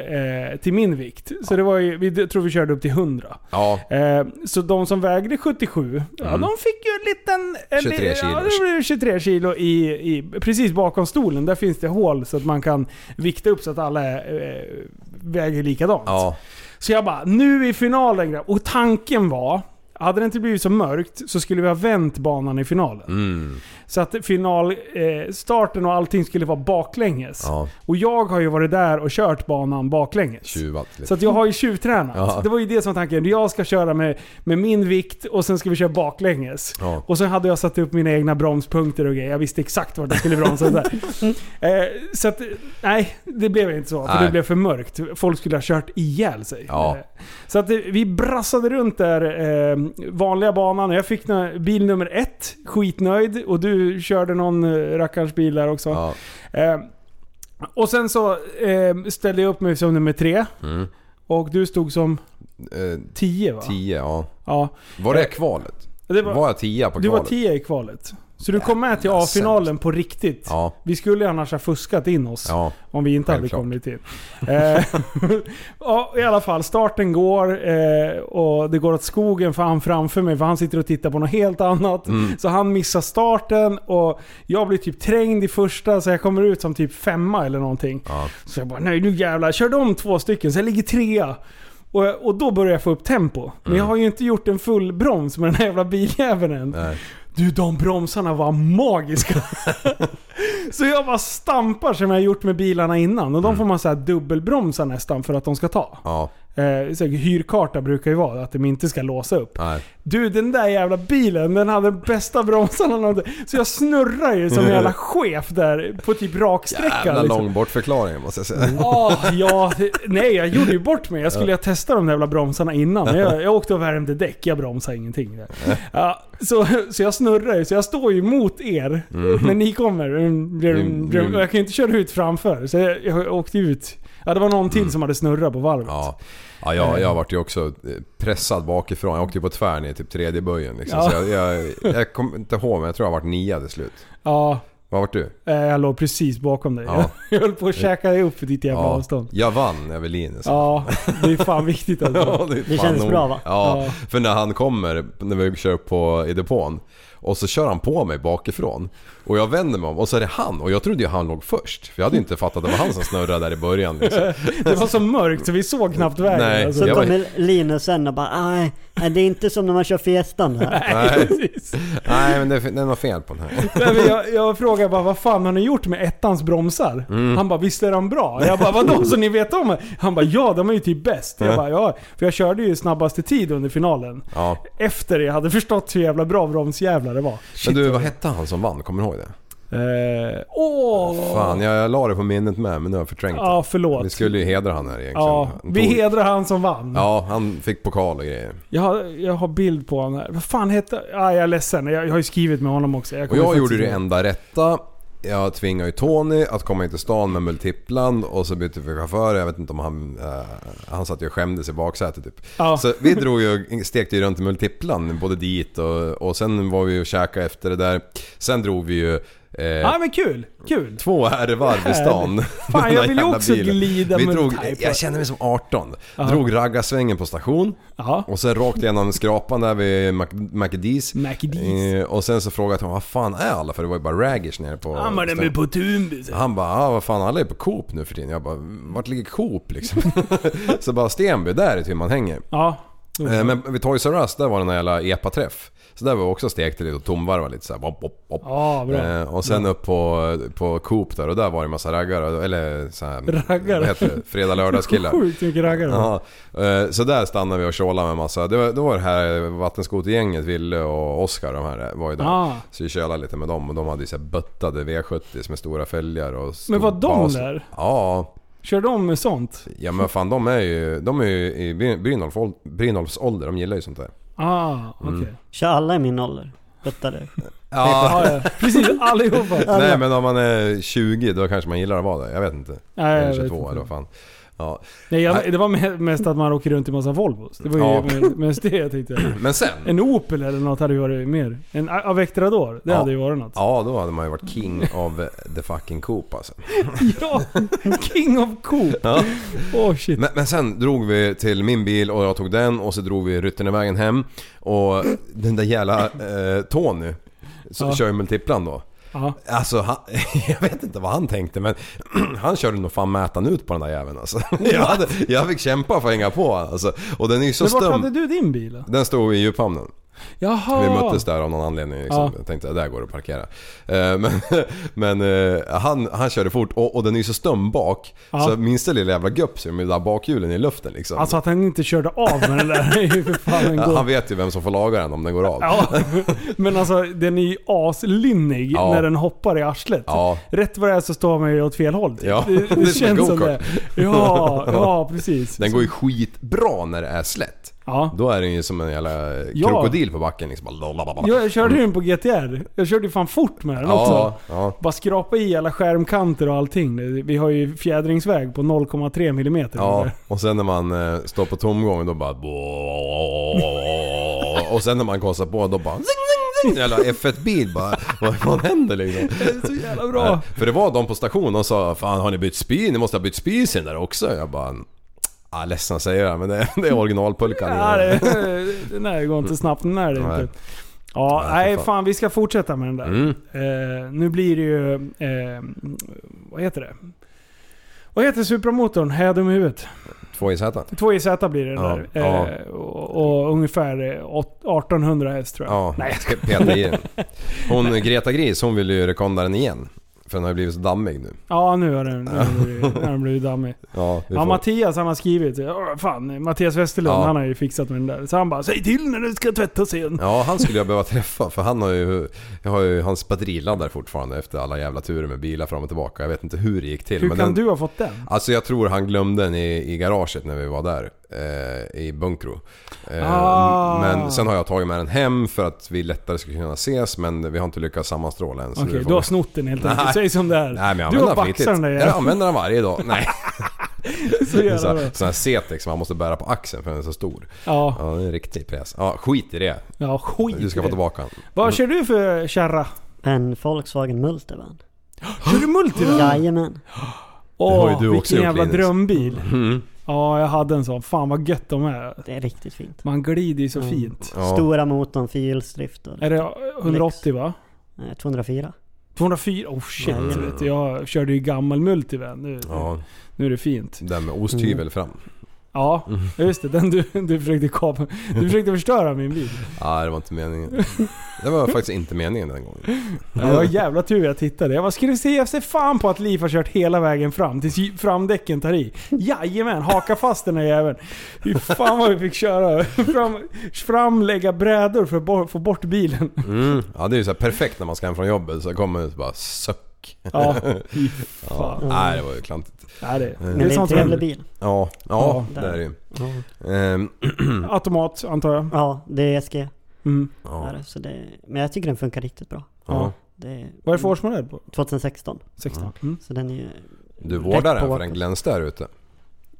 Speaker 5: till min vikt. Så det var ju, vi jag tror vi körde upp till 100.
Speaker 7: Ja,
Speaker 5: Eh, så de som vägde 77, ja,
Speaker 7: Mm.
Speaker 5: de fick ju en liten... En,
Speaker 7: 23 kilo.
Speaker 5: Ja, det blev 23 kilo i, i, precis bakom stolen. Där finns det hål så att man kan vikta upp så att alla eh, väger likadant.
Speaker 7: ja.
Speaker 5: Så jag bara, nu i finalen grabb. Och tanken var Hade det inte blivit så mörkt så skulle vi ha vänt banan i finalen.
Speaker 7: Mm.
Speaker 5: Så att finalstarten eh, starten och allting skulle vara baklänges.
Speaker 7: Ja,
Speaker 5: Och jag har ju varit där och kört banan baklänges.
Speaker 7: tjuvat
Speaker 5: Så
Speaker 7: lite.
Speaker 5: att jag har ju tjuvtränat.
Speaker 7: Ja.
Speaker 5: Det var ju det som var tanken. Jag ska köra med, med min vikt och sen ska vi köra baklänges.
Speaker 7: Ja.
Speaker 5: Och sen hade jag satt upp mina egna bromspunkter och grejer. Jag visste exakt vart jag skulle bromsa. och sådär.
Speaker 7: (laughs)
Speaker 5: eh, så att, nej, det blev inte så. För
Speaker 7: Nej.
Speaker 5: det blev för mörkt. Folk skulle ha kört ihjäl sig.
Speaker 7: Ja.
Speaker 5: Eh, Så att eh, vi brassade runt där, eh, vanliga banan. Jag fick nå- bil nummer ett, skitnöjd. Och du körde någon eh, rackarns bil där också.
Speaker 7: Ja.
Speaker 5: Eh, och sen så eh, ställde jag upp mig som nummer tre.
Speaker 7: Mm.
Speaker 5: Och du stod som
Speaker 7: Eh,
Speaker 5: 10 va?
Speaker 7: tio, ja.
Speaker 5: Ja.
Speaker 7: Var det kvalet?
Speaker 5: Det
Speaker 7: Var,
Speaker 5: var,
Speaker 7: jag tia på
Speaker 5: du var
Speaker 7: kvalet?
Speaker 5: 10 i kvalet. Så du kom med till A-finalen på riktigt.
Speaker 7: Ja,
Speaker 5: Vi skulle ju annars ha fuskat in oss
Speaker 7: ja.
Speaker 5: om vi inte
Speaker 7: självklart.
Speaker 5: hade kommit in. Eh, (laughs) ja, I alla fall, starten går eh, och det går åt skogen för han framför mig. För han sitter och tittar på något helt annat.
Speaker 7: Mm.
Speaker 5: Så han missar starten och jag blir typ trängd i första så jag kommer ut som typ femma eller någonting.
Speaker 7: Ja.
Speaker 5: Så jag bara nej nu jävlar, kör de två stycken så jag ligger trea. Och, och då börjar jag få upp tempo. Men
Speaker 7: Mm.
Speaker 5: jag har ju inte gjort en full broms med den här jävla biljäveln än.
Speaker 7: Nej.
Speaker 5: Du, de bromsarna var
Speaker 7: (laughs)
Speaker 5: magiska. så jag bara stampar som jag gjort med bilarna innan. Och de får man så här dubbelbromsa nästan för att de ska ta.
Speaker 7: Mm. Ja,
Speaker 5: Eh, så hyrkarta brukar ju vara att de inte ska låsa upp.
Speaker 7: nej.
Speaker 5: Du, den där jävla bilen, den hade de bästa bromsarna. någonsin. Så jag snurrar ju
Speaker 7: (laughs)
Speaker 5: som en jävla chef där på typ raksträcka.
Speaker 7: Jävla
Speaker 5: liksom.
Speaker 7: lång bortförklaring måste jag säga. (laughs)
Speaker 5: Ah, ja, det- nej, jag gjorde ju bort mig. Jag skulle ju testa de där jävla bromsarna innan. Men jag, jag åkte och värmde däck. Jag bromsade ingenting. Där. Ja, så, så jag snurrar ju. Så jag står ju mot er. När ni kommer. Mm, brum, brum. Och Jag kan ju inte köra ut framför. Så jag, jag åkte ut. Ja, det var någon till som hade snurrat på varvet.
Speaker 7: Mm. Ja, ja jag, jag vart ju också eh, pressad bakifrån. Jag åkte ju på tvärn i typ tredje böjen liksom.
Speaker 5: Ja.
Speaker 7: Så jag, jag, jag kommer inte ihåg men jag tror jag vart nia till slut.
Speaker 5: Ja,
Speaker 7: Vad vart du?
Speaker 5: eh, jag låg precis bakom dig.
Speaker 7: Ja.
Speaker 5: Jag höll på att käka dig upp för ditt jävla avstånd.
Speaker 7: jag vann över Linus.
Speaker 5: Ja, det är fan viktigt
Speaker 7: (laughs)
Speaker 5: alltså.
Speaker 7: det, är
Speaker 8: Det
Speaker 7: fan
Speaker 8: kändes
Speaker 7: nog-
Speaker 8: bra, va?
Speaker 7: Ja,
Speaker 5: Ja.
Speaker 7: för när han kommer, när vi kör upp på, i depån. Och så kör han på mig bakifrån. Och jag vänder mig om och så är det han. Och jag trodde ju han låg först. För jag hade inte fattat att det var han som snurrade där i början. Liksom.
Speaker 5: Det var så mörkt så vi såg knappt vägen.
Speaker 7: Nej.
Speaker 5: Alltså. (laughs)
Speaker 8: Så
Speaker 7: Jag
Speaker 8: kommer Linus sen och bara nej, nej, det är inte som när man kör festan här.
Speaker 7: Nej,
Speaker 5: Precis.
Speaker 7: nej men det, det är något fel på den här.
Speaker 5: Nej, men jag, jag frågar bara vad fan har ni gjort med ettans bromsar?
Speaker 7: Mm.
Speaker 5: Han bara visst är de bra? Jag bara vadå så ni vet om det?" Han bara ja de är ju typ bäst. Jag bara ja. För jag körde ju snabbaste tid under finalen.
Speaker 7: Ja.
Speaker 5: Efter jag hade förstått hur jävla bra bromsjävlar det var.
Speaker 7: Men du, vad hette han som vann? Kommer du ihåg det?
Speaker 5: Eh, åh!
Speaker 7: Fan, liksom. jag, jag la det på minnet med men nu har jag förträngt
Speaker 5: Ja
Speaker 7: det. Vi
Speaker 5: förlåt.
Speaker 7: skulle ju hedra han här egentligen.
Speaker 5: Ja,
Speaker 7: Han
Speaker 5: vi
Speaker 7: tog-
Speaker 5: hedrar han som vann.
Speaker 7: Ja, han fick pokal och grejer.
Speaker 5: Jag, har, jag har bild på honom här. Vad fan hette... Ah, jag är ledsen. Jag, jag har ju skrivit med honom också.
Speaker 7: Och
Speaker 5: kommer
Speaker 7: jag
Speaker 5: faktiskt
Speaker 7: gjorde det
Speaker 5: inte-
Speaker 7: enda rätta. Jag tvingade ju Tony att komma in till stan med multiplan och så bytte vi chaufför. Jag vet inte om han... eh, han satt ju och skämdes i baksätet typ.
Speaker 5: Ja.
Speaker 7: Så vi drog ju, stekte ju runt i multiplan både dit och, och sen var vi ju och käkade efter det där. Sen drog vi ju... eh,
Speaker 5: ah, men kul! Kul!
Speaker 7: Två herrvarv i stan.
Speaker 5: Fan,
Speaker 7: (laughs) Den
Speaker 5: jag
Speaker 7: där
Speaker 5: vill
Speaker 7: jävla
Speaker 5: också
Speaker 7: bilen.
Speaker 5: glida
Speaker 7: Vi
Speaker 5: med
Speaker 7: drog,
Speaker 5: en Type.
Speaker 7: Jag kände mig som 18. Drog raggarsvängen på station.
Speaker 5: Ja.
Speaker 7: Och sen rakt igenom skrapan där vid Mac- McDees.
Speaker 5: McDees.
Speaker 7: Eh, och sen så frågade jag till honom, vad fan är alla? För det var ju bara raggers nere på...
Speaker 5: Han var den med på Tumby.
Speaker 7: Han bara, ah, vad fan alla är på Coop nu för tiden. Jag bara, vart ligger Coop liksom? (laughs) så bara Stenby, där är typ man hänger.
Speaker 5: Ja.
Speaker 7: Eh, Men vid Toys R Us, där var den där jävla EPA-träff. Så där var vi också stekte lite och tomvarvade lite såhär. Bop, bop, bop.
Speaker 5: Ja, bra.
Speaker 7: Eh, och sen upp på, på Coop där och där var det en massa raggare. Eller såhär...
Speaker 5: Raggare?
Speaker 7: Vad heter det? Fredag
Speaker 5: (laughs)
Speaker 7: lördagskillar.
Speaker 5: Sjukt mycket raggare.
Speaker 7: Ja, eh, så där stannade vi och tjålade med massa. Det var, det var det här vattenskotergänget, Ville och Oskar de här eh, var ju där.
Speaker 5: Ah.
Speaker 7: Så vi tjölade lite med dem och de hade ju så här böttade V70 med stora fälgar och stor
Speaker 5: Men var de
Speaker 7: bas.
Speaker 5: där?
Speaker 7: Ja,
Speaker 5: Kör de med sånt?
Speaker 7: ja men fan de är ju, de är ju i Bryn- Brynolf, Brynolfs ålder, de gillar ju sånt där.
Speaker 5: Ah, okej.
Speaker 7: Mm.
Speaker 8: Kör alla i min ålder. Böttar du?
Speaker 7: Ja,
Speaker 5: Ah, ja. (laughs) Precis, allihopa.
Speaker 7: (laughs) nej men om man är 20 då kanske man gillar att vara där, jag vet inte.
Speaker 5: Nej, jag
Speaker 7: eller
Speaker 5: vet
Speaker 7: 22
Speaker 5: inte.
Speaker 7: eller vad fan. Ja.
Speaker 5: Nej, jag, det var me- mest att man åker runt i massa Volvos. Det var ju
Speaker 7: Ja.
Speaker 5: me- mest det jag tänkte.
Speaker 7: Men sen,
Speaker 5: En Opel eller något hade ju varit mer. En A- Avectrador, det
Speaker 7: Ja.
Speaker 5: hade ju varit något.
Speaker 7: ja då hade man ju varit king of the fucking Coop alltså.
Speaker 5: (laughs) Ja, King of Coop.
Speaker 7: Ja.
Speaker 5: Åh shit.
Speaker 7: Men, men sen drog vi till min bil och jag tog den och så drog vi Rytternevägen hem. Och den där jävla eh, Tony så,
Speaker 5: Ja.
Speaker 7: kör ju multiplan då.
Speaker 5: Ja.
Speaker 7: Alltså, han, (laughs) jag vet inte vad han tänkte men (clears throat) han körde nog fan mätan ut på den där jäveln alltså. (laughs) jag, hade, jag fick kämpa för att hänga på alltså. Och den är ju så
Speaker 5: Men vart
Speaker 7: stum.
Speaker 5: hade du din bil då?
Speaker 7: Den stod i djuphamnen.
Speaker 5: Jaha!
Speaker 7: Vi möttes där av någon anledning. Liksom.
Speaker 5: Ja.
Speaker 7: Jag tänkte där går det att parkera. Eh, Men, (laughs) men eh, han, han körde fort och, och den är ju så stum bak.
Speaker 5: Ja.
Speaker 7: Så minsta lilla jävla gupp så är de där bakhjulen i luften liksom.
Speaker 5: Alltså att han inte körde av med den där (laughs) är ju för fan en
Speaker 7: Ja,
Speaker 5: gåta.
Speaker 7: han vet ju vem som får laga den om den går av.
Speaker 5: Ja, men alltså den är ju aslynnig
Speaker 7: Ja.
Speaker 5: när den hoppar i arslet.
Speaker 7: Ja.
Speaker 5: Rätt vad det är så står man ju åt fel håll. typ.
Speaker 7: Ja,
Speaker 5: det,
Speaker 7: det är
Speaker 5: det
Speaker 7: som en
Speaker 5: känns som det.
Speaker 7: go-kart.
Speaker 5: Ja, ja precis.
Speaker 7: Den går ju skitbra när det är slätt.
Speaker 5: Ja.
Speaker 7: Då är den ju som en jävla
Speaker 5: Ja.
Speaker 7: krokodil på backen liksom. Bara lalalala.
Speaker 5: Jag, jag körde ju den på GTR. Jag körde ju fan fort med den
Speaker 7: ja,
Speaker 5: också.
Speaker 7: ja.
Speaker 5: Bara skrapa i alla skärmkanter och allting. Det- Vi har ju fjädringsväg på 0,3 mm.
Speaker 7: Ja, och sen när man eh, står på tomgång då bara... Och sen när man kostar på då bara... zing, zing, zing. Jävla F1-bil bara. Vad vad händer liksom?
Speaker 5: Det är så jävla bra.
Speaker 7: För det var de på stationen och sa Fan har ni bytt spy? Ni måste ha bytt spy i sen där också. Jag bara... Ah, ledsen att säga det men det, (laughs) det är originalpulkan.
Speaker 5: Ja, det, den här går inte snabbt. Den här är det
Speaker 7: Nej.
Speaker 5: inte. Ja,
Speaker 7: Nej, för
Speaker 5: nej
Speaker 7: fan.
Speaker 5: fan. vi ska fortsätta med den där.
Speaker 7: Mm.
Speaker 5: Eh, nu blir det ju... Eh, vad heter det? Vad heter supramotorn? Här är jag dum i huvudet.
Speaker 7: Två i sätan.
Speaker 5: 2JZ blir det den
Speaker 7: Ja,
Speaker 5: där.
Speaker 7: ja.
Speaker 5: Eh, och, och ungefär eh, åt- 1800 häst tror jag.
Speaker 7: Ja, peta i den. Hon Greta Gris, hon ville ju rekonda den igen. För den har ju blivit så dammig nu.
Speaker 5: Ja, nu har den, nu har den blivit- nu har den blivit dammig.
Speaker 7: Ja, (laughs) vi
Speaker 5: Ja,
Speaker 7: får-
Speaker 5: Mattias han har skrivit. "Åh, Fan, Mattias Westerlund
Speaker 7: Ja.
Speaker 5: han har ju fixat med den där. Så han bara “Säg till när du ska tvätta sen”.
Speaker 7: Ja, han skulle jag behöva (laughs) träffa för han har ju, jag har ju hans batteriladdare fortfarande efter alla jävla turer med bilar fram och tillbaka. Jag vet inte hur det gick till.
Speaker 5: Hur kan
Speaker 7: den,
Speaker 5: du ha fått den?
Speaker 7: Alltså jag tror han glömde den i, i garaget när vi var där. Eh, I Bunkro. Eh,
Speaker 5: Ah.
Speaker 7: Men sen har jag tagit med den hem för att vi lättare ska kunna ses men vi har inte lyckats sammanstråla än. så
Speaker 5: Okej,
Speaker 7: vi får-
Speaker 5: du har snott den helt
Speaker 7: Nej.
Speaker 5: enkelt. Säg som det är.
Speaker 7: Nej men jag
Speaker 5: du har
Speaker 7: använder den
Speaker 5: baxat
Speaker 7: flitigt.
Speaker 5: den där
Speaker 7: Jag
Speaker 5: jäveln.
Speaker 7: använder den
Speaker 5: (laughs)
Speaker 7: varje dag. Nej.
Speaker 5: Så jävla bra.
Speaker 7: Sån sån här setex som man måste bära på axeln för den är så stor. Ja,
Speaker 5: Ja,
Speaker 7: det är en riktig pjäs. Ja, skit i det.
Speaker 5: ja skit
Speaker 7: Du ska
Speaker 5: i
Speaker 7: få
Speaker 5: det.
Speaker 7: tillbaka den.
Speaker 5: Vad kör du för kärra?
Speaker 8: En Volkswagen Multivan.
Speaker 5: Kör du multi då?
Speaker 8: Jajamän.
Speaker 7: har ju
Speaker 5: Åh,
Speaker 7: du
Speaker 5: vilken
Speaker 7: också gjort,
Speaker 5: jävla
Speaker 7: Linus.
Speaker 5: drömbil.
Speaker 7: Mm.
Speaker 5: Ja, jag hade en sån. Fan vad gött de är.
Speaker 8: Det är riktigt fint.
Speaker 5: Man glider ju så
Speaker 8: Mm.
Speaker 5: fint.
Speaker 7: Ja.
Speaker 8: Stora motorn, fyrhjulsdrift och
Speaker 5: Är det 180 va?
Speaker 8: eh, 204.
Speaker 5: 204? Oh shit.
Speaker 8: Mm.
Speaker 5: Vet du, jag körde ju gammal multivan. Nu,
Speaker 7: Ja,
Speaker 5: nu är det fint.
Speaker 7: den med osthyvel fram.
Speaker 5: Mm. Ja,
Speaker 7: Mm.
Speaker 5: just det. Den du, du försökte kapa. Du försökte förstöra min bil.
Speaker 7: Nej, det var inte meningen. Det var faktiskt inte meningen den gången.
Speaker 5: Ja, Det var jävla tur jag tittade. Jag bara, skulle se jag ser fan på att Liv har kört hela vägen fram tills ju- framdäcken tar i. Jajamän, haka fast den här jäveln. Fy fan vad vi fick köra. (laughs) Fram, fram lägga brädor för att bo- få bort bilen.
Speaker 7: Mm. Ja, det är ju så här perfekt när man ska hem från jobbet så kommer man ut och bara suck. (laughs)
Speaker 5: Ja, fy fan.
Speaker 7: Nej, det var ju klantigt.
Speaker 5: Nej, det,
Speaker 7: Men
Speaker 5: det
Speaker 8: Men
Speaker 5: är
Speaker 8: det är en
Speaker 5: sånt som
Speaker 8: trevlig
Speaker 5: händer.
Speaker 8: bil.
Speaker 7: Ja, ja,
Speaker 8: Ja,
Speaker 7: det är
Speaker 8: där.
Speaker 7: det ju.
Speaker 8: Ja.
Speaker 7: Ehm,
Speaker 5: Automat antar jag.
Speaker 8: Ja, det är SG.
Speaker 5: Mm.
Speaker 7: ja,
Speaker 8: Är det, så det, men jag tycker den funkar riktigt bra.
Speaker 7: ja.
Speaker 8: Det är
Speaker 5: Vad är det för årsmodell på?
Speaker 8: 2016.
Speaker 5: 16? Mm.
Speaker 8: Så den är ju...
Speaker 7: Du vårdar
Speaker 8: Lätt
Speaker 7: den för
Speaker 8: påverkad.
Speaker 7: den glänste där ute.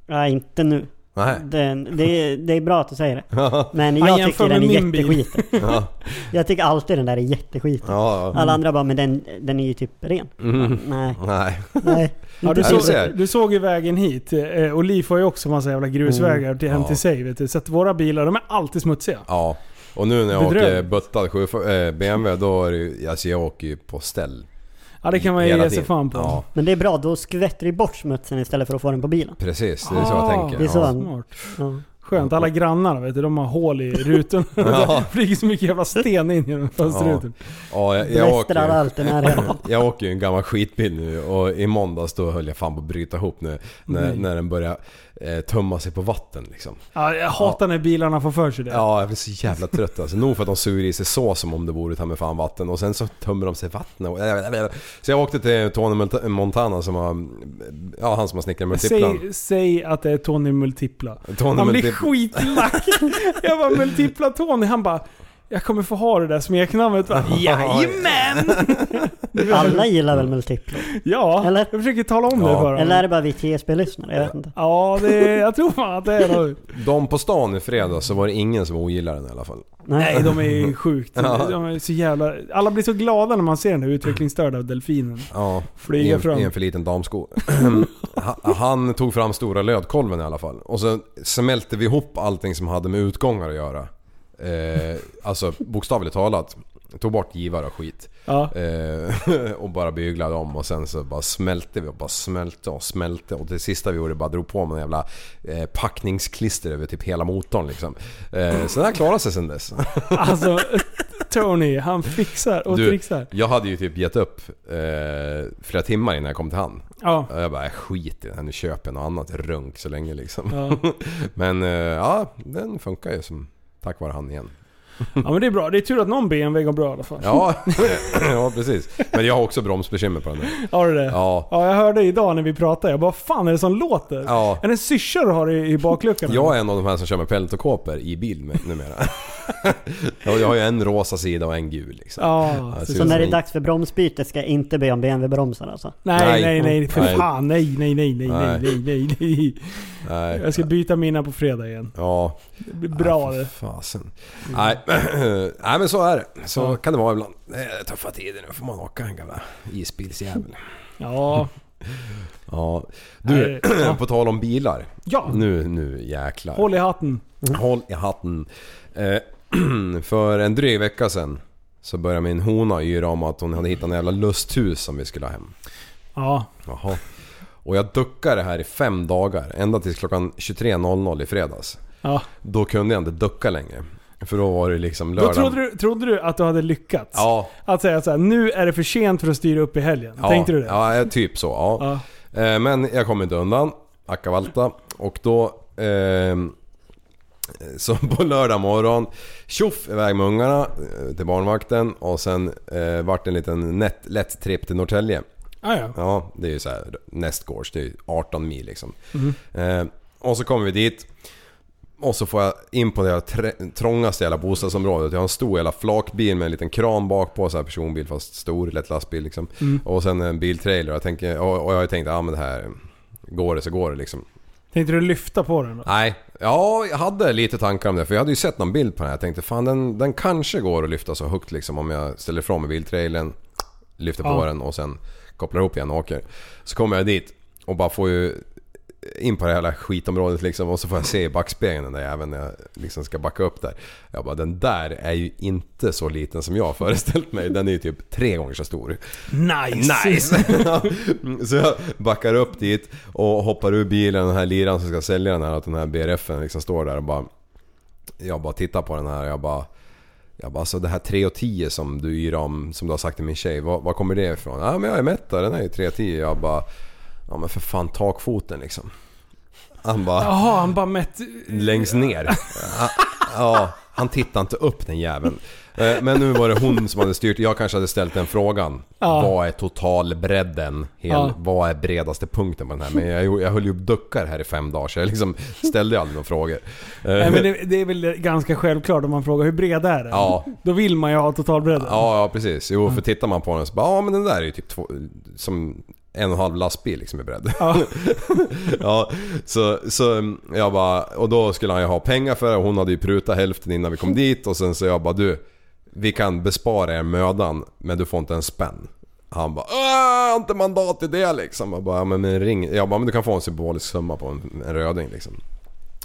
Speaker 8: Nej, inte nu.
Speaker 7: Nej.
Speaker 8: Den, det, är, det är bra att du säger det.
Speaker 7: Ja,
Speaker 8: Men
Speaker 5: Han
Speaker 8: jag
Speaker 5: jämför
Speaker 8: tycker den är
Speaker 5: med min bil.
Speaker 8: jätteskiten.
Speaker 7: ja,
Speaker 8: Jag tycker alltid den där är jätteskiten.
Speaker 7: ja.
Speaker 8: Alla andra bara, men den, den är ju typ ren.
Speaker 7: Mm.
Speaker 8: Nej,
Speaker 7: Nej. (laughs)
Speaker 8: nej.
Speaker 5: Ja, du,
Speaker 7: så.
Speaker 5: såg,
Speaker 7: Jag ser.
Speaker 5: du såg ju vägen hit. Eh, Och Liv har ju också massa jävla grusvägar till, hem
Speaker 7: Ja.
Speaker 5: till sig. Vet du. Så att våra bilar, de är alltid smutsiga.
Speaker 7: Ja. Och nu när jag åker
Speaker 5: Bedrövligt.
Speaker 7: buttad sjufor- eh, BMW då är det ju, alltså jag åker ju på ställ.
Speaker 5: Ja, det kan man ju
Speaker 7: hela
Speaker 5: ge sig
Speaker 7: tiden.
Speaker 5: fan på.
Speaker 7: Ja,
Speaker 8: Men det är bra, då skvätter du bort smutsen istället för att få den på bilen.
Speaker 7: precis. Det är så jag
Speaker 5: Ah,
Speaker 7: tänker.
Speaker 8: det är så.
Speaker 7: Ja.
Speaker 5: Smart.
Speaker 8: Ja.
Speaker 5: Skönt, alla grannar vet du, de har hål i rutorna.
Speaker 7: (laughs) Ja.
Speaker 5: (laughs) Det flyger så mycket jävla sten in genom fönsterrutan.
Speaker 7: Ja, jag, jag åker
Speaker 8: Blästrar
Speaker 7: ju-
Speaker 8: allt
Speaker 7: (laughs)
Speaker 8: i närheten.
Speaker 7: Jag åker ju en gammal skitbil nu och i måndags då höll jag fan på att bryta ihop nu när, när den började eh, tömma sig på vatten liksom.
Speaker 5: Ja. jag hatar när bilarna får för sig det.
Speaker 7: Ja, jag blir så jävla trött alltså. Nog för att de suger i sig så som om det vore ta med fan vatten och sen så tömmer de sig vatten och... Så jag åkte till Tony Monta- Montana som har... Ja, han som har snickrat multiplan.
Speaker 5: Säg, säg att det är Tony Multipla.
Speaker 7: Tony
Speaker 5: han blir
Speaker 7: Multipla.
Speaker 5: skitlack.
Speaker 7: (laughs)
Speaker 5: jag bara Multipla Tony, han bara jag kommer få ha det där smeknamnet va? Jajamän!
Speaker 7: (laughs)
Speaker 8: Alla gillar väl multiplar?
Speaker 5: Ja,
Speaker 8: Eller?
Speaker 5: jag försöker tala om det
Speaker 7: Ja.
Speaker 5: för honom.
Speaker 8: Eller är det bara vi TSB-lyssnare? Jag vet inte.
Speaker 5: Ja, det, jag tror fan att det är det.
Speaker 7: De på stan i fredags så var det ingen som ogillade den i alla fall.
Speaker 5: Nej, de är ju sjukt. De är så jävla... Alla blir så glada när man ser den där utvecklingsstörda delfinen.
Speaker 7: Ja,
Speaker 5: Flyga
Speaker 7: i en,
Speaker 5: fram.
Speaker 7: I en för liten damsko. (clears throat) Ha- han tog fram stora lödkolven i alla fall. Och så smälte vi ihop allting som hade med utgångar att göra. Eh, alltså bokstavligt talat. Tog bort givare och skit.
Speaker 5: Ja.
Speaker 7: Eh, (laughs) och bara byglade om och sen så bara smälte vi och bara smälte och smälte och det sista vi gjorde bara drog på med en jävla eh, packningsklister över typ hela motorn liksom. Eh, så den har klarat sig sen dess.
Speaker 5: Alltså Tony, han fixar (laughs) och
Speaker 7: Du,
Speaker 5: trixar.
Speaker 7: jag hade ju typ gett upp eh, flera timmar innan jag kom till han.
Speaker 5: Ja.
Speaker 7: Och Jag bara, "Äh, skit i det här, nu köper jag något annat runk så länge liksom.
Speaker 5: Ja.
Speaker 7: (laughs) Men eh, ja, den funkar ju som tack vare han igen.
Speaker 5: ja men det är bra. Det är tur att någon BMW går bra i alla fall.
Speaker 7: Ja, (laughs) ja precis. Men jag har också bromsbekymmer på den där.
Speaker 5: Har du det?
Speaker 7: Ja.
Speaker 5: ja, jag hörde idag när vi pratade. Jag bara, fan är det som låter?
Speaker 7: Ja.
Speaker 5: Är det en syrsa du har i, i bakluckan?
Speaker 7: Jag är en av de här som kör med peltokoper i bil
Speaker 5: (laughs)
Speaker 7: med, numera. jag jag har ju en rosa sida och en gul liksom.
Speaker 5: Ja.
Speaker 7: Ja,
Speaker 5: så-
Speaker 7: ser ut
Speaker 8: Så
Speaker 7: som
Speaker 8: när det
Speaker 7: en-
Speaker 8: är dags för bromsbyte ska jag inte be om BMW-bromsar alltså?
Speaker 5: Nej,
Speaker 7: Nej.
Speaker 5: nej, nej. För
Speaker 7: Nej.
Speaker 5: fan. Nej, nej, nej, nej, nej,
Speaker 7: Nej.
Speaker 5: nej, nej, nej.
Speaker 7: Nej.
Speaker 5: Jag ska byta mina på fredag igen.
Speaker 7: Ja,
Speaker 5: Det blir bra
Speaker 7: Nej,
Speaker 5: det.
Speaker 7: fy fasen. Nej. (clears throat) Nej men så är det. Så kan det vara ibland. Det är tuffa tider nu får man åka en gamla isbilsjävel.
Speaker 5: Ja.
Speaker 7: Ja. Du, (clears throat)
Speaker 5: Nej, ja.
Speaker 7: på tal om bilar.
Speaker 5: Ja.
Speaker 7: Nu, nu jäklar.
Speaker 5: Håll i hatten.
Speaker 7: Håll i hatten. Eh, (clears throat) för en dryg vecka sedan så började min hona yra om att hon hade hittat en jävla lusthus som vi skulle ha hem.
Speaker 5: Ja.
Speaker 7: Jaha. Och jag duckade det här i fem dagar, ända tills klockan 23.00 i fredags.
Speaker 5: ja.
Speaker 7: Då kunde jag inte ducka längre. För då var det liksom lördag.
Speaker 5: Då trodde du, trodde du att du hade lyckats?
Speaker 7: Ja.
Speaker 5: Att säga såhär, nu är det för sent för att styra upp i helgen.
Speaker 7: Ja,
Speaker 5: Tänkte du det?
Speaker 7: Ja, eh, typ så. Ja. Eh, Men jag kom inte undan. Akavalta. Och då... ehm, Så (laughs) på lördag morgon, tjoff iväg med ungarna eh, till barnvakten och sen eh, vart det en liten nätt, lätt tripp till Norrtälje.
Speaker 5: Ah, ja.
Speaker 7: Ja, det är ju så här nästgårds. Det är ju 18 mil liksom. Eh, och så kommer vi dit. Och så får jag in på det här trä- trångaste jävla bostadsområdet. Jag har en stor jävla flakbil med en liten kran bak på. Så här personbil fast stor, lätt lastbil liksom. Och sen en biltrailer. Jag tänker, och och jag har ju tänkt, ja ah, men det här... Går det så går det liksom.
Speaker 5: Tänkte du lyfta på den då?
Speaker 7: Nej, ja jag hade lite tankar om det för jag hade ju sett någon bild på den här. Jag tänkte fan den, den kanske går att lyfta så högt liksom om jag ställer ifrån mig biltrailern, lyfter på
Speaker 5: Ja.
Speaker 7: den och sen kopplar ihop igen och åker. Så kommer jag dit och bara får ju in på det här jävla skitområdet liksom och så får jag se i backspegeln den där jäveln när jag liksom ska backa upp där. Jag bara den där är ju inte så liten som jag har föreställt mig. Den är ju typ tre gånger så stor.
Speaker 5: Nice!
Speaker 7: (laughs) så jag backar upp dit och hoppar ur bilen. Den här liran som ska sälja den här, att den här BRFen liksom står där och bara... Jag bara tittar på den här och jag bara... Jag bara, alltså det här 3 och 10 som du yr om, som du har sagt till min tjej, vad, vad kommer det ifrån? Ja men jag är mätt då, den är ju 3 och 10. Jag bara, ja men för fan takfoten liksom. Han bara,
Speaker 5: Jaha, han bara mätt...
Speaker 7: längst ner. Ja, ja, han tittar inte upp den jäveln. Eh, Men nu var det hon som hade styrt. Jag kanske hade ställt den frågan.
Speaker 5: Ja.
Speaker 7: Vad är totalbredden? Hel,
Speaker 5: Ja.
Speaker 7: Vad är bredaste punkten på den här? Men jag, gjorde- jag höll ju upp duckar här i fem dagar så jag liksom ställde aldrig några frågor. Eh,
Speaker 5: Nej, men det, det är väl ganska självklart om man frågar hur bred är den?
Speaker 7: Ja.
Speaker 5: Då vill man ju ha totalbredden.
Speaker 7: Ja, ja precis. Jo, för tittar man på den så bara, ja men den där är ju typ två, som en och en halv lastbil liksom i bredd. (laughs) Ja. så, så mm, jag bara, och då skulle han ju ha pengar för det och hon hade ju prutat hälften innan vi kom dit och sen så jag bara du, vi kan bespara er mödan men du får inte en spänn. Han bara "Åh, jag har inte mandat till det liksom. Jag bara, "Ja, men, men ring. Jag bara, men du kan få en symbolisk summa på en, en röding liksom.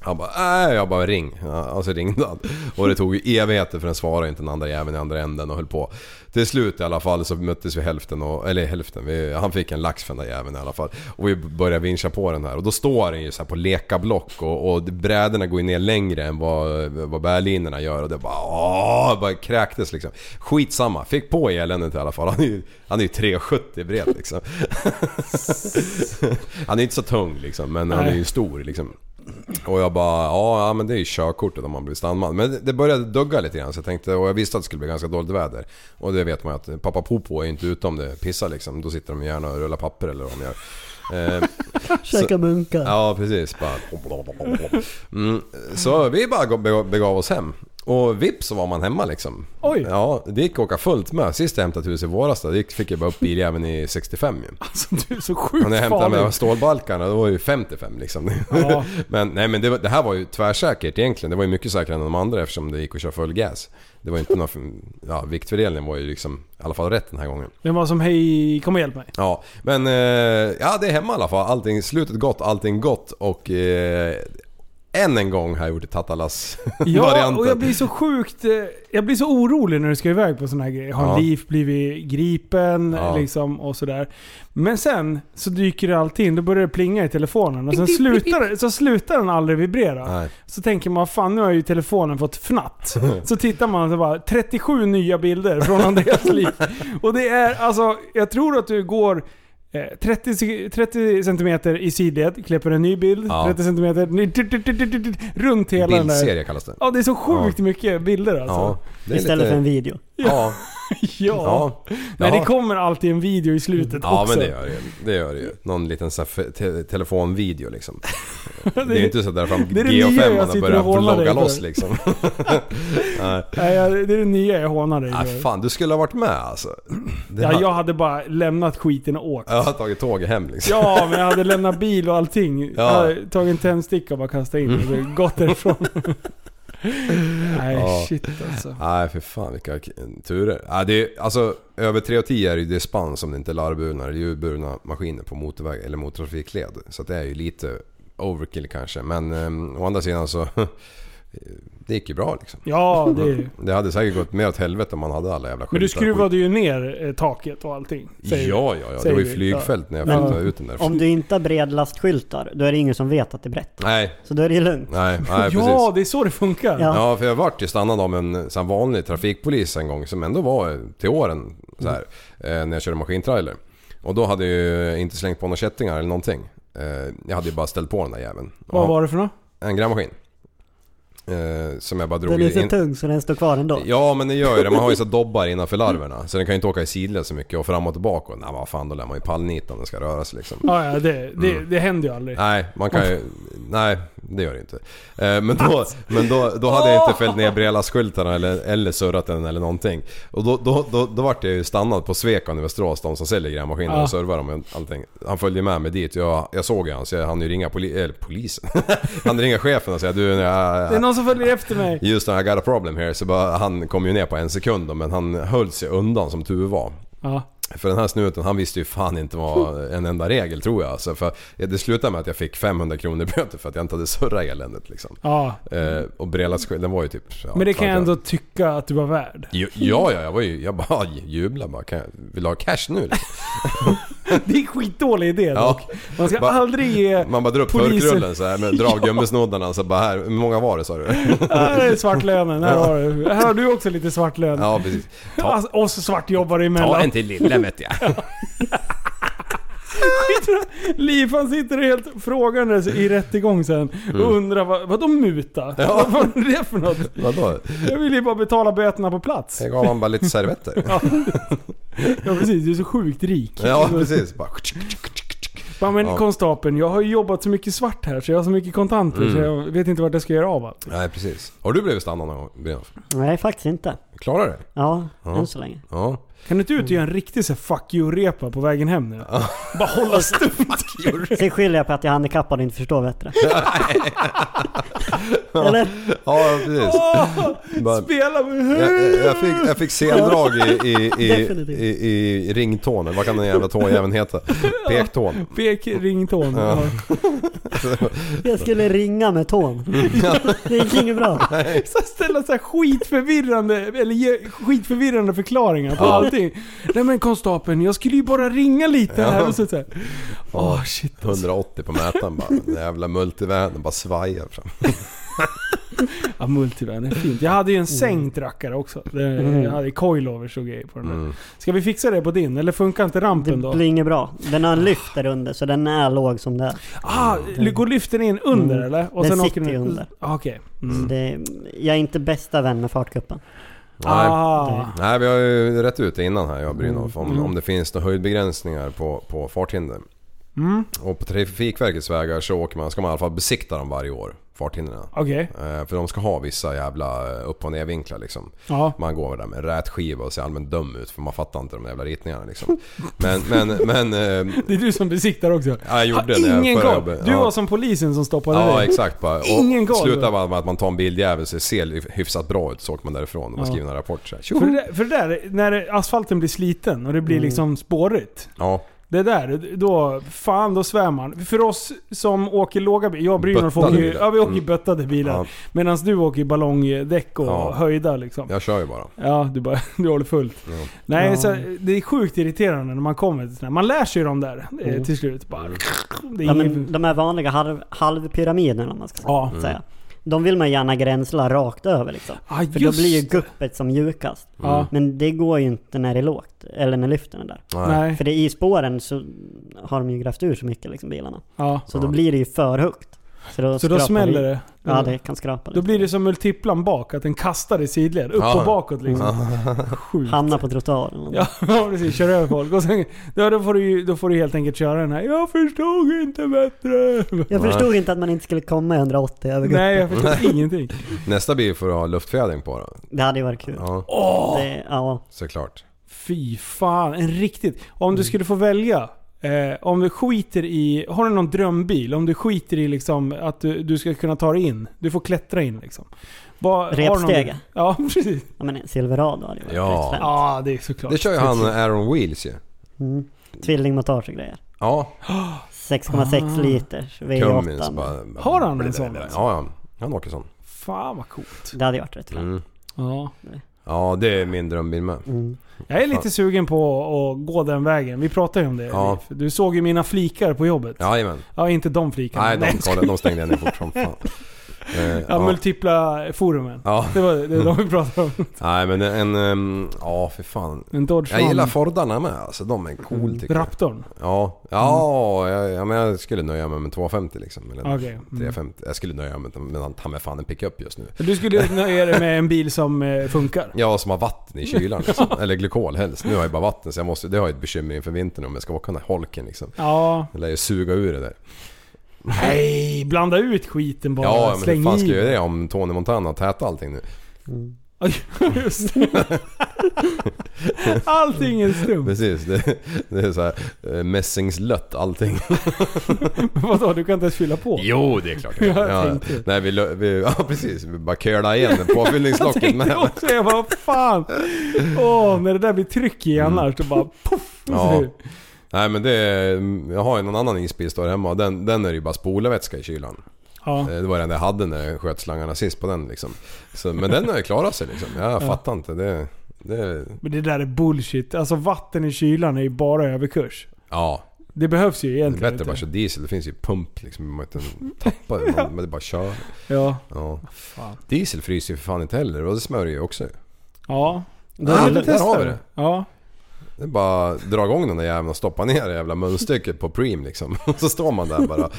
Speaker 7: Han bara nej, jag bara ring. Ja, Och så ringde han. Och det tog ju evigheter för den svarade inte den andra jäveln i andra änden och höll på. Till slut i alla fall så möttes vi hälften och, eller hälften, vi, han fick en lax för den där jäveln i alla fall. Och vi började vincha på den här och då står den ju så här på lekablock och, och bräderna går ju ner längre än vad, vad bärlinorna gör och det bara åh, bara kräktes liksom. Skitsamma, fick på eländet i alla fall. Han är ju, han är ju 3,70 bred liksom. (laughs) han är inte så tung liksom men han är ju stor liksom. Och jag bara, ja ja, men det är ju körkortet om man blir strandman. Men det- det började dugga lite grann så jag tänkte, och jag visste att det skulle bli ganska dåligt väder. Och det vet man ju att pappa Popo är ju inte ute om det pissar liksom. Då sitter de gärna och rullar papper eller vad de gör. Eh,
Speaker 8: Käka munkar.
Speaker 7: Ja precis. Bara... Mm, så vi bara gå- begav oss hem. Och vips så var man hemma liksom.
Speaker 5: Oj.
Speaker 7: Ja, det gick att åka fullt med. Sist jag hämtade ett hus i våras då, det gick- fick jag bara upp bil även i 65 ju.
Speaker 5: Alltså du är så
Speaker 7: Och när jag
Speaker 5: sjukt
Speaker 7: hämtade de här
Speaker 5: farlig.
Speaker 7: stålbalkarna då var det ju 55 liksom.
Speaker 5: Ja.
Speaker 7: (laughs) men nej men det, var, det här var ju tvärsäkert egentligen. Det var ju mycket säkrare än de andra eftersom det gick att köra full gas. Det var ju inte någon... Ja, viktfördelningen var ju liksom i alla fall rätt den här gången.
Speaker 5: Den var som hej, kom och hjälp mig.
Speaker 7: Ja, men eh, ja, det är hemma i alla fall. Allting, slutet gott, allting gott och eh, än en gång har jag gjort
Speaker 5: (laughs)
Speaker 7: Tatalas-varianten.
Speaker 5: Ja, och jag blir så sjukt... eh, Jag blir så orolig när du ska iväg på sådana här grejer. Har
Speaker 7: Ja.
Speaker 5: Liv blivit gripen
Speaker 7: Ja.
Speaker 5: liksom och sådär. Men sen så dyker det alltid in. Då börjar det plinga i telefonen och sen slutar, det- så slutar den aldrig vibrera.
Speaker 7: Nej.
Speaker 5: Så tänker man fan nu har ju telefonen fått
Speaker 7: (laughs)
Speaker 5: fnatt. Så tittar man och så bara 37 nya bilder från Andreas liv. Och det är alltså, jag tror att du går eh, 30, se- 30 centimeter i sidled, klipper en ny bild,
Speaker 7: Ja.
Speaker 5: 30 centimeter, ny- tut, tut, tut, tut, tut, runt hela den där.
Speaker 7: Bildserie kallas det.
Speaker 5: Ja, det är så sjukt mycket bilder alltså.
Speaker 7: Ja, det är
Speaker 8: Istället
Speaker 7: lite-
Speaker 8: för en video.
Speaker 7: Ja,
Speaker 5: (laughs) Ja.
Speaker 7: ja.
Speaker 5: Nej,
Speaker 7: Ja.
Speaker 5: det kommer alltid en video i slutet
Speaker 7: Ja
Speaker 5: också.
Speaker 7: men det gör det ju. Det gör det ju. Någon liten så här fe- te- telefonvideo liksom.
Speaker 5: (laughs)
Speaker 7: Det är ju inte så där fram
Speaker 5: det är det nya jag
Speaker 7: GH5
Speaker 5: sitter
Speaker 7: har
Speaker 5: och
Speaker 7: börjat
Speaker 5: håller dig
Speaker 7: vlogga
Speaker 5: för. (laughs)
Speaker 7: loss liksom.
Speaker 5: Nej, jag- det är det nya jag hånar dig
Speaker 7: Ah,
Speaker 5: för.
Speaker 7: fan, du skulle ha varit
Speaker 5: (clears throat)
Speaker 7: med alltså. Det
Speaker 5: Ja,
Speaker 7: ha-
Speaker 5: jag hade bara lämnat skiten och åkt.
Speaker 7: jag har tagit tåget hem liksom.
Speaker 5: (laughs) Ja, men jag hade lämnat bil och allting. Jag
Speaker 7: Ja.
Speaker 5: hade tagit en tändsticka och bara kastat in och gått
Speaker 7: (laughs)
Speaker 5: därifrån. Nej,
Speaker 7: Ja.
Speaker 5: shit alltså.
Speaker 7: Nej för fan vilka k- turer. Nej, det är, alltså, över 3,10 är det ju dispens om det inte är larvburna eller djurburna maskiner på motorväg eller motortrafikled. Så att det är ju lite overkill kanske. Men eh, å andra sidan så... (laughs) det gick ju bra liksom.
Speaker 5: Ja, det är ju.
Speaker 7: (laughs) Det hade säkert gått mer åt helvete om man hade alla jävla
Speaker 5: Men du
Speaker 7: skyltar och skit.
Speaker 5: skruvade ju ner eh, taket och allting. säger du.
Speaker 7: Ja, ja, ja. Det
Speaker 5: säger
Speaker 7: var ju
Speaker 5: vi.
Speaker 7: flygfält när jag
Speaker 8: Ja.
Speaker 7: flyttade ut den där.
Speaker 8: Om du inte har bredlastskyltar, då är det ingen som vet att det är brett.
Speaker 7: Nej,
Speaker 8: Så då är det ju lugnt.
Speaker 7: nej, nej precis.
Speaker 5: ja, det är så det funkar.
Speaker 8: Ja.
Speaker 7: Ja, för jag vart ju stannad av en sån här vanlig trafikpolis en gång som ändå var eh, till åren så här, eh, när jag körde maskintrailer. Och då hade jag ju inte slängt på några kättingar eller någonting. Eh, Jag hade ju bara ställt på den där jäveln.
Speaker 5: Vad
Speaker 7: Ja,
Speaker 5: var det för något?
Speaker 7: En grävmaskin. Eh, Som jag bara drog
Speaker 8: Den är så
Speaker 7: in.
Speaker 8: tung så den står kvar ändå.
Speaker 7: Ja men det gör ju det. Man har ju så dobbar innanför larverna. Så den kan ju inte åka i sidled så mycket och fram och tillbaka. Och, nej vad fan då lär man ju pallnita om den ska röra sig liksom.
Speaker 5: Ja, ja det, det, det händer ju aldrig.
Speaker 7: Nej, man kan ju... Nej, det gör det inte. Eh, Men då, men då, då hade jag inte fällt ner Brela-skyltarna eller, eller surrat den eller någonting. Och då, då, då, då vart jag ju stannad på Svekan i Västerås, de som säljer grävmaskiner
Speaker 5: Ja.
Speaker 7: och servar dem och allting. Han följde med mig dit. Jag, jag såg ju han så jag hann ju ringa poli, eller, polisen. (laughs) han ringa chefen och säga du...
Speaker 5: Det är
Speaker 7: Jag,
Speaker 5: någon som följer efter mig.
Speaker 7: just när I got a problem here. Så bara, han kom ju ner på en sekund då, men han höll sig undan som tur var.
Speaker 5: Ja.
Speaker 7: För den här snuten han visste ju fan inte vad en enda regel tror jag. Alltså, för det slutade med att jag fick 500 kronor i böter för att jag inte hade surrat eländet liksom.
Speaker 5: ja.
Speaker 7: Eh, och Brelas den var ju typ... Ja,
Speaker 5: Men det kan jag
Speaker 7: fan,
Speaker 5: ändå tycka att du var
Speaker 7: (laughs)
Speaker 5: värd.
Speaker 7: Jo- Ja, ja, jag var ju... Jag bara (laughs) jublade bara. Kan jag, vill du ha cash nu? liksom?
Speaker 5: Det är en skitdålig idé
Speaker 7: Ja.
Speaker 5: dock. Man ska
Speaker 7: Bara-
Speaker 5: aldrig ge...
Speaker 7: Man bara drar upp
Speaker 5: Polisen.
Speaker 7: förkrullen så här med drar av gummisnoddarna så bara här, hur många var det sa du?
Speaker 5: (laughs)
Speaker 7: (laughs)
Speaker 5: Här är svartlönen, här har du. Här har du också lite svartlön.
Speaker 7: Ja precis. Ta,
Speaker 5: Alltså, och så svartjobbare emellan.
Speaker 7: ta
Speaker 5: (laughs)
Speaker 7: en till lille vet jag.
Speaker 5: Liv han sitter helt frågandes i rättegång sen och undrar vad, vadå muta?
Speaker 7: Mm. Ja.
Speaker 5: (laughs) Vad var det för något?
Speaker 7: Vadå?
Speaker 5: Jag vill ju bara betala böterna på plats.
Speaker 7: Jag gav han bara lite servetter.
Speaker 5: Ja precis, du är så sjukt rik.
Speaker 7: Ja precis. Bara,
Speaker 5: Ja, men
Speaker 7: Ja.
Speaker 5: konstapeln, jag har ju jobbat så mycket svart här så jag har så mycket kontanter så
Speaker 7: Mm.
Speaker 5: jag vet inte vart jag ska göra av allt.
Speaker 7: nej precis. Har du blivit stannad någon gång Brynolf?
Speaker 8: Nej, faktiskt inte.
Speaker 7: Klarar du det?
Speaker 8: Ja, än så länge.
Speaker 7: Ja.
Speaker 5: Kan du inte
Speaker 7: Mm.
Speaker 5: ut och göra en riktig så här, fuck you-repa på vägen hem nu? Bara
Speaker 7: (laughs)
Speaker 5: hålla stumt. (laughs)
Speaker 8: Sen skyller jag på att jag är handikappad och inte förstår bättre. Eller?
Speaker 7: Ja, precis. Bara,
Speaker 5: Spela med huvudet.
Speaker 7: jag, jag- jag, fick, jag fick sendrag i, i, i,
Speaker 8: Definitivt.
Speaker 7: i, i ringtånen. Vad kan den jävla tåjäveln (laughs) heta? Pektån.
Speaker 5: Pek rington. Ja.
Speaker 8: Jag skulle ringa med tån. (laughs) Det gick inget bra.
Speaker 5: Så ställa så här skitförvirrande, eller ge skitförvirrande förklaringar på
Speaker 7: Ja.
Speaker 5: allting. Nej men konstapeln, jag skulle ju bara ringa lite här
Speaker 7: Ja.
Speaker 5: och så, så här. Åh shit.
Speaker 7: 180 på mätaren bara. Den jävla multivanen bara svajar fram.
Speaker 5: Ja, multivän är fint. Jag hade ju
Speaker 7: Mm.
Speaker 5: en sänkt rackare också. Det- Jag hade coilovers och grejer på
Speaker 7: Mm.
Speaker 5: den där. Ska vi fixa det på din? Eller funkar inte
Speaker 8: Det
Speaker 5: rampen då?
Speaker 8: blir inget bra. Den har en lyft där under så den är låg som det är.
Speaker 5: Ah, går lyften in under
Speaker 8: Mm.
Speaker 5: eller? Och
Speaker 8: Den
Speaker 5: sen åker
Speaker 8: sitter
Speaker 5: den
Speaker 8: ju under.
Speaker 5: Ah, Okej. Mm.
Speaker 8: Så det, jag är inte bästa vän med fartkuppen.
Speaker 7: Nej.
Speaker 5: Ah.
Speaker 7: Nej, vi har ju rätt ut det innan här jag och Brynolf. Om, om det finns några höjdbegränsningar på, på farthinder. Och på Trafikverkets vägar så åker man, ska man i alla fall besikta dem varje år, farthindren.
Speaker 5: Okej.
Speaker 7: Eh, För de ska ha vissa jävla eh, upp och nervinklar liksom.
Speaker 5: Ja.
Speaker 7: Man går där med en rätskiva och ser allmänt dum ut för man fattar inte de jävla ritningarna liksom. Men, men, men... eh,
Speaker 5: Det är du som besiktar också.
Speaker 7: Ja, jag gjorde
Speaker 5: Har
Speaker 7: det när jag
Speaker 5: ingen
Speaker 7: förra
Speaker 5: koll.
Speaker 7: jobbet.
Speaker 5: Du
Speaker 7: Ja.
Speaker 5: var som polisen som stoppade
Speaker 7: Ja
Speaker 5: dig.
Speaker 7: exakt bara. Och
Speaker 5: Ingen koll.
Speaker 7: Slutar bara med att man tar en bildjävel så det ser hyfsat bra ut så åker man därifrån och man
Speaker 5: Ja.
Speaker 7: skriver en rapport så här.
Speaker 5: För
Speaker 7: Tjoho! Mm.
Speaker 5: det, där, för det där, när asfalten blir sliten och det blir liksom spårigt.
Speaker 7: Ja,
Speaker 5: Det där, då, fan då svär man. För oss som åker låga bilar, jag och Brynolf
Speaker 7: Böttade
Speaker 5: åker ju,
Speaker 7: bilar.
Speaker 5: ja, vi åker
Speaker 7: Mm.
Speaker 5: böttade bilar.
Speaker 7: Ja.
Speaker 5: Medan du åker i ballongdäck och
Speaker 7: Ja.
Speaker 5: höjda liksom. Ja,
Speaker 7: Jag kör ju bara.
Speaker 5: du, bara, (laughs) du håller fullt.
Speaker 7: Ja.
Speaker 5: Nej,
Speaker 8: Ja.
Speaker 5: så, det är sjukt irriterande när man kommer till sådana Man lär sig ju dem där eh,
Speaker 7: Mm.
Speaker 5: till slut. Bara, det är
Speaker 8: Ja,
Speaker 5: ingen-
Speaker 8: men de här vanliga halv, halvpyramiderna om man ska
Speaker 5: Ja.
Speaker 8: säga. De vill man gärna gränsla rakt över liksom.
Speaker 5: Ah,
Speaker 8: För då
Speaker 5: just
Speaker 8: blir ju
Speaker 5: det.
Speaker 8: guppet som mjukast.
Speaker 5: Ja.
Speaker 8: Men det går ju inte när det är lågt. Eller när lyften är där.
Speaker 5: Nej.
Speaker 8: För det är i spåren så har de ju grävt ur så mycket liksom bilarna.
Speaker 5: Ja.
Speaker 8: Så då blir det ju för högt. Så då,
Speaker 5: Så då
Speaker 8: skrapar
Speaker 5: smäller det.
Speaker 8: Ja, det kan skrapa
Speaker 5: Då
Speaker 8: lite.
Speaker 5: blir det som multiplan bak, att den kastar i sidled. Upp
Speaker 7: Ja.
Speaker 5: och bakåt liksom. Sjukt.
Speaker 8: Hamnar på trottoaren.
Speaker 5: Ja, (laughs) ja, precis. Kör över folk. Och sen, ja, då, får du, ju- då får du helt enkelt köra den här. Jag förstod inte
Speaker 7: (laughs)
Speaker 5: bättre.
Speaker 8: Jag
Speaker 7: Nej.
Speaker 8: förstod inte att man inte skulle komma i 180 över guppet.
Speaker 5: Nej, jag förstod ingenting.
Speaker 7: Nästa bil får du ha luftfjädring på då.
Speaker 8: Det hade ju varit kul.
Speaker 7: Ja,
Speaker 8: Det, ja.
Speaker 7: såklart.
Speaker 5: Fy fan, en riktigt. Om
Speaker 7: Mm.
Speaker 5: du skulle få välja. Eh, om du skiter i... Har du någon drömbil? Om du skiter i liksom att du, du ska kunna ta dig in. Du får klättra in liksom. Vad- har du någon-
Speaker 8: Repstege.
Speaker 5: Ja, (laughs) precis.
Speaker 8: ja, men en Silverado hade ju varit
Speaker 7: Ja.
Speaker 8: rätt fränt.
Speaker 5: Ja, det är såklart.
Speaker 7: Det kör ju han eh, Aaron Wheels ju.
Speaker 8: Mm. Tvillingmotor och grejer.
Speaker 7: Ja,
Speaker 8: 6,6
Speaker 5: Ah.
Speaker 8: liters
Speaker 7: Cummins
Speaker 8: V8.
Speaker 7: bara...
Speaker 5: Har han en sån?
Speaker 7: Ja, ja. Han åker sån.
Speaker 5: Fan vad coolt.
Speaker 8: Det hade ju varit rätt fränt.
Speaker 7: Mm.
Speaker 5: Ja.
Speaker 7: Ja, det är min drömbil med.
Speaker 8: Mm.
Speaker 5: Jag är lite sugen på att gå den vägen. Vi pratade ju om det.
Speaker 7: Ja.
Speaker 5: Liv. Du såg ju mina flikar på jobbet. Ja,
Speaker 7: Jajamän.
Speaker 5: inte de flikarna.
Speaker 7: Nej,
Speaker 5: Nej,
Speaker 7: de, kollade, de stängde jag ner fort som fan. Eh,
Speaker 5: (laughs) Ja, multipla forumen.
Speaker 7: Ja,
Speaker 5: Det var det var de vi pratade om.
Speaker 7: nej men en... ehm, Ja, för fan.
Speaker 5: En Dodge
Speaker 7: Jag gillar
Speaker 5: Ram.
Speaker 7: Fordarna med alltså, de är cool tycker jag.
Speaker 5: Raptorn.
Speaker 7: Ja, ja, jag, ja men jag skulle nöja mig med 250 liksom. Eller en
Speaker 5: Mm. Okej, mm.
Speaker 7: 350. Jag skulle nöja mig med, med ta med fan en pickup just nu.
Speaker 5: Du skulle nöja dig med en bil som eh, funkar.
Speaker 7: Ja, som har vatten
Speaker 5: (laughs)
Speaker 7: i kylan liksom. Eller glykol helst. Nu har jag bara vatten så jag måste, det har jag ett bekymmer inför vintern om jag ska åka den här holken liksom.
Speaker 5: Ja.
Speaker 7: Jag lär ju suga ur det där.
Speaker 5: Nej, blanda ut skiten bara.
Speaker 7: Ja, men
Speaker 5: Släng
Speaker 7: hur fan ska
Speaker 5: i.
Speaker 7: jag göra det om Tony Montana har tätat allting nu?
Speaker 5: Oj, Just det.
Speaker 7: (laughs)
Speaker 5: Allting är stumt.
Speaker 7: Precis, det, det är såhär eh, mässingslött allting.
Speaker 5: Vadå, du kan inte ens fylla på?
Speaker 7: Jo, det är klart
Speaker 5: Ja, jag
Speaker 7: ja,
Speaker 5: tänkte.
Speaker 7: Nej, vi, lö- vi, ja precis. Vi bara curlade igen
Speaker 5: Jag (laughs)
Speaker 7: påfyllningslocket
Speaker 5: tänkte
Speaker 7: med.
Speaker 5: också, jag bara fan. Åh, när det där blir tryck i annars, då bara poff.
Speaker 7: Mm. Ja. Nej men det, är- jag har ju någon annan isbil står hemma och den, den är det ju bara spolarvätska i kylan.
Speaker 5: Ja.
Speaker 7: Eh, Det var den jag hade när jag sköt slangarna sist på den liksom. Så, men den har ju klarat sig liksom. Jag fattar inte. Det, det,
Speaker 5: Men det där är bullshit. Alltså vatten i kylan är ju bara överkurs.
Speaker 7: ja,
Speaker 5: Det behövs ju
Speaker 7: det är
Speaker 5: egentligen
Speaker 7: bättre att bara köra diesel. Det finns ju pump liksom. Man inte tappa det. Man- Men det är bara att köra.
Speaker 5: Ja.
Speaker 7: Ja. Diesel fryser ju för fan inte heller och det smörjer ju också.
Speaker 5: Ja.
Speaker 8: Då
Speaker 7: Ja,
Speaker 8: är
Speaker 7: det
Speaker 8: det,
Speaker 7: där har vi det.
Speaker 5: Ja.
Speaker 7: Det är bara att dra igång den där jäveln och stoppa ner det jävla munstycket på Preem liksom. (laughs) Och så står man där bara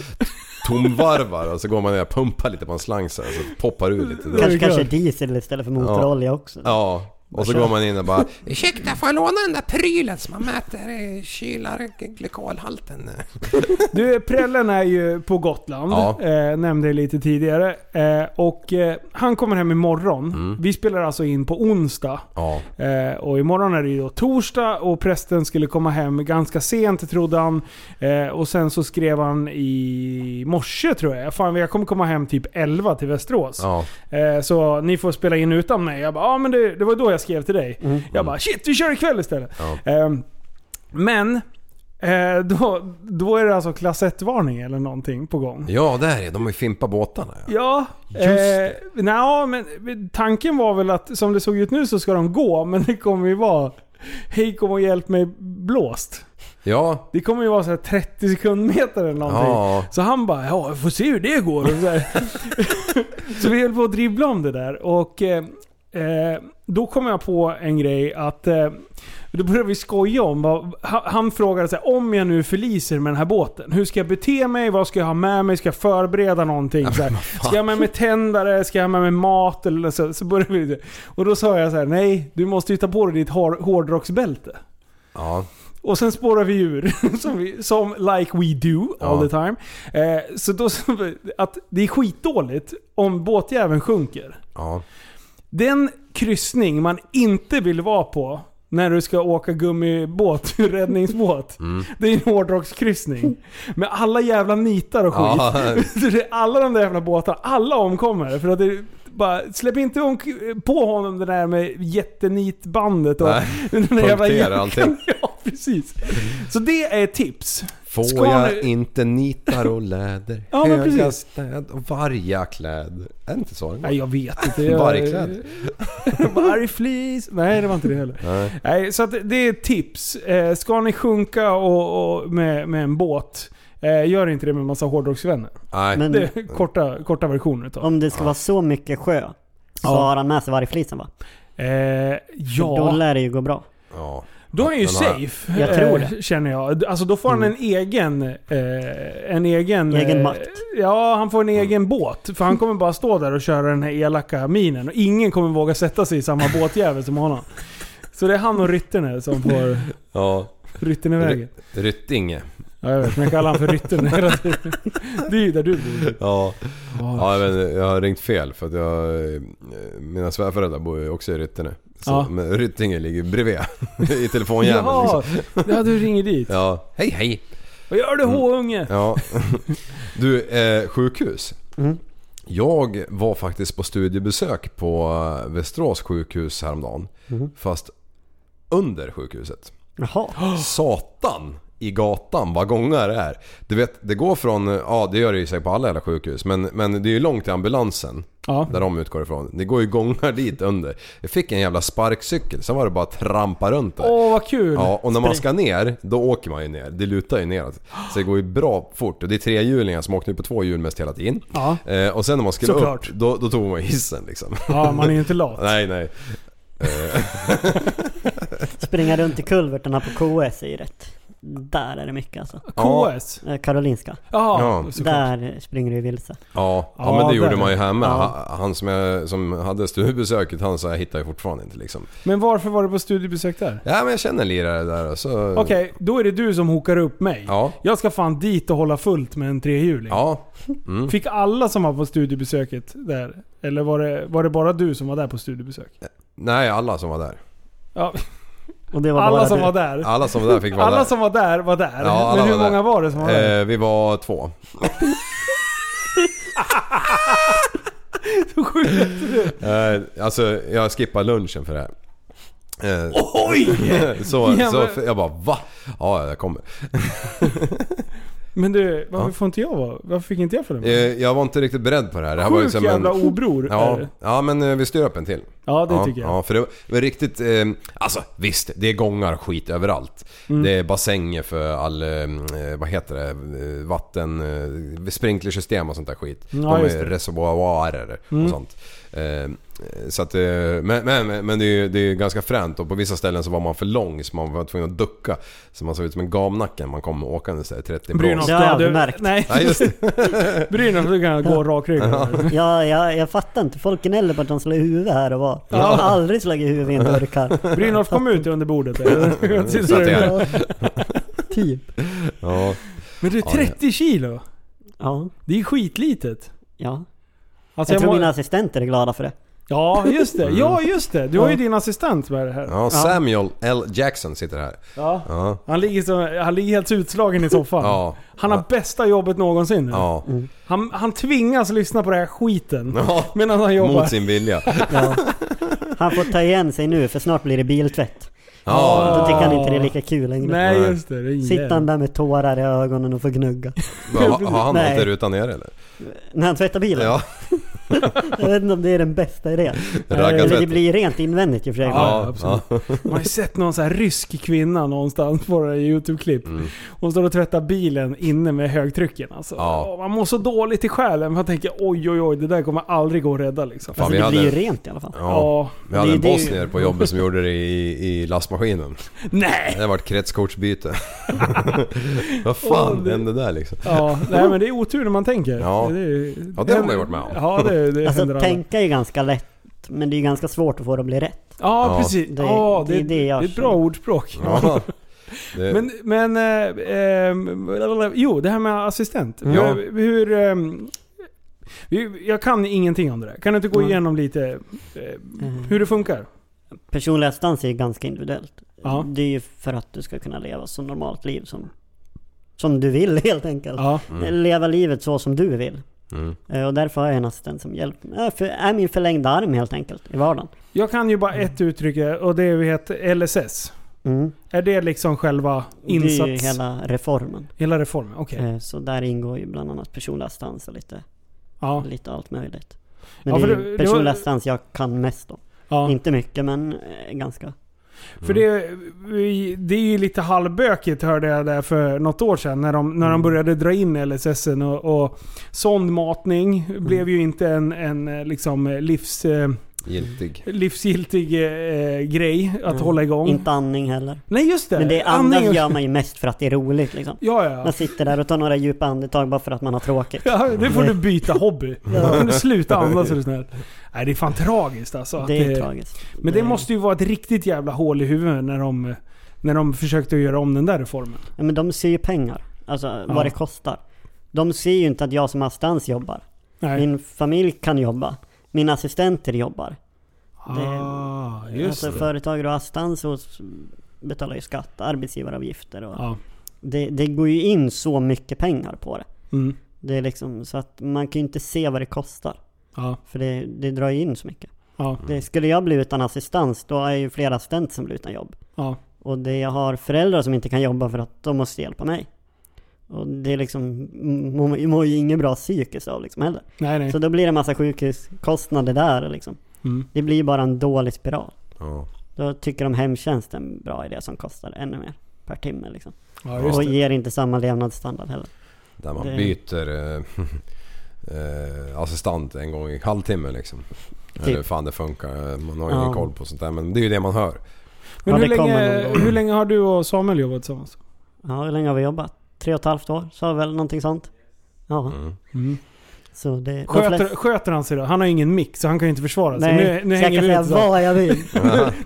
Speaker 7: tomvarvar och så går man ner och pumpar lite på en slang så här, så poppar ur lite. Det-
Speaker 8: kanske, kanske diesel istället för motorolja också.
Speaker 7: Ja, och så går man in och bara
Speaker 9: (laughs) Ursäkta, får jag låna den där prylen som man mäter eh, kylar glykolhalten? eh,
Speaker 5: Du, prällen är ju på Gotland.
Speaker 7: Ja.
Speaker 5: Eh, nämnde jag lite tidigare. Eh, och eh, han kommer hem imorgon.
Speaker 7: Mm.
Speaker 5: Vi spelar alltså in på onsdag.
Speaker 7: Ja,
Speaker 5: Eh, och imorgon är det ju då torsdag och prästen skulle komma hem ganska sent trodde han. Eh, och sen så skrev han i morse tror jag. Fan jag kommer komma hem typ 11 till Västerås.
Speaker 7: ja,
Speaker 5: Eh, så ni får spela in utan mig. Jag bara, ja ah, men det, det var då jag skrev till dig. Jag bara, shit vi kör ikväll istället.
Speaker 7: Mm. Ja.
Speaker 5: Eh, men eh, då, då är det alltså klass 1-varning eller någonting på gång.
Speaker 7: ja där är de har ju fimpat båtarna. Ja.
Speaker 5: Ja,
Speaker 7: Just det.
Speaker 5: eh, nja, men tanken var väl att som det såg ut nu så ska de gå, men det kommer ju vara Hej kom och hjälp mig blåst.
Speaker 7: ja.
Speaker 5: Det kommer ju vara så här 30 sekundmeter eller någonting.
Speaker 7: Ja.
Speaker 5: Så han bara ja, jag får se hur det går. Och så, här. (laughs) så vi höll på att dribbla om det där och eh, eh, då kom jag på en grej att eh, då började vi skoja om vad, han- han frågade så här, om jag nu förliser med den här båten, hur ska jag bete mig? Vad ska jag ha med mig? Ska jag förbereda någonting? Så här, ska jag ha med mig tändare? Ska jag ha med mig mat? Eller så, så började vi, och då sa jag så här: nej, du måste ju ta på dig ditt hår, hårdrocksbälte.
Speaker 7: ja.
Speaker 5: Och sen spårar vi ur, (laughs) som, vi, som like we do all
Speaker 7: Ja.
Speaker 5: the time. Eh, så då, att det är skitdåligt om båtjäveln sjunker.
Speaker 7: ja.
Speaker 5: Den kryssning man inte vill vara på när du ska åka gummibåt, (laughs) räddningsbåt.
Speaker 7: Mm.
Speaker 5: Det är en hårdrockskryssning. Med alla jävla nitar och skit.
Speaker 7: Ja.
Speaker 5: Så (laughs) det är alla de där jävla båtarna, alla omkommer. För att det är bara, släpp inte om, på honom det där med jättenitbandet och
Speaker 7: (laughs) Nej,
Speaker 5: den där
Speaker 7: punktera allting.
Speaker 5: (laughs) Ja, precis. Så det är ett tips.
Speaker 7: Får
Speaker 5: Ska
Speaker 7: jag
Speaker 5: nu-
Speaker 7: inte nitar och läder,
Speaker 5: Ja, men
Speaker 7: höga
Speaker 5: precis.
Speaker 7: städ och vargakläder. Är det inte så den går?
Speaker 5: Nej, jag vet inte.
Speaker 7: (laughs)
Speaker 5: Jag...
Speaker 7: Vargkläder.
Speaker 5: Vargflis. Nej, det var inte det heller.
Speaker 7: Nej.
Speaker 5: Nej, så att det är ett tips. Eh, ska ni sjunka och, och med, med en båt, eh, gör inte det med massa hårdrocksvänner.
Speaker 7: Nej.
Speaker 8: Men-
Speaker 5: Det är korta, korta versioner utav.
Speaker 8: Om det ska vara så mycket sjö så
Speaker 5: Ja.
Speaker 8: har han med sig vargflisen va?
Speaker 5: Eh,
Speaker 8: Ja. Då
Speaker 5: ja,
Speaker 8: lär det ju gå bra.
Speaker 7: Ja.
Speaker 5: då är han ju
Speaker 7: Den Mm. har-
Speaker 5: safe.
Speaker 8: Jag tror
Speaker 5: eh,
Speaker 8: det.
Speaker 5: Känner jag. Alltså då får han en egen... Eh, en egen...
Speaker 8: Egen
Speaker 5: eh,
Speaker 8: makt.
Speaker 5: Ja, han får
Speaker 7: Mm.
Speaker 5: en egen båt. För han kommer bara stå där och köra den här elaka minen. Och ingen kommer våga sätta sig i
Speaker 7: (laughs)
Speaker 5: samma båtjävel som honom. Så det är han och ryttern här som får
Speaker 7: ja.
Speaker 5: ryttern i vägen.
Speaker 7: Ryttinge.
Speaker 5: Ja, jag vet. Men jag kallar han för
Speaker 7: (laughs)
Speaker 5: ryttern hela tiden. Det är ju där du bor.
Speaker 7: Ja.
Speaker 5: Ja.
Speaker 7: Ja, jag, vet, inte, jag har ringt fel för att jag... eh, Mina svärföräldrar bor ju också i Ryttene. Så,
Speaker 5: Ja.
Speaker 7: Men Ryttinge ligger bredvid (laughs) i telefonjäveln. liksom. Mm.
Speaker 5: Ja, ja, du ringer dit.
Speaker 7: ja. Hej hej!
Speaker 5: Vad gör du H-unge?
Speaker 7: Ja. (laughs) Du, eh, sjukhus. Jag var faktiskt på studiebesök på eh, Västerås sjukhus häromdagen. Fast under sjukhuset.
Speaker 8: Jaha.
Speaker 7: Satan i gatan vad gångar det är. Du vet, det går från, ja det gör det ju säkert på alla jävla sjukhus, men, men det är ju långt till ambulansen.
Speaker 5: Ja.
Speaker 7: Där de utgår ifrån. Det går ju gångar dit under. Jag fick en jävla sparkcykel, sen var det bara att trampa runt där.
Speaker 5: Åh, vad kul.
Speaker 7: Ja, och när man ska ner, då åker man ju ner. Det lutar ju neråt. Så det går ju bra fort. Och det är trehjulingar som åker nu på två hjul mest hela tiden.
Speaker 5: Ja.
Speaker 7: Eh, och sen när man skulle
Speaker 5: Såklart.
Speaker 7: upp, då, då tog man hissen liksom.
Speaker 5: Ja, man är ju inte lat.
Speaker 7: (laughs) nej, nej.
Speaker 8: Springa runt i kulverterna på KS är ju rätt. Där är det mycket alltså.
Speaker 5: KS?
Speaker 8: Eh, Karolinska.
Speaker 5: Ja,
Speaker 7: Ja.
Speaker 5: såklart.
Speaker 8: Där springer du vilse.
Speaker 7: Ja, ja,
Speaker 5: Ja,
Speaker 7: men det
Speaker 5: där.
Speaker 7: gjorde man ju här med.
Speaker 8: Ja.
Speaker 7: Ha- Han som, jag, som hade studiebesöket, han sa jag hittar ju fortfarande inte liksom.
Speaker 5: Men varför var du på studiebesök där?
Speaker 7: Ja men jag känner en lirare där och så...
Speaker 5: Okej, då är det du som hokar upp mig.
Speaker 7: Ja.
Speaker 5: Jag ska fan dit och hålla fullt med en trehjuling.
Speaker 7: Ja,
Speaker 5: Fick alla som var på studiebesöket där? Eller var det, var det bara du som var där på studiebesök?
Speaker 7: nej alla som var där.
Speaker 5: Ja,
Speaker 8: Och det var
Speaker 5: alla
Speaker 8: bara
Speaker 5: som
Speaker 8: du.
Speaker 5: var där.
Speaker 7: Alla som var där fick vara
Speaker 5: alla
Speaker 7: där.
Speaker 5: som var där var där.
Speaker 7: Ja, alla
Speaker 5: Men hur
Speaker 7: var där.
Speaker 5: många var det som var där?
Speaker 7: Eh, vi
Speaker 5: (laughs)
Speaker 7: var två. Eh, alltså jag skippar lunchen för det här. Eh, Oj! (laughs) så,
Speaker 5: Ja,
Speaker 7: så
Speaker 5: men-
Speaker 7: jag bara va? Ja, jag kommer.
Speaker 5: Men du, varför får inte jag vara? Varför fick inte jag följa
Speaker 7: Eh,
Speaker 5: med?
Speaker 7: jag var inte riktigt beredd på det här. Det här var ju
Speaker 5: Sjuk
Speaker 7: som en-
Speaker 5: jävla obror är
Speaker 7: Ja,
Speaker 5: det.
Speaker 7: ja men eh, vi styr upp en till.
Speaker 5: Ja, det
Speaker 7: ja,
Speaker 5: tycker jag.
Speaker 7: Ja, för det var- det var riktigt... Eh, alltså visst, det är gångar och skit överallt.
Speaker 5: Mm.
Speaker 7: Det är bassänger för all... Eh, vad heter det? Eh, Vatten... Eh, sprinklersystem och sånt där skit. De
Speaker 5: Mm, just
Speaker 7: är
Speaker 5: det. Mm.
Speaker 7: reservoarer och sånt. Eh, så att, eh, men, men, men- men det är ju det är ju ganska fränt och på vissa ställen så var man för lång så man var tvungen att ducka. Så man såg ut som en gamnacke när man kom åkandes där i 30
Speaker 5: Brynolf,
Speaker 7: blås.
Speaker 8: Det har
Speaker 5: du-
Speaker 8: jag
Speaker 5: du,
Speaker 8: märkt.
Speaker 5: Nej,
Speaker 7: Ja,
Speaker 5: (laughs)
Speaker 7: just det.
Speaker 5: Brynolf du kan gå rakryggad.
Speaker 8: Ja, jag, jag fattar inte. Folk gnäller på att de slår i huvudet här och var. Jag har aldrig slagit huvudet i en burkar.
Speaker 5: Brynolf kom ut under
Speaker 7: (laughs)
Speaker 5: bordet. eller? Jag (laughs) sitter
Speaker 7: Så att det
Speaker 5: där.
Speaker 7: är-
Speaker 8: Typ.
Speaker 7: Ja.
Speaker 5: Men du, 30 kilo?
Speaker 8: Ja.
Speaker 5: Det är skitlitet.
Speaker 8: Ja.
Speaker 5: Alltså
Speaker 8: Jag
Speaker 5: jag
Speaker 8: tror
Speaker 5: må-
Speaker 8: mina assistenter är glada för det.
Speaker 5: Ja, just det. Ja, just det. Du har ju din assistent med det här.
Speaker 7: Mm. ja, Samuel L. Jackson sitter här.
Speaker 5: Ja.
Speaker 7: Ja.
Speaker 5: Han, ligger så, han ligger helt utslagen i soffan.
Speaker 7: Ja.
Speaker 5: Han har bästa jobbet någonsin. nu.
Speaker 7: Ja.
Speaker 5: Han, han tvingas lyssna på den här skiten.
Speaker 7: Ja.
Speaker 5: Medan han jobbar.
Speaker 7: Mot sin vilja.
Speaker 8: Ja. Han får ta igen sig nu för snart blir det biltvätt.
Speaker 7: Ja,
Speaker 8: Då tycker han inte det är lika kul längre.
Speaker 5: Nej,
Speaker 7: Nej.
Speaker 5: just det. det är ingen
Speaker 8: Sitter han
Speaker 5: jävel.
Speaker 8: där med tårar i ögonen och får gnugga.
Speaker 7: har, har han
Speaker 8: Nej.
Speaker 7: alltid rutan ner eller?
Speaker 8: När han tvättar bilen.
Speaker 7: Ja,
Speaker 8: Jag vet inte om det är den bästa idén. Eller det
Speaker 7: raggartvätt.
Speaker 8: blir rent invändigt i och för sig.
Speaker 5: Ja,
Speaker 7: Ja,
Speaker 5: absolut.
Speaker 7: ja,
Speaker 5: Man har ju sett någon så här rysk kvinna någonstans på det här YouTube-klipp.
Speaker 7: Mm.
Speaker 5: Hon står och tvättar bilen inne med högtrycken. Alltså.
Speaker 7: Ja.
Speaker 5: Åh, Man mår så dåligt i själen. Man tänker oj, oj, oj. Det där kommer aldrig gå att rädda liksom. Alltså,
Speaker 7: Fan,
Speaker 8: alltså,
Speaker 7: vi
Speaker 8: det blir ju
Speaker 7: hade,
Speaker 8: rent i alla fall. Alltså,
Speaker 7: ja, vi hade
Speaker 8: Det-
Speaker 7: en
Speaker 8: det är ju-
Speaker 7: bosnier på jobbet som gjorde det i, i lastmaskinen.
Speaker 5: Nej!
Speaker 7: Det vart kretskortsbyte. Vad fan
Speaker 5: Åh, det-
Speaker 7: hände där liksom?
Speaker 5: Ja, nej men det är otur när man tänker.
Speaker 7: Ja.
Speaker 5: är-
Speaker 7: Ja, det har man ju varit med om.
Speaker 5: Ja, det, det händer
Speaker 8: Alltså
Speaker 5: alla.
Speaker 8: tänka är ganska lätt. Men det är ganska svårt att få det att bli rätt.
Speaker 5: Ja,
Speaker 7: Ja.
Speaker 5: precis.
Speaker 8: Det-
Speaker 5: ja, det,
Speaker 8: det är det jag
Speaker 5: det är ett bra
Speaker 8: känner.
Speaker 5: ordspråk.
Speaker 7: Ja. Det,
Speaker 5: Men, men eh, eh, jo, det här med assistent.
Speaker 8: Mm.
Speaker 7: Ja.
Speaker 5: Hur, hur, ehm, vi- jag kan ingenting om det där. Kan du inte gå
Speaker 8: Mm.
Speaker 5: igenom lite eh, hur det funkar?
Speaker 8: Eh, Personlig assistans är ju ganska individuellt.
Speaker 5: Ja.
Speaker 8: Det är ju för att du ska kunna leva så normalt liv som, som du vill (laughs) helt enkelt. Eh,
Speaker 5: Ja.
Speaker 8: Leva livet så som du vill.
Speaker 7: mm.
Speaker 8: Eh, Och därför har jag en assistent som hjälper mig. Eh, för- är min förlängda arm helt enkelt i vardagen.
Speaker 5: Jag kan ju bara ett uttryck och det är- heter LSS.
Speaker 8: Mm.
Speaker 5: Är det liksom själva insats?
Speaker 8: Det är ju hela reformen.
Speaker 5: hela reformen? Okej.
Speaker 8: Eh, Så där ingår ju bland annat personlig assistans och lite,
Speaker 5: Ja.
Speaker 8: lite allt möjligt. Men
Speaker 5: Ja,
Speaker 8: det
Speaker 5: för
Speaker 8: är
Speaker 5: det- det var-
Speaker 8: ju personlig assistans jag kan mest om.
Speaker 5: ja.
Speaker 8: Inte mycket men eh, ganska.
Speaker 5: För
Speaker 7: Mm.
Speaker 5: det, vi- det är ju lite halvbökigt hörde jag där för något år sedan när de,
Speaker 8: Mm.
Speaker 5: när de började dra in LSS och, och sondmatning blev
Speaker 8: Mm.
Speaker 5: ju inte en, en eh, liksom eh, livs, eh,
Speaker 7: Giltig.
Speaker 5: livsgiltig eh, grej att hålla igång.
Speaker 8: Mm. Inte andning heller.
Speaker 5: Nej just det!
Speaker 8: Men det
Speaker 5: Andning-
Speaker 8: andas gör man ju mest för att det är roligt liksom.
Speaker 5: (laughs) Ja, ja.
Speaker 8: Man sitter där och tar några djupa andetag bara för att man har tråkigt.
Speaker 5: ja. Nu får du byta
Speaker 8: (laughs)
Speaker 5: hobby. Nu får du sluta andas är du snäll. Nej det är fan tragiskt alltså. att
Speaker 8: Det är tragiskt. Eh,
Speaker 5: Men det måste ju vara ett riktigt jävla hål i huvudet när de, när de försökte göra om den där reformen.
Speaker 8: Ja, men de ser ju pengar. Alltså
Speaker 5: Ja.
Speaker 8: vad det kostar. De ser ju inte att jag som assistans jobbar.
Speaker 5: Nej.
Speaker 8: Min familj kan jobba. Mina assistenter jobbar.
Speaker 5: ah, just
Speaker 8: alltså
Speaker 5: det.
Speaker 8: företagare och assistans och s- betalar ju skatt, arbetsgivaravgifter och...
Speaker 5: Ja.
Speaker 8: Det, det går ju in så mycket pengar på det.
Speaker 5: Mm.
Speaker 8: Det är liksom så att man kan ju inte se vad det kostar.
Speaker 5: Ja.
Speaker 8: För det, det drar ju in så mycket.
Speaker 5: Ja.
Speaker 8: Det, skulle jag bli utan assistans, då är ju flera assistenter som blir utan jobb.
Speaker 5: Ja.
Speaker 8: Och det, jag har föräldrar som inte kan jobba för att de måste hjälpa mig. Och det är liksom, man mår ju inget bra psykiskt av liksom heller.
Speaker 5: Nej, nej.
Speaker 8: Så då blir det en massa sjukhuskostnader där liksom.
Speaker 5: Mm.
Speaker 8: Det blir ju bara en dålig spiral.
Speaker 7: Ja.
Speaker 8: Då tycker de hemtjänst är en bra idé som kostar ännu mer per timme liksom.
Speaker 5: Ja, just
Speaker 8: Och
Speaker 5: det.
Speaker 8: ger inte samma levnadsstandard heller.
Speaker 7: Där man
Speaker 8: Det-
Speaker 7: byter eh, (laughs) eh, assistent en gång i halvtimmen liksom. Eller hur fan det funkar. Man har ju ingen
Speaker 8: Typ. Ja.
Speaker 7: koll på sånt där men det är ju det man hör.
Speaker 5: Men
Speaker 8: Ja,
Speaker 5: hur
Speaker 8: det kommer
Speaker 5: länge,
Speaker 8: någon gång.
Speaker 5: hur länge har du och Samuel jobbat tillsammans?
Speaker 8: Ja, hur länge har vi jobbat? Tre och ett halvt år, sa jag väl någonting sånt? Ja,
Speaker 7: Mm.
Speaker 5: Mm.
Speaker 8: så det... de
Speaker 5: Sköter,
Speaker 8: flesta-
Speaker 5: sköter han sig då? Han har ingen mick så han kan ju inte försvara sig.
Speaker 8: Nej,
Speaker 5: nu, nu
Speaker 8: så jag
Speaker 5: hänger
Speaker 8: kan
Speaker 5: vi
Speaker 8: säga
Speaker 5: ut så.
Speaker 8: vad
Speaker 5: (laughs)
Speaker 8: jag vill.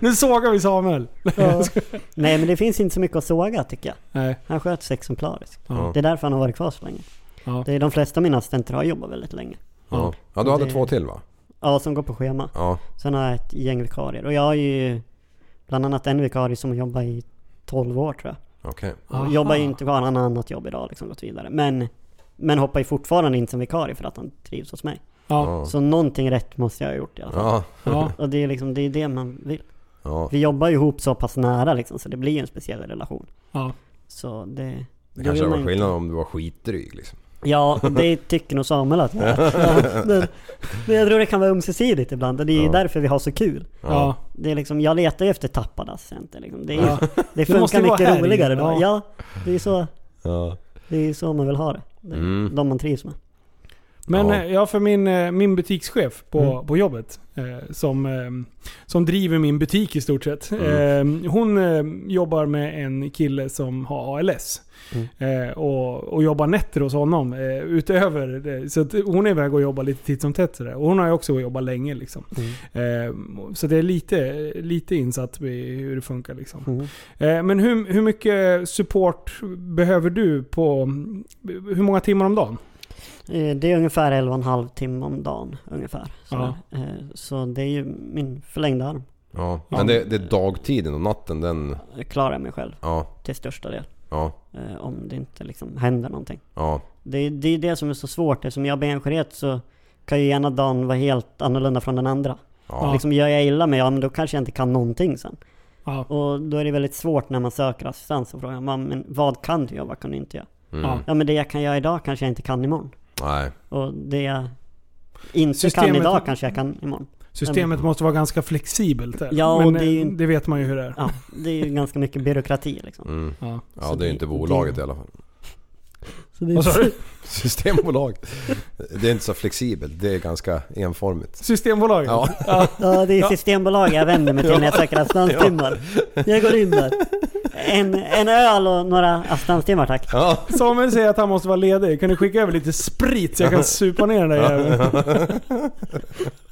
Speaker 5: Nu sågar vi Samuel.
Speaker 8: Ja. Nej, men det finns inte så mycket att såga tycker jag.
Speaker 5: Nej.
Speaker 8: Han sköter sig exemplariskt.
Speaker 5: Ja.
Speaker 8: Det är därför han har varit kvar så länge.
Speaker 5: Ja.
Speaker 8: Det är de flesta av mina assistenter har jobbat väldigt länge.
Speaker 7: Ja. ja du hade
Speaker 8: Det-
Speaker 7: två till va?
Speaker 8: Ja, som går på schema.
Speaker 7: Ja.
Speaker 8: Sen har jag ett gäng vikarier. Och jag har ju bland annat en vikarie som har jobbat i 12 år tror jag.
Speaker 7: Okej.
Speaker 5: Aha.
Speaker 8: Och jobbar ju inte kvar, han har annat jobb idag liksom, gått vidare. Men, men hoppar ju fortfarande in som vikarie för att han trivs hos mig.
Speaker 5: Ja.
Speaker 7: Ja.
Speaker 8: Så någonting rätt måste jag ha gjort i alla fall.
Speaker 7: Ja.
Speaker 5: Ja.
Speaker 8: Och det är liksom, det är det man vill.
Speaker 7: ja.
Speaker 8: Vi jobbar ju ihop så pass nära liksom, så det blir ju en speciell relation.
Speaker 5: Ja.
Speaker 8: Så det...
Speaker 7: Det
Speaker 8: då
Speaker 7: kanske var
Speaker 8: vill man ju
Speaker 7: skillnad om du var skitdryg liksom.
Speaker 8: inte-
Speaker 7: (laughs)
Speaker 8: Ja, det tycker nog Samuel att jag är. ja, men, men jag tror det kan vara ömsesidigt ibland och det är ju
Speaker 7: Ja.
Speaker 8: därför vi har så kul.
Speaker 5: Ja.
Speaker 8: Det är liksom, jag letar ju efter tappade assistenter liksom. Det, är,
Speaker 5: Ja.
Speaker 8: det
Speaker 5: måste
Speaker 8: funkar
Speaker 5: ju vara
Speaker 8: mycket
Speaker 5: här i-
Speaker 8: roligare då.
Speaker 5: ja.
Speaker 8: Ja. det är ju så,
Speaker 7: Ja.
Speaker 8: det är ju så man vill ha det. det är
Speaker 7: Mm.
Speaker 8: De man trivs med.
Speaker 5: Men
Speaker 7: Ja.
Speaker 5: ja, ja för min, eh, min butikschef på, på jobbet eh, som, eh, som driver min butik i stort sett. Eh, hon eh, jobbar med en kille som har ALS. Eh, och, och jobbar nätter hos honom eh, utöver det. Så att hon är iväg och jobbar lite titt som tätt. sådär. Och hon har ju också jobbat länge. Liksom. Eh, så det är lite, lite insatt i hur det funkar. Liksom.
Speaker 8: Mm.
Speaker 5: Eh, men hur, hur mycket support behöver du på... Hur många timmar om dagen?
Speaker 8: Eh, Det är ungefär 11,5 timme om dagen ungefär. Så,
Speaker 5: Ja.
Speaker 8: eh, så det är ju min förlängda arm.
Speaker 7: Ja. Men det, det är dagtiden och natten den...
Speaker 8: Jag klarar mig själv
Speaker 7: Ja.
Speaker 8: till största del.
Speaker 7: Ja.
Speaker 8: Eh, Om det inte liksom händer någonting.
Speaker 7: Ja.
Speaker 8: Det, är- det är det som är så svårt. Eftersom jag har benskörhet så kan ju ena dagen vara helt annorlunda från den andra.
Speaker 7: Ja.
Speaker 8: Liksom gör jag illa mig, ja men då kanske jag inte kan någonting sen.
Speaker 5: Ja.
Speaker 8: Och då är det väldigt svårt när man söker assistans och frågar "Mam, men vad kan du göra, vad kan du inte göra?
Speaker 5: Ja.
Speaker 8: Ja men det jag kan göra idag kanske jag inte kan imorgon.
Speaker 7: Mm. Nej.
Speaker 8: Och det jag inte
Speaker 5: Systemet-
Speaker 8: kan idag kanske jag kan imorgon.
Speaker 5: Systemet måste vara ganska flexibelt. Där.
Speaker 8: Ja, och
Speaker 5: men
Speaker 8: det
Speaker 5: det,
Speaker 8: är ju-
Speaker 5: det vet man ju hur det är.
Speaker 8: Ja, det är ju ganska mycket byråkrati liksom.
Speaker 7: Mm.
Speaker 5: Ja.
Speaker 7: Ja
Speaker 8: Så
Speaker 7: det är
Speaker 8: det-
Speaker 7: inte bolaget
Speaker 8: det-
Speaker 7: i alla fall. (laughs)
Speaker 8: Så det
Speaker 5: Vad sa du?
Speaker 7: Systembolaget. Det är inte så flexibelt. Det är ganska enformigt.
Speaker 5: Systembolaget?
Speaker 7: Ja.
Speaker 8: Ja, det är Systembolaget jag vänder mig till när jag söker assistanstimmar. Jag går in där. En, en öl och några assistanstimmar tack.
Speaker 7: Ja.
Speaker 5: Samuel säger att han måste vara ledig. Kan du skicka över lite sprit så jag kan supa ner den där jäveln?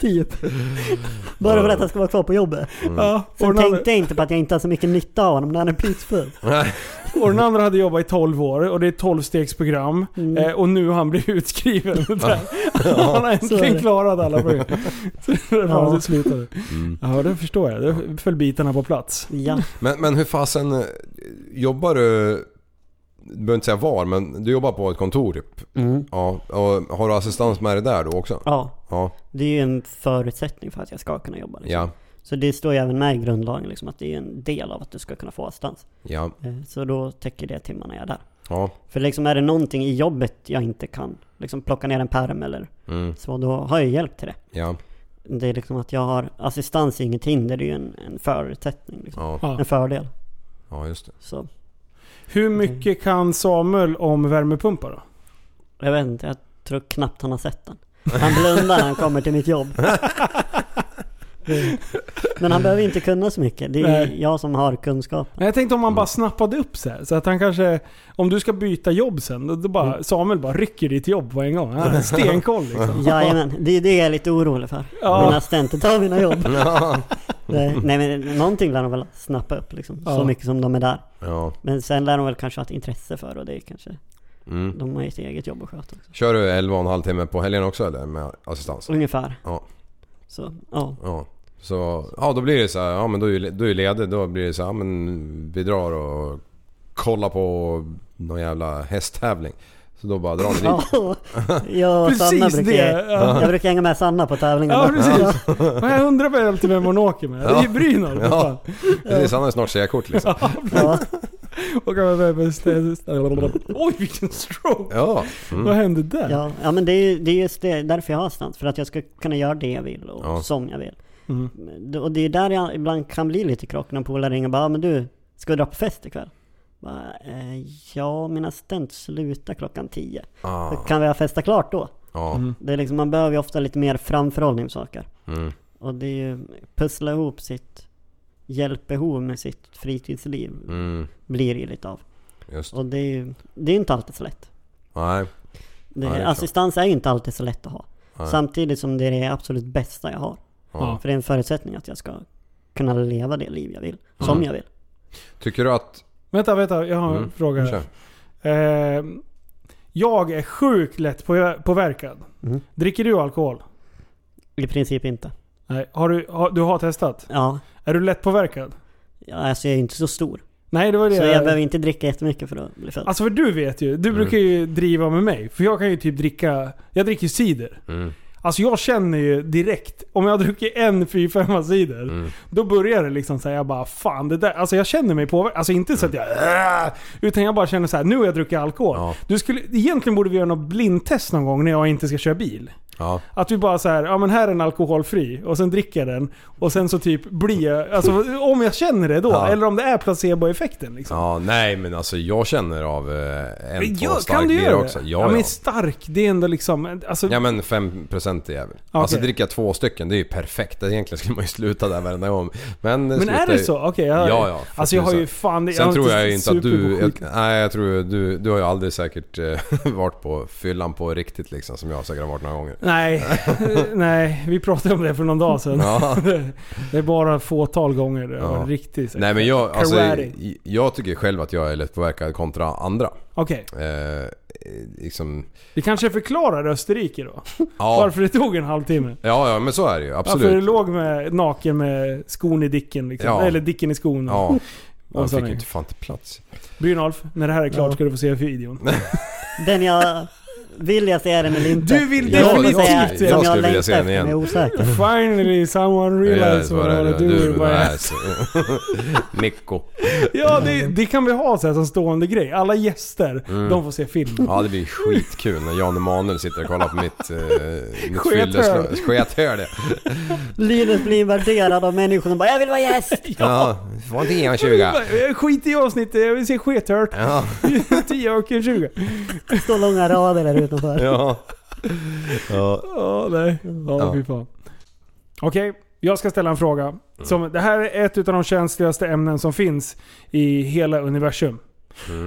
Speaker 8: Typ. Mm. Bara för att jag ska vara kvar på jobbet.
Speaker 5: Ja. Och,
Speaker 8: Sen
Speaker 5: den andra,
Speaker 8: tänkte jag inte på att jag inte har så mycket nytta av honom när han är pissfull.
Speaker 5: och den andra hade jobbat i 12 år och det är ett 12-stegsprogram. Eh, och nu har han blivit utskriven.
Speaker 8: (laughs)
Speaker 5: Där. Han har
Speaker 8: Mm. är
Speaker 5: äntligen
Speaker 8: det.
Speaker 5: klarat alla
Speaker 8: (laughs)
Speaker 5: program. Så det var
Speaker 8: Ja.
Speaker 5: ja. slutade.
Speaker 7: Mm.
Speaker 5: Ja, det förstår jag. Då föll bitarna på plats.
Speaker 8: Ja,
Speaker 7: Men, men hur fasen eh, jobbar du? Du behöver inte säga var men du jobbar på ett kontor typ.
Speaker 8: Mm.
Speaker 7: Ja, och har du assistans med dig där då också?
Speaker 8: ja.
Speaker 7: Ja.
Speaker 8: Det är ju en förutsättning för att jag ska kunna jobba. Liksom.
Speaker 7: Ja.
Speaker 8: Så det står ju även med i grundlagen liksom, att det är en del av att du ska kunna få assistans.
Speaker 7: Ja.
Speaker 8: Eh, Så då täcker det timmarna jag är där.
Speaker 7: Ja.
Speaker 8: För liksom är det någonting i jobbet jag inte kan, liksom plocka ner en pärm eller
Speaker 7: Mm.
Speaker 8: så, då har jag hjälp till det.
Speaker 7: Ja.
Speaker 8: Det är liksom att jag har assistans är inget hinder, det är ju en, en förutsättning. Liksom.
Speaker 7: Ja.
Speaker 5: Ja.
Speaker 8: En fördel.
Speaker 7: Ja, just det.
Speaker 8: Så
Speaker 5: Hur
Speaker 8: Mm.
Speaker 5: mycket kan Samuel om värmepumpar
Speaker 8: (laughs)
Speaker 5: då?
Speaker 8: jag vet inte, jag tror knappt han har sett den. Han blundar när han kommer till mitt jobb. Det- Men han behöver inte kunna så mycket. Det är
Speaker 5: Nej.
Speaker 8: jag som har kunskap.
Speaker 5: Men jag tänkte om man
Speaker 8: Mm.
Speaker 5: bara snappade upp så här, så att han kanske... Om du ska byta jobb sen, då, då bara,
Speaker 8: Mm.
Speaker 5: Samuel bara rycker ditt jobb på en gång. Han har stenkoll
Speaker 8: (laughs)
Speaker 5: liksom.
Speaker 8: Jajamän, det är det jag är lite orolig för.
Speaker 5: Ja.
Speaker 8: Mina studenter tar mina jobb. Nej, nej men någonting lär de väl snappa upp liksom.
Speaker 5: Ja.
Speaker 8: Så mycket som de är där.
Speaker 7: (laughs) Ja.
Speaker 8: Men sen lär de väl kanske ha ett intresse för och det är kanske...
Speaker 7: Mm.
Speaker 8: De har ju ett eget jobb att sköta också.
Speaker 7: Kör du 11 och en halv timme på helgen också eller med assistans?
Speaker 8: Ungefär.
Speaker 7: Ja.
Speaker 8: Så, ja.
Speaker 7: Ja. Så, ja då blir det så här, ja men då är ju- då är ju ledig. Då blir det så här, ja, men vi drar och kollar på någon jävla hästtävling. Så då bara drar ni (laughs) dit.
Speaker 8: Ja,
Speaker 5: (laughs)
Speaker 8: jag och
Speaker 5: Precis
Speaker 8: Sanna brukar,
Speaker 5: det, ja.
Speaker 8: jag brukar hänga med Sanna på tävlingarna.
Speaker 5: (laughs) Ja precis. Och jag undrar väl alltid vem hon åker med. Det är ju Brynolf. vad fan.
Speaker 7: Ja. Precis, han har ju snart C-kort liksom.
Speaker 8: Ja.
Speaker 5: Och kan man väl beställa- Oj vilken stroke!
Speaker 7: Ja.
Speaker 5: Vad hände där?
Speaker 8: Mm. Ja, ja men det är, ju- det är just det, därför jag har assistans. För att jag ska kunna göra det jag vill och
Speaker 7: Ja.
Speaker 8: som jag vill.
Speaker 5: Mm.
Speaker 8: Det- Och det är där jag ibland kan bli lite krock när en polare ringer och bara "Ah, men du, ska du dra på fest ikväll? Bara, eh, ja, min assistent slutar klockan 10.
Speaker 7: Ah.
Speaker 8: Kan vi ha festa klart då?
Speaker 7: Ja.
Speaker 5: Mm.
Speaker 8: Det är liksom, man behöver ju ofta lite mer framförhållning med saker.
Speaker 7: Mm.
Speaker 8: Och det är ju pussla ihop sitt hjälpbehov med sitt fritidsliv
Speaker 7: Mm.
Speaker 8: blir det ju lite av.
Speaker 7: Just det.
Speaker 8: Och det är ju det är inte alltid så lätt.
Speaker 7: Nej.
Speaker 8: Det,
Speaker 7: Ja, det är klart.
Speaker 8: assistans är ju inte alltid så lätt att ha.
Speaker 7: Nej.
Speaker 8: Samtidigt som det är det absolut bästa jag har.
Speaker 5: Ja.
Speaker 8: För det är en förutsättning att jag ska kunna leva det liv jag vill.
Speaker 7: Mm.
Speaker 8: Som jag vill.
Speaker 7: Tycker du att...
Speaker 5: Vänta, vänta. Jag har en
Speaker 7: Mm,
Speaker 5: fråga här.
Speaker 7: Kör.
Speaker 5: Eh, jag är sjukt lätt på- påverkad.
Speaker 8: Mm.
Speaker 5: Dricker du alkohol?
Speaker 8: I princip inte.
Speaker 5: Nej. Har du, har, du har testat?
Speaker 8: Ja,
Speaker 5: Är du lätt påverkad?
Speaker 8: ja, alltså jag är ju inte så stor.
Speaker 5: Nej, det var det
Speaker 8: Så jag behöver inte dricka jättemycket för att bli full.
Speaker 5: Alltså för du vet ju, du brukar ju
Speaker 7: Mm.
Speaker 5: driva med mig. För jag kan ju typ dricka, jag dricker cider.
Speaker 7: Mm.
Speaker 5: Alltså jag känner ju direkt, om jag dricker en 4-5 cider,
Speaker 7: Mm.
Speaker 5: då börjar det liksom säga jag bara fan det där, alltså jag känner mig påverkad. Alltså inte så att jag "Åh!" Utan jag bara känner så här: nu har jag druckit alkohol.
Speaker 7: Ja.
Speaker 5: Du skulle, egentligen borde vi göra något blindtest någon gång när jag inte ska köra bil.
Speaker 7: Ja.
Speaker 5: Att vi bara så här, ja men här är en alkoholfri och sen dricker jag den och sen så typ blir jag, alltså om jag känner det då,
Speaker 7: Ja.
Speaker 5: eller om det är placeboeffekten liksom.
Speaker 7: Ja, nej men alltså jag känner av eh, en, två
Speaker 5: Ja,
Speaker 7: stark
Speaker 5: göra
Speaker 7: bier
Speaker 5: det?
Speaker 7: också.
Speaker 5: Ja,
Speaker 7: Ja, ja.
Speaker 5: men stark, det är ändå liksom... Alltså,
Speaker 7: Ja men 5% är jävel. Alltså dricka två stycken, det är ju perfekt. Egentligen skulle man ju sluta där varenda gång. Men,
Speaker 5: men är
Speaker 7: slutar
Speaker 5: det
Speaker 7: ju-
Speaker 5: så? Okej, jag,
Speaker 7: Ja, ja. för
Speaker 5: Alltså jag har ju
Speaker 7: tusan.
Speaker 5: fan... det-
Speaker 7: Sen
Speaker 5: har
Speaker 7: tror jag ju inte att du...
Speaker 5: supersjuk-
Speaker 7: Jag, nej, jag tror du... Du har ju aldrig säkert eh, (laughs) varit på fyllan på riktigt liksom som jag säkert har varit några gånger.
Speaker 5: Nej, (laughs) nej, vi pratade om det för någon dag sedan.
Speaker 7: Ja.
Speaker 5: (laughs) Det är bara fåtal gånger det har
Speaker 7: Ja.
Speaker 5: varit riktigt så här
Speaker 7: Nej men jag... Alltså,
Speaker 5: karate.
Speaker 7: jag tycker själv att jag är lättpåverkad kontra andra.
Speaker 5: Okej,
Speaker 7: Eh, eh, liksom...
Speaker 5: det kanske förklarar Österrike då.
Speaker 7: Ja.
Speaker 5: Varför det tog en halvtimme.
Speaker 7: Ja, ja men så är det ju.
Speaker 5: Varför det
Speaker 7: Absolut.
Speaker 5: låg med, naken med skon i dicken liksom.
Speaker 7: Ja.
Speaker 5: Eller dicken i skon.
Speaker 7: Ja. Man
Speaker 5: Och så
Speaker 7: fick
Speaker 5: nej.
Speaker 7: ju inte fan till plats.
Speaker 5: Brynolf, när det här är klart ska du få se videon.
Speaker 8: Den jag... Vill jag säga den eller inte?
Speaker 5: Du vill
Speaker 8: Jag vill
Speaker 5: definitivt
Speaker 8: säga
Speaker 5: se
Speaker 8: den.
Speaker 5: den.
Speaker 8: Som
Speaker 7: Jag skulle vilja
Speaker 8: längtar
Speaker 7: se den
Speaker 8: efter,
Speaker 7: igen.
Speaker 8: men Jag är osäker.
Speaker 5: Finally someone realized what I wanna do with my ass.
Speaker 7: (laughs) Mikko.
Speaker 5: (laughs) Ja, det, det kan vi ha så här som stående grej. Alla gäster, de får se filmen.
Speaker 7: Ja det blir skitkul när Jan Emanuel sitter och kollar på mitt, eh, mitt
Speaker 5: Skethöl.
Speaker 7: fylleslö. Skethöl ja.
Speaker 8: Linus blir invaderad av människor som bara 'Jag vill vara gäst!'
Speaker 7: Ja, får inte ge mig 20.
Speaker 5: Eh, Skit i avsnittet, jag vill se skethört. (laughs)
Speaker 7: Ja,
Speaker 5: 10 och 20.
Speaker 8: Står långa rader där utanför.
Speaker 7: ja. ja.
Speaker 5: Ja, nej. Ja,
Speaker 7: Ja.
Speaker 5: fy fan. Okej, jag ska ställa en fråga. Som, det här är ett av de känsligaste ämnen som finns i hela universum. Mm.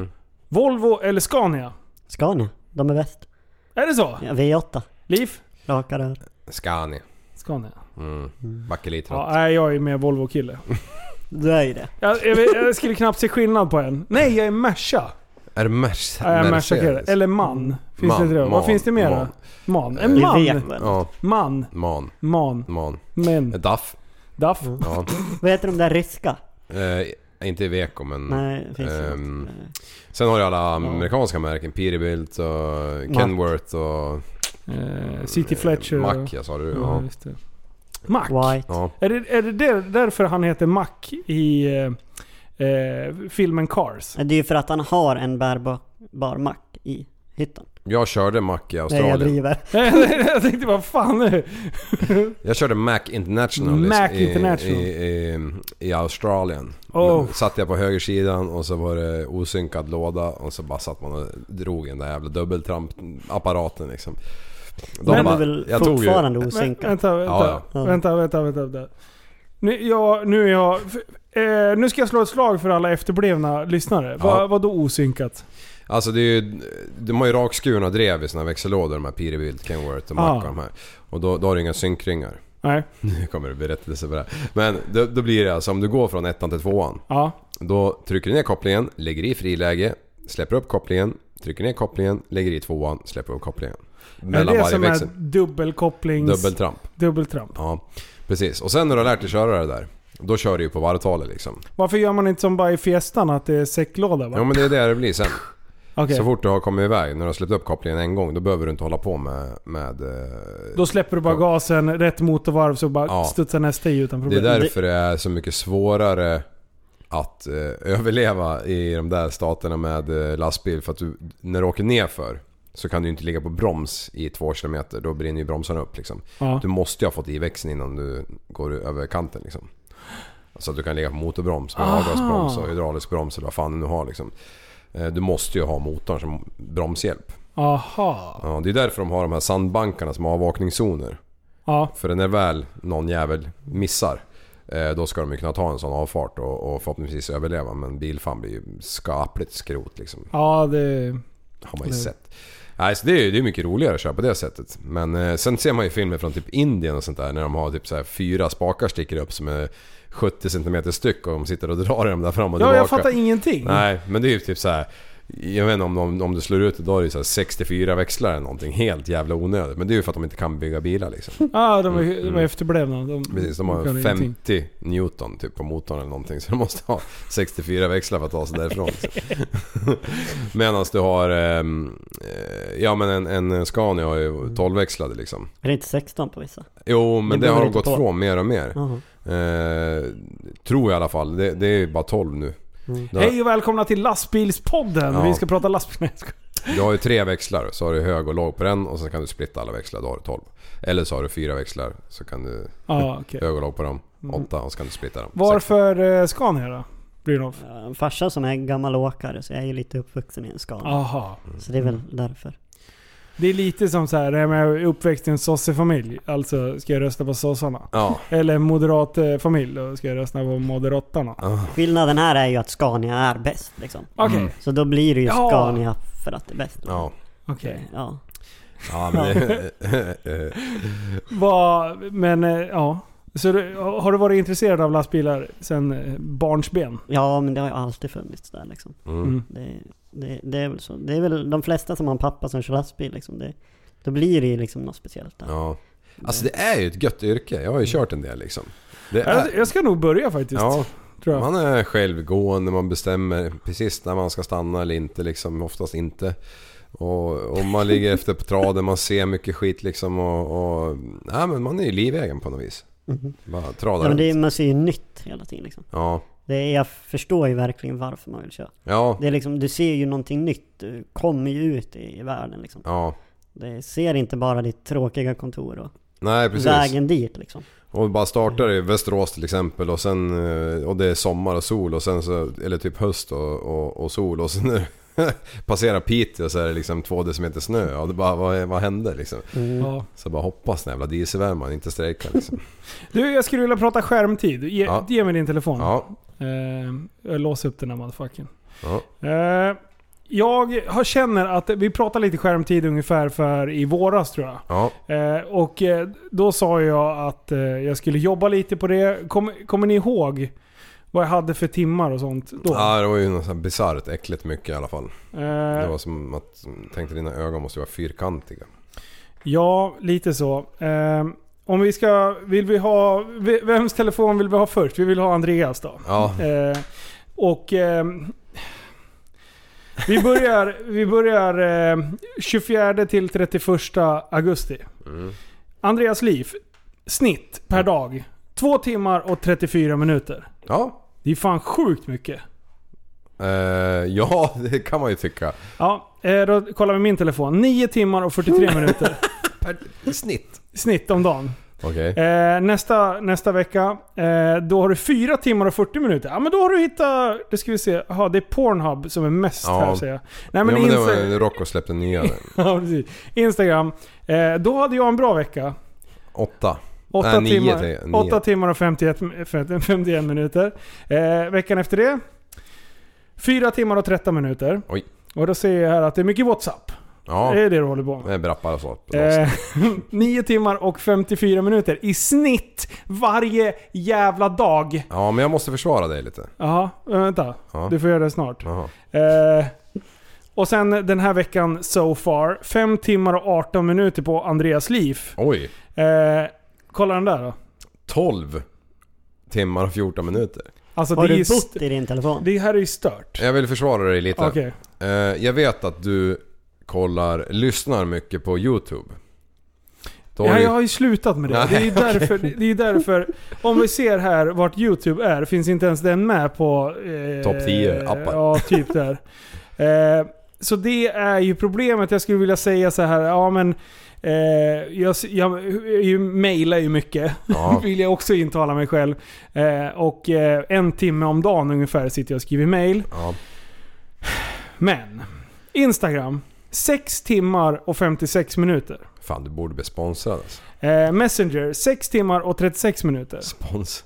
Speaker 5: Volvo eller Scania?
Speaker 8: Ska ni? De är bäst.
Speaker 5: Är det så?
Speaker 8: Ja, V8.
Speaker 5: Liv?
Speaker 8: Raka rör.
Speaker 7: Scania.
Speaker 5: Scania.
Speaker 7: Mm. Bakelitra.
Speaker 5: Ja, nej, jag är med Volvo-kille.
Speaker 8: Du är ju det.
Speaker 5: Jag, jag, jag skulle knappt se skillnad på en. Nej, jag är Merca.
Speaker 7: Är det Merce-
Speaker 5: Ja, jag
Speaker 7: Mercedes? Mm.
Speaker 5: marschakerar. Eller man. Finns
Speaker 7: Man,
Speaker 5: det inte det? Vad
Speaker 7: man,
Speaker 5: finns det mer? då?
Speaker 7: man.
Speaker 5: Man. En
Speaker 8: Vi
Speaker 5: man.
Speaker 8: vet väl.
Speaker 7: Ja,
Speaker 5: Man.
Speaker 7: man.
Speaker 5: Man.
Speaker 7: Man.
Speaker 5: Men.
Speaker 7: Duff.
Speaker 5: Daff.
Speaker 8: Mm.
Speaker 7: Ja.
Speaker 8: Vad heter de där ryska?
Speaker 7: Eh, inte Iveco men...
Speaker 8: Nej, det finns ju
Speaker 7: Ehm,
Speaker 8: något. Eh,
Speaker 7: Sen har du alla amerikanska märken. Peterbilt och Kenworth och...
Speaker 5: Eh, City Fletcher.
Speaker 7: Mack ja, sa du. Ja.
Speaker 5: Ja, just det. Mac.
Speaker 8: White.
Speaker 7: Ja.
Speaker 5: Är det, är det där, därför han heter Mac i eh, eh, filmen
Speaker 8: (laughs)
Speaker 5: Cars?
Speaker 8: Det är ju för att han har en bärbar bar mack i hytten.
Speaker 7: Jag körde Mac i
Speaker 8: Nej, jag
Speaker 7: Australien.
Speaker 8: driver.
Speaker 5: jag tänkte vad fan är det?
Speaker 7: Jag körde Mac International, i-
Speaker 5: Mac
Speaker 7: i,
Speaker 5: International.
Speaker 7: I, i, i Australien.
Speaker 5: Oh.
Speaker 7: Men Satt jag på högersidan och så var det osynkad låda och så bara satt man och drog den där jävla dubbeltramp-apparaten liksom. De
Speaker 8: Men
Speaker 7: bara-
Speaker 8: är väl
Speaker 7: jag tog ju-
Speaker 8: fortfarande
Speaker 5: Vä-
Speaker 8: osynkad.
Speaker 5: Vänta, vänta.
Speaker 7: Ja,
Speaker 8: ja.
Speaker 5: Vänta, vänta, vänta. vänta. Nu, ja, nu är jag... f- Eh, nu ska jag slå ett slag för alla efterblivna lyssnare. Va,
Speaker 7: Ja.
Speaker 5: vad då osynkat?
Speaker 7: Alltså det är ju, de har ju rakskurna drev i sina växellådor de här Peterbilt, Kenworth och Mac
Speaker 5: Ja.
Speaker 8: Ah.
Speaker 7: och de här. Och då, då har du inga synkringar. (laughs)
Speaker 5: Nej.
Speaker 7: Nu kommer det berättelse på det här. Men då, då blir det alltså om du går från ettan till tvåan.
Speaker 5: Ja.
Speaker 7: Då trycker du ner kopplingen, lägger i friläge, släpper upp kopplingen, trycker ner kopplingen, lägger i tvåan, släpper upp kopplingen.
Speaker 5: Är det
Speaker 7: Mellan
Speaker 5: det
Speaker 7: varje
Speaker 5: som
Speaker 7: växel.
Speaker 5: är dubbelkopplings...
Speaker 7: Dubbeltramp.
Speaker 5: Dubbeltramp.
Speaker 7: Ja, precis. Och sen när du har lärt dig köra det där, då kör du ju på varvtalet liksom.
Speaker 5: Varför gör man inte som bara i Fiestan, att det är säcklåda? Va?
Speaker 7: Ja men det är det det blir sen.
Speaker 5: Okej.
Speaker 7: Så fort du har kommit iväg, när du har släppt upp kopplingen en gång, då behöver du inte hålla på med... med eh,
Speaker 5: Då släpper du bara gasen, rätt motorvarv, så bara
Speaker 7: Ja.
Speaker 5: studsar nästa i utan
Speaker 7: Det är
Speaker 5: problem.
Speaker 7: därför det är så mycket svårare att eh, överleva i de där staterna med eh, lastbil. För att du, när du åker nerför så kan du ju inte ligga på broms i två kilometer. Då brinner ju bromsarna upp liksom.
Speaker 5: Ja.
Speaker 7: Du måste ju ha fått i växeln innan du går över kanten liksom. Så att du kan ligga på motorbroms med
Speaker 5: Aha.
Speaker 7: avgasbroms och hydraulisk broms eller vad fan du nu har liksom. Eh, Du måste ju ha motorn som bromshjälp.
Speaker 5: Aha.
Speaker 7: Ja, det är därför de har de här sandbankarna som har avvakningszoner.
Speaker 5: Ja.
Speaker 7: För när väl någon jävel missar eh, då ska de ju kunna ta en sån avfart och, och förhoppningsvis överleva. Men bilfan blir ju skapligt skrot liksom.
Speaker 5: Ja, det...
Speaker 7: Har man ju sett. Nej, så det är ju det är mycket roligare att köra på det sättet. Men eh, sen ser man ju filmer från typ Indien och sånt där när de har typ så här fyra spakar sticker upp som är 70 cm styck och de sitter och drar i dem där fram
Speaker 5: Ja,
Speaker 7: och tillbaka.
Speaker 5: jag fattar ingenting.
Speaker 7: Nej, men det är ju typ så här. Jag vet inte om, de, om du slår ut det, då är det så här 64 växlar eller någonting. Helt jävla onödigt. Men det är ju för att de inte kan bygga bilar liksom.
Speaker 5: Ja, de är, de är efterblivna. De,
Speaker 7: Mm. Precis, de har
Speaker 5: kan
Speaker 7: 50
Speaker 5: ingenting.
Speaker 7: Newton typ på motorn eller någonting så de måste ha 64 växlar för att ta sig därifrån.
Speaker 5: (laughs)
Speaker 7: liksom. Medan du har... ehm, eh, Ja men en, en Scania har ju 12-växlade liksom.
Speaker 8: Är det inte 16 på vissa?
Speaker 7: Jo men
Speaker 8: Det
Speaker 7: det, har
Speaker 8: beror
Speaker 7: de
Speaker 8: lite
Speaker 7: gått
Speaker 8: på.
Speaker 7: från mer och mer.
Speaker 8: Jaha.
Speaker 7: Eh, tror jag i alla fall. Det, det är ju bara 12 nu. Du, har,
Speaker 5: Hej och välkomna till lastbilspodden.
Speaker 7: Ja.
Speaker 5: Vi ska prata lastbil. (laughs) Nej,
Speaker 7: du har ju tre växlar så har du hög och låg på den och sen kan du splitta alla växlar, då har du 12. Eller så har du fyra växlar så kan du
Speaker 5: Ja, Mm. okej.
Speaker 7: hög och låg på dem, åtta och så kan du splitta dem. Sex.
Speaker 5: Varför eh, Scania då? Brynolf?
Speaker 8: Jag har En farsa Eh, som är gammal åkare så jag är ju lite uppvuxen i en skala.
Speaker 5: Aha.
Speaker 8: Så det är väl därför.
Speaker 5: Det är lite som så här, det här med uppväxt i en sossefamilj. Alltså, ska jag rösta på sossarna?
Speaker 7: Ja.
Speaker 5: Eller en moderat eh, familj, då ska jag rösta på moderattarna.
Speaker 8: Skillnaden här är ju att Scania är bäst liksom.
Speaker 5: Okej,
Speaker 7: Mm.
Speaker 8: Så då blir det ju
Speaker 5: Ja.
Speaker 8: Scania för att det är bäst.
Speaker 7: Ja.
Speaker 5: okej.
Speaker 8: Ja.
Speaker 7: Ja men det, (laughs)
Speaker 5: Vad- Men eh, ja. Så du, har du varit intresserad av lastbilar sen eh, barnsben?
Speaker 8: ja, men det har ju alltid funnits där liksom.
Speaker 5: Mm.
Speaker 8: Det, det, det är väl så. Det är väl de flesta som har en pappa som kör lastbil liksom. Det, då blir det ju liksom något speciellt där.
Speaker 7: Ja. Alltså det är ju ett gött yrke. Jag har ju kört en del liksom. Det
Speaker 5: Jag,
Speaker 7: är,
Speaker 5: jag ska nog börja faktiskt.
Speaker 7: ja,
Speaker 5: tror jag.
Speaker 7: man är självgående, man bestämmer precis när man ska stanna eller inte liksom. Oftast inte. Och, och man ligger efter på traden, man ser mycket skit liksom och... och nej, men man är ju livegen på något vis. Bara tradar
Speaker 8: Mhm. Ja, men det, är-
Speaker 7: runt.
Speaker 8: man ser ju nytt hela tiden liksom.
Speaker 7: Ja.
Speaker 8: Det är, jag förstår ju verkligen varför man vill köra.
Speaker 7: Ja.
Speaker 8: Det är liksom, du ser ju någonting nytt. Du kommer ju ut i, i världen liksom.
Speaker 7: Ja.
Speaker 8: Det ser inte bara ditt tråkiga kontor och
Speaker 7: Nej precis.
Speaker 8: vägen dit liksom.
Speaker 7: Och vi bara startar i Västerås till exempel och sen eh, och det är sommar och sol och sen så, eller typ höst och, och, och sol och sen när du (laughs) passerar Piteå så är det liksom två decimeter snö och det bara, vad, vad händer liksom?
Speaker 5: Ja.
Speaker 7: Så bara hoppas den jävla dieselvärmaren inte strejkar liksom.
Speaker 5: Du, jag skulle vilja prata skärmtid. Ge,
Speaker 7: Ja.
Speaker 5: ge mig din telefon.
Speaker 7: Ja,
Speaker 5: Eh, jag låser upp den här motherfuckern.
Speaker 7: ja,
Speaker 5: Eh, jag har- känner att vi pratade lite skärmtid ungefär för i våras tror jag.
Speaker 7: ja.
Speaker 5: Eh, och eh, då sa jag att eh, jag skulle jobba lite på det. Kom, kommer ni ihåg vad jag hade för timmar och sånt då?
Speaker 7: ja det var ju något sånt här bisarrt äckligt mycket i alla fall. Det
Speaker 5: Eh,
Speaker 7: var som att, tänkte dina ögon måste vara fyrkantiga.
Speaker 5: ja, lite så. Eh, om vi ska, vill vi ha, v- vems telefon vill vi ha först? Vi vill ha Andreas då.
Speaker 7: Ja,
Speaker 5: Eh, och ehm, vi börjar, vi börjar ehm,
Speaker 7: Mm.
Speaker 5: eh, 24 till 31 augusti. Andreas Liv, snitt per dag. Två timmar och 34 minuter.
Speaker 7: Ja.
Speaker 5: Det är fan sjukt mycket.
Speaker 7: Eh, (laughs) ja, det kan man ju tycka.
Speaker 5: Ja, eh, då kollar vi min telefon. 9 timmar och
Speaker 7: (laughs)
Speaker 5: 43 minuter
Speaker 7: I snitt.
Speaker 5: snitt om dagen.
Speaker 7: Okej.
Speaker 5: Eh, nästa, nästa vecka, eh, då har du 4 timmar och 40 minuter. Ja men då har du hittat... Det ska vi se. Jaha, det är Pornhub som är mest
Speaker 7: Ja.
Speaker 5: här ser jag. Nej
Speaker 7: Ja,
Speaker 5: men,
Speaker 7: men det var
Speaker 5: Insta-
Speaker 7: ju Rocco släppte nya nu.
Speaker 5: (laughs) ja, precis. Instagram. Eh, då hade jag en bra vecka.
Speaker 7: Åtta.
Speaker 5: 8
Speaker 7: Nej, nio
Speaker 5: timmar,
Speaker 7: till- nio.
Speaker 5: åtta timmar och 51, fem- 51 minuter. Eh, veckan efter det, 4 timmar och 13 minuter.
Speaker 7: Oj.
Speaker 5: Och då ser jag här att det är mycket WhatsApp.
Speaker 7: Ja,
Speaker 5: Det är det du håller på med.
Speaker 7: det brappar och så. på
Speaker 5: Eh, (laughs) 9 timmar och 54 minuter i snitt varje jävla dag.
Speaker 7: Ja, men jag måste försvara dig lite.
Speaker 5: Jaha, eh, vänta.
Speaker 7: Ja.
Speaker 5: Du får göra det snart.
Speaker 7: Jaha.
Speaker 5: Eh, och sen den här veckan so far, 5 timmar och 18 minuter på Andreas liv.
Speaker 7: Oj.
Speaker 5: Eh, kolla den där då.
Speaker 7: 12 timmar och 14 minuter.
Speaker 5: Alltså,
Speaker 8: Har
Speaker 5: det, är
Speaker 8: du
Speaker 5: ju
Speaker 8: bott
Speaker 5: st-
Speaker 8: i din telefon?
Speaker 5: det här är ju stört.
Speaker 7: Jag vill försvara dig lite.
Speaker 5: Okej.
Speaker 7: Eh, jag vet att du kollar, lyssnar mycket på YouTube. Då har
Speaker 5: Ja,
Speaker 7: du-
Speaker 5: jag har ju slutat med det.
Speaker 7: Nej,
Speaker 5: Det
Speaker 7: (laughs)
Speaker 5: är ju därför, det är ju därför om vi ser här vart YouTube är, finns inte ens den med på... Eh,
Speaker 7: Topp 10 appar.
Speaker 5: Ja, typ där. Eh, så det är ju problemet. Jag skulle vilja säga så här, ja men... Eh, jag, s- jag, jag mejlar ju mycket,
Speaker 7: Ja.
Speaker 5: (laughs) vill jag också intala mig själv. Eh, och eh, en timme om dagen ungefär sitter jag och skriver mejl.
Speaker 7: Ja.
Speaker 5: Men, Instagram. 6 timmar och 56 minuter.
Speaker 7: Fan, du borde bli sponsrad alltså.
Speaker 5: Eh, Messenger, 6 timmar och 36 minuter.
Speaker 7: Spons.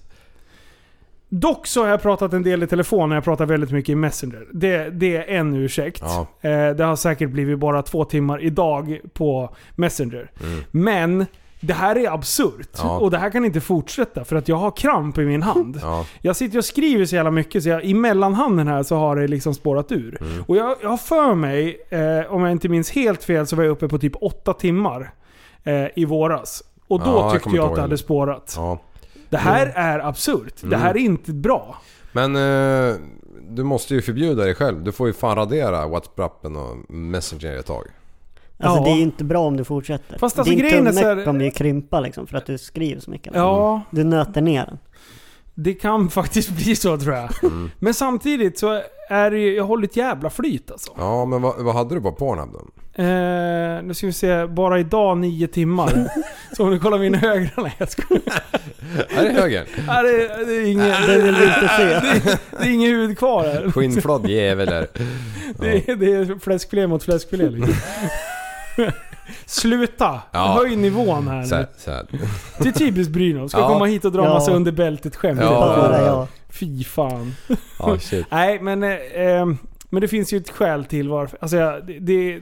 Speaker 5: Dock så har jag pratat en del i telefon när jag pratar väldigt mycket i Messenger. Det, det är en ursäkt.
Speaker 7: Ja.
Speaker 5: Eh, det har säkert blivit bara två timmar idag på Messenger. Men det här är absurt.
Speaker 7: Mm. Ja.
Speaker 5: Och det här kan inte fortsätta för att jag har kramp i min
Speaker 7: (laughs)
Speaker 5: hand.
Speaker 7: Ja.
Speaker 5: Jag sitter och skriver så jävla mycket så jag, i mellanhanden här så har det liksom spårat ur.
Speaker 7: Mm.
Speaker 5: Och jag, jag har för mig, eh, om jag inte minns helt fel, så var jag uppe på typ åtta timmar eh, i våras. Och då
Speaker 7: Ja, jag
Speaker 5: tyckte
Speaker 7: kommer
Speaker 5: jag
Speaker 7: inte
Speaker 5: att det
Speaker 7: ihåg.
Speaker 5: hade spårat.
Speaker 7: ja. Mm.
Speaker 5: Det här är absurt. Det här är inte bra.
Speaker 7: Men eh, du måste ju förbjuda dig själv. Du får ju fan radera WhatsAppen och Messenger ett tag.
Speaker 8: Alltså
Speaker 5: Ja.
Speaker 8: det är ju inte bra om du fortsätter.
Speaker 5: Fast alltså,
Speaker 8: din
Speaker 5: grejen är
Speaker 8: tumme
Speaker 5: så här-
Speaker 8: kommer ju krympa liksom för att du skriver så mycket.
Speaker 7: Mm.
Speaker 8: Liksom.
Speaker 5: Ja,
Speaker 8: Du nöter ner den.
Speaker 5: det kan (laughs) faktiskt bli så tror jag.
Speaker 7: Mm.
Speaker 5: Men samtidigt så är det ju, jag håller ett jävla flyt alltså.
Speaker 7: Ja, men vad, vad hade du på Pornhub då?
Speaker 5: Eh, nu ska vi se, bara idag nio
Speaker 7: (laughs)
Speaker 5: timmar. så om du kollar min högra, nej jag skojar.
Speaker 7: Här är höger.
Speaker 5: Nej, det, det, är inget, det,
Speaker 8: Det vill du inte se.
Speaker 5: (laughs) det är ingen hud kvar här.
Speaker 7: Skinnflådd jävel där.
Speaker 5: (laughs) Det, är- det är fläskfilé mot fläskfilé
Speaker 7: (laughs)
Speaker 5: liksom. Sluta!
Speaker 7: Ja.
Speaker 5: Höj nivån här
Speaker 7: Så
Speaker 5: nu.
Speaker 7: här, så här.
Speaker 5: Det är typiskt Brynolf. Ska
Speaker 7: Ja.
Speaker 5: komma hit och dra
Speaker 8: Ja.
Speaker 5: massa under bältet-skämt.
Speaker 7: Ja,
Speaker 8: Bara
Speaker 7: ja.
Speaker 8: jag.
Speaker 5: Fy fan.
Speaker 7: Ja, shit.
Speaker 5: Nej, men, eh, ehm, men det finns ju ett skäl till varför. Alltså, jag- det, det,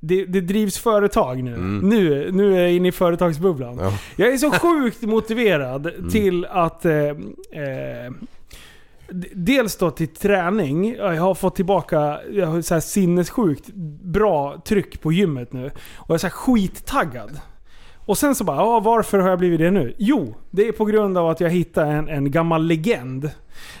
Speaker 5: det, det drivs företag nu.
Speaker 7: Mm.
Speaker 5: nu. Nu är jag inne i företagsbubblan.
Speaker 7: Ja.
Speaker 5: Jag är så sjukt motiverad till att... Eh, eh, d- Dels då till träning. Jag har fått tillbaka jag har så här sinnessjukt bra tryck på gymmet nu. Och jag är så här skittaggad. Och sen så bara, ja, varför har jag blivit det nu? Jo, det är på grund av att jag hittade en, en gammal legend.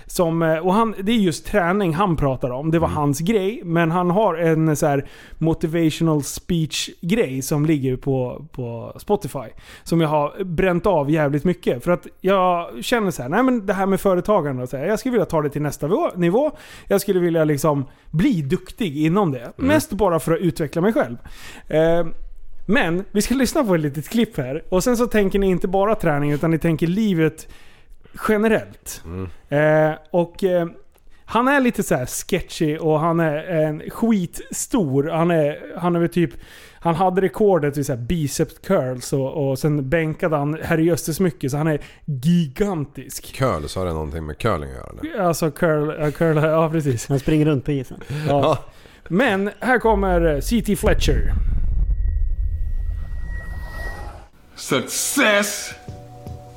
Speaker 5: Som, eh, och han, det är just träning han pratar om. Det var hans grej. Men han har en så här motivational speech-grej som ligger på, på Spotify. Som jag har bränt av jävligt mycket. För att jag känner så här, nej men det här med företagande. och Så här, jag skulle vilja ta det till nästa vå- nivå. Jag skulle vilja liksom bli duktig inom det. Mest bara för att utveckla mig själv. Eh, men vi ska (laughs) lyssna på ett litet klipp här. Och sen så tänker ni inte bara träning utan ni tänker livet generellt. Eh, och eh, han är lite så här sketchy och han är en skitstor. Han är, han är väl typ... Han hade rekordet i så här bicep curls och, och sen bänkade han herrejösses mycket så han är gigantisk.
Speaker 7: Curl, så har det någonting med curling att göra eller?
Speaker 5: Alltså curl, ja, curl (laughs) ja precis.
Speaker 8: Han springer runt på isen.
Speaker 5: Ja. Men här kommer eh, C.T. Fletcher.
Speaker 10: Success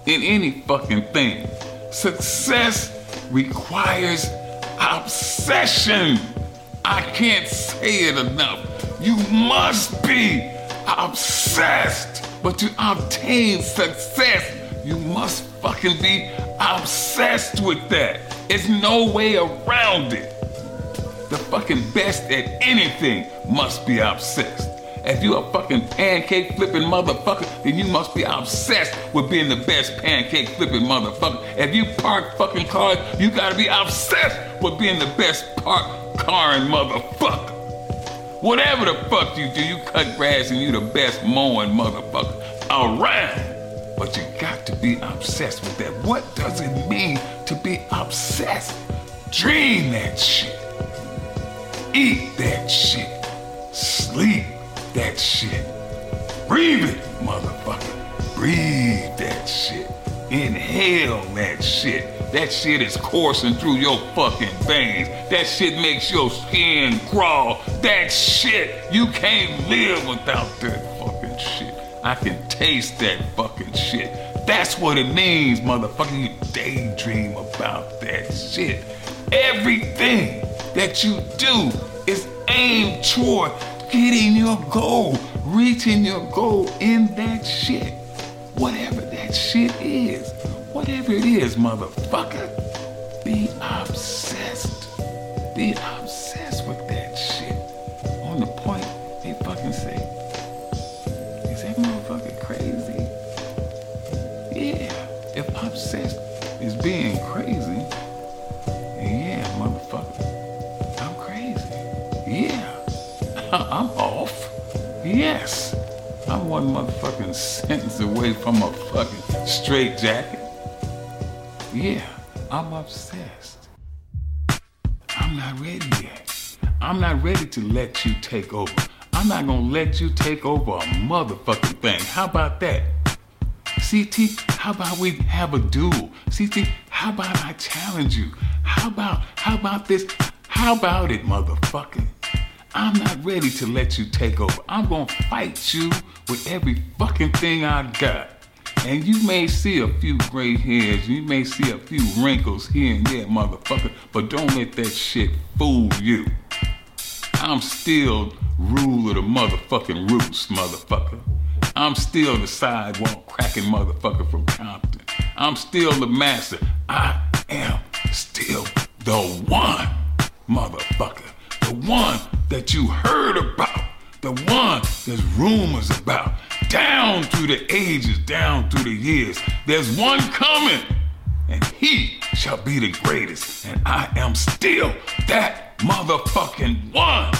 Speaker 10: in any fucking thing. Success requires obsession. I can't say it enough. You must be obsessed. But to obtain success, you must fucking be obsessed with that. There's no way around it. The fucking best at anything must be obsessed. If you a fucking pancake flipping motherfucker, then you must be obsessed with being the best pancake flipping motherfucker. If you park fucking cars, you gotta be obsessed with being the best park carring motherfucker. Whatever the fuck you do, you cut grass and you the best mowing motherfucker around. But you got to be obsessed with that. What does it mean to be obsessed? Dream that shit. Eat that shit. Sleep that shit. Breathe it, motherfucker. Breathe that shit. Inhale that shit. That shit is coursing through your fucking veins. That shit makes your skin crawl. That shit, you can't live without that fucking shit. I can taste that fucking shit. That's what it means, motherfucker. You daydream about that shit. Everything that you do is aimed toward getting your goal, reaching your goal in that shit. Whatever that shit is, whatever it is, motherfucker, be obsessed. Be obsessed with that shit. On the point, they fucking say, is that motherfucker crazy? Yeah, if obsessed is being crazy, yeah, motherfucker, I'm crazy. Yeah. (laughs) I'm off. Yes. I'm one motherfucking (laughs) sentence away from a fucking straight jacket. Yeah, I'm obsessed. I'm not ready yet. I'm not ready to let you take over. I'm not gonna let you take over a motherfucking thing. How about that? CT, how about we have a duel? CT, how about I challenge you? How about, how about this? How about it, motherfucker? I'm not ready to let you take over. I'm gonna fight you with every fucking thing I got. And you may see a few gray hairs, you may see a few wrinkles here and there, motherfucker, but don't let that shit fool you. I'm still rule of the motherfucking roots, motherfucker. I'm still the sidewalk cracking motherfucker from Compton. I'm still the master. I am still the one, motherfucker. The one that you heard about. The one there's rumors about. Down through the ages, down through the years. There's one coming, and he shall be the greatest. And I am still that motherfucking one.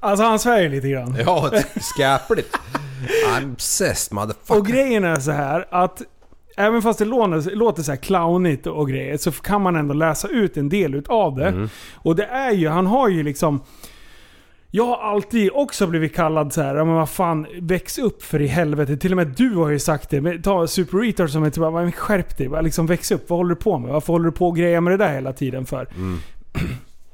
Speaker 5: Alltså han svär ju lite grann.
Speaker 7: Ja, skäpligt. I'm obsessed motherfucker.
Speaker 5: Och grejen är så här att även fast det låter, låter så här clownigt och grejer så kan man ändå läsa ut en del utav det. Och det är ju, han har ju liksom... Jag har alltid också blivit kallad så här, "Ja, men vad fan, väx upp för i helvete. Till och med du har ju sagt det. Men ta Super Retard som ett, bara, "Men skärp dig. Bara Liksom, väx upp. Vad håller du på med? Varför håller du på och grejer med det där hela tiden för?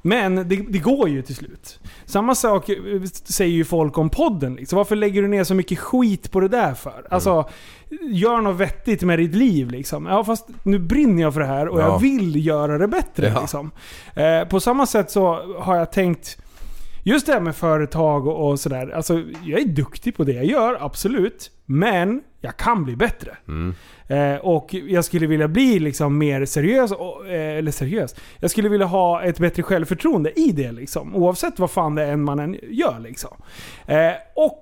Speaker 5: Men det, det går ju till slut. Samma sak eh, säger ju folk om podden. Liksom. Varför lägger du ner så mycket skit på det där för? Alltså, gör något vettigt med ditt liv liksom. Ja, fast nu brinner jag för det här och
Speaker 7: Ja.
Speaker 5: jag vill göra det bättre.
Speaker 7: Ja.
Speaker 5: Liksom. Eh, på samma sätt så har jag tänkt Just det här med företag och, och sådär. Alltså, jag är duktig på det jag gör, absolut. Men jag kan bli bättre. Eh, och jag skulle vilja bli liksom mer seriös. Och, eh, eller seriös. Jag skulle vilja ha ett bättre självförtroende i det. Liksom, oavsett vad fan det än man än gör. Liksom. Eh, och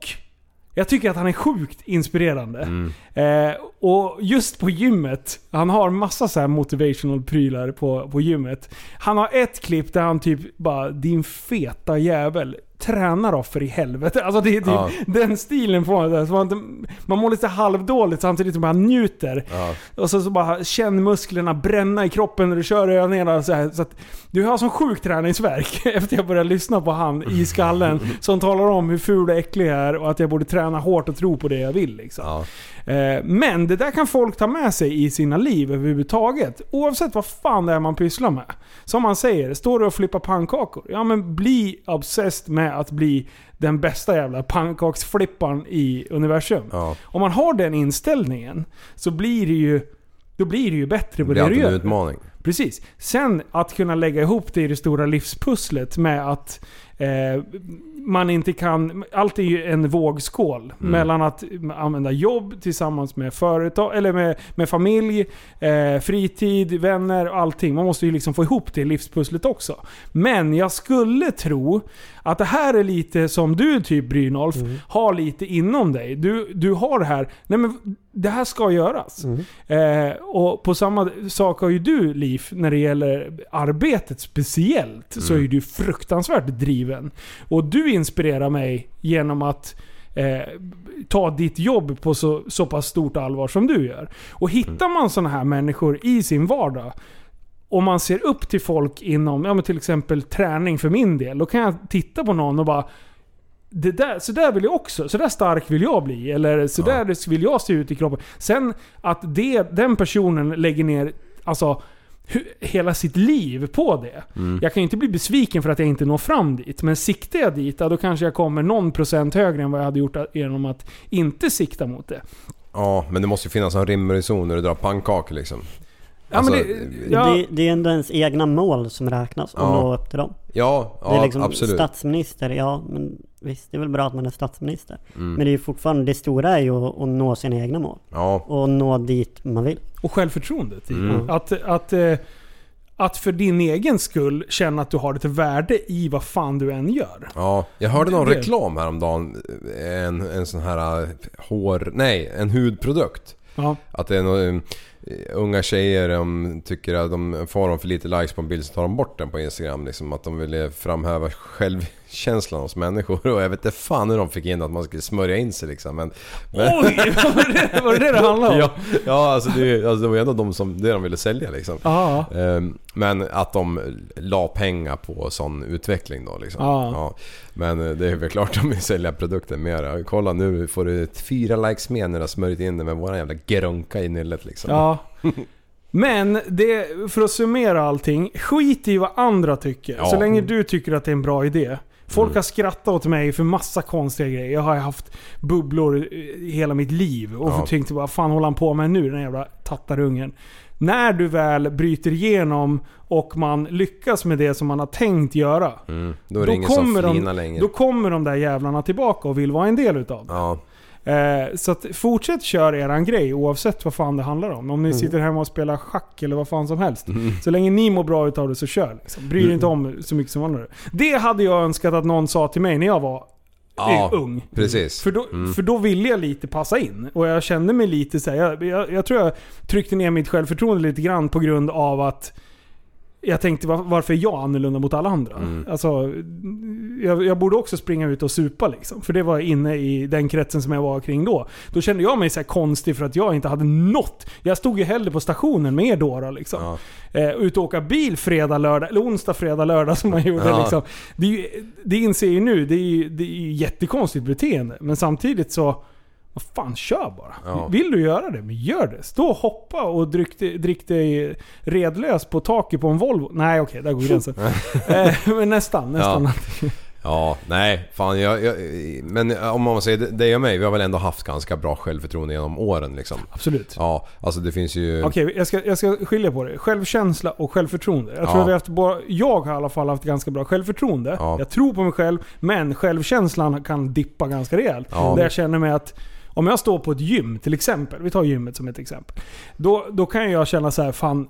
Speaker 5: jag tycker att han är sjukt inspirerande.
Speaker 7: Mm.
Speaker 5: Eh, och just på gymmet, han har massa så här motivational prylar på, på gymmet. Han har ett klipp där han typ bara “Din feta jävel, träna då för i helvete”. Alltså det är typ
Speaker 7: Ja.
Speaker 5: den stilen på honom. där. Så Man, inte- man mår lite halvdåligt samtidigt som man njuter.
Speaker 7: Ja.
Speaker 5: Och så, så bara känn musklerna bränna i kroppen när du kör övningarna. Så här, så att, du har sån sjuk träningsvärk (laughs) efter jag började lyssna på han i skallen. som talar om hur ful och äcklig jag är och att jag borde träna hårt och tro på det jag vill. Liksom.
Speaker 7: Ja.
Speaker 5: Eh, Men det där kan folk ta med sig i sina liv överhuvudtaget. Oavsett vad fan det är man pysslar med. Som man säger, står du och flippar pannkakor? Ja men bli obsessed med att bli den bästa jävla pannkaksflipparen i universum.
Speaker 7: Ja.
Speaker 5: Om man har den inställningen så blir det ju, då blir det ju bättre på
Speaker 7: Det är
Speaker 5: det, du
Speaker 7: alltid en
Speaker 5: gör.
Speaker 7: utmaning.
Speaker 5: Precis. Sen att kunna lägga ihop det i det stora livspusslet med att eh, man inte kan... Allt är ju en vågskål. Mellan att använda jobb tillsammans med företag, eller med, med familj, eh, fritid, vänner och allting. Man måste ju liksom få ihop det livspusslet också. Men jag skulle tro att det här är lite som du typ Brynolf, har lite inom dig. Du, du har det här, nej men det här ska göras. Eh, och på samma sak har ju du Liv, när det gäller arbetet speciellt, så är du fruktansvärt driven. Och du inspirerar mig genom att eh, ta ditt jobb på så, så pass stort allvar som du gör. Och hittar man sådana här människor i sin vardag, om man ser upp till folk inom ja, men till exempel träning för min del, då kan jag titta på någon och bara det där, så där vill jag också. Så där stark vill jag bli. Eller så där vill jag se ut i kroppen. Sen att det, den personen lägger ner alltså, hu- hela sitt liv på det.
Speaker 11: Mm.
Speaker 5: Jag kan ju inte bli besviken för att jag inte når fram dit. Men siktar jag dit, ja, då kanske jag kommer någon procent högre än vad jag hade gjort genom att inte sikta mot det.
Speaker 7: Ja, men det måste ju finnas en rim och reson när du drar pannkakor liksom.
Speaker 5: Ja, men det- ja.
Speaker 8: Det, det är ju ändå ens egna mål som räknas och
Speaker 7: Ja.
Speaker 8: nå upp till dem.
Speaker 7: Ja,
Speaker 8: det
Speaker 7: ja,
Speaker 8: är liksom
Speaker 7: absolut.
Speaker 8: Statsminister, ja men visst det är väl bra att man är statsminister.
Speaker 7: Mm.
Speaker 8: Men det är ju fortfarande, det stora är ju att, att nå sina egna mål.
Speaker 7: Ja.
Speaker 8: Och nå dit man vill.
Speaker 5: Och självförtroendet. i det.
Speaker 8: Mm.
Speaker 5: Att, att, eh, att för din egen skull känna att du har ett värde i vad fan du än gör.
Speaker 7: Ja, jag hörde någon
Speaker 5: Det-
Speaker 7: reklam häromdagen. En, en sån här eh, hår... Nej, en hudprodukt.
Speaker 5: Ja.
Speaker 7: Att det är någon, eh, unga tjejer de tycker att de får de för lite likes på en bild så tar de bort den på Instagram. Liksom, att de ville framhäva självkänslan hos människor. (laughs) Och jag vet inte fan hur de fick in att man skulle smörja in sig liksom. Men, men...
Speaker 5: Oj! Var det var det, det det handlade om?
Speaker 7: (laughs) Ja, ja alltså, det, är ju- alltså det var ju ändå de som, det de ville sälja liksom.
Speaker 5: Ja.
Speaker 7: Ehm, Men att de la pengar på sån utveckling då liksom.
Speaker 5: Ja.
Speaker 7: Men eh, det är väl klart de vill sälja produkten mer. Kolla nu får du ett fyra likes mer när du har smörjt in det med våran jävla grönka i nyllet liksom.
Speaker 5: Ja. Men det, för att summera allting, skit i vad andra tycker.
Speaker 7: Ja.
Speaker 5: Så länge du tycker att det är en bra idé. Folk
Speaker 7: Mm.
Speaker 5: har skrattat åt mig för massa konstiga grejer. Jag har haft bubblor i hela mitt liv och
Speaker 7: Ja.
Speaker 5: tänkte vad fan håller han på med nu, den här jävla tattarungen. När du väl bryter igenom och man lyckas med det som man har tänkt göra.
Speaker 7: Mm. Då är det ingen som flinar längre.
Speaker 5: Då kommer de där jävlarna tillbaka och vill vara en del utav det.
Speaker 7: Ja.
Speaker 5: Eh, så att fortsätt köra eran grej oavsett vad fan det handlar om. Om ni
Speaker 7: Mm.
Speaker 5: sitter hemma och spelar schack eller vad fan som helst.
Speaker 7: Mm.
Speaker 5: Så länge ni mår bra utav det så kör. Liksom. Bry er
Speaker 7: Mm.
Speaker 5: inte om så mycket som andra. Det hade jag önskat att någon sa till mig när jag var
Speaker 7: Ja,
Speaker 5: eh, ung.
Speaker 7: precis.
Speaker 5: För då,
Speaker 7: Mm.
Speaker 5: för då ville jag lite passa in. Och jag kände mig lite så här, jag, jag, jag tror jag tryckte ner mitt självförtroende lite grann på grund av att jag tänkte "Var- varför är jag annorlunda mot alla andra?
Speaker 7: Mm.
Speaker 5: Alltså, jag, jag borde också springa ut och supa liksom. För det var jag inne i den kretsen som jag var kring då. Då kände jag mig så här konstig för att jag inte hade något. Jag stod ju hellre på stationen med er dårar liksom. Eh, ut och åka bil fredag, lördag, eller onsdag, fredag, lördag som man gjorde
Speaker 7: Ja.
Speaker 5: liksom. Det, är ju, det inser jag ju nu, det är ju, det är ju jättekonstigt beteende. Men samtidigt så, vad fan, kör bara.
Speaker 7: Ja.
Speaker 5: Vill du göra det, men gör det. Stå och hoppa och drick, dig- drick dig redlös på taket på en Volvo. Nej okej, där går
Speaker 7: (laughs)
Speaker 5: gränsen. eh, men nästan, nästan.
Speaker 7: Ja. Ja, nej. Fan, jag, jag, men eh, om man säger det- dig och mig, vi har väl ändå haft ganska bra självförtroende genom åren liksom.
Speaker 5: Absolut.
Speaker 7: Ja, alltså det finns ju...
Speaker 5: Okej, jag, ska, jag ska skilja på det. Självkänsla och självförtroende. Jag tror
Speaker 7: Ja.
Speaker 5: att vi har haft, bara- jag har i alla fall haft ganska bra självförtroende. Jag tror på mig själv, men självkänslan kan dippa ganska rejält.
Speaker 7: Ja.
Speaker 5: Där jag känner mig att om jag står på ett gym till exempel, vi tar gymmet som ett exempel. Då, då kan jag känna så här, fan,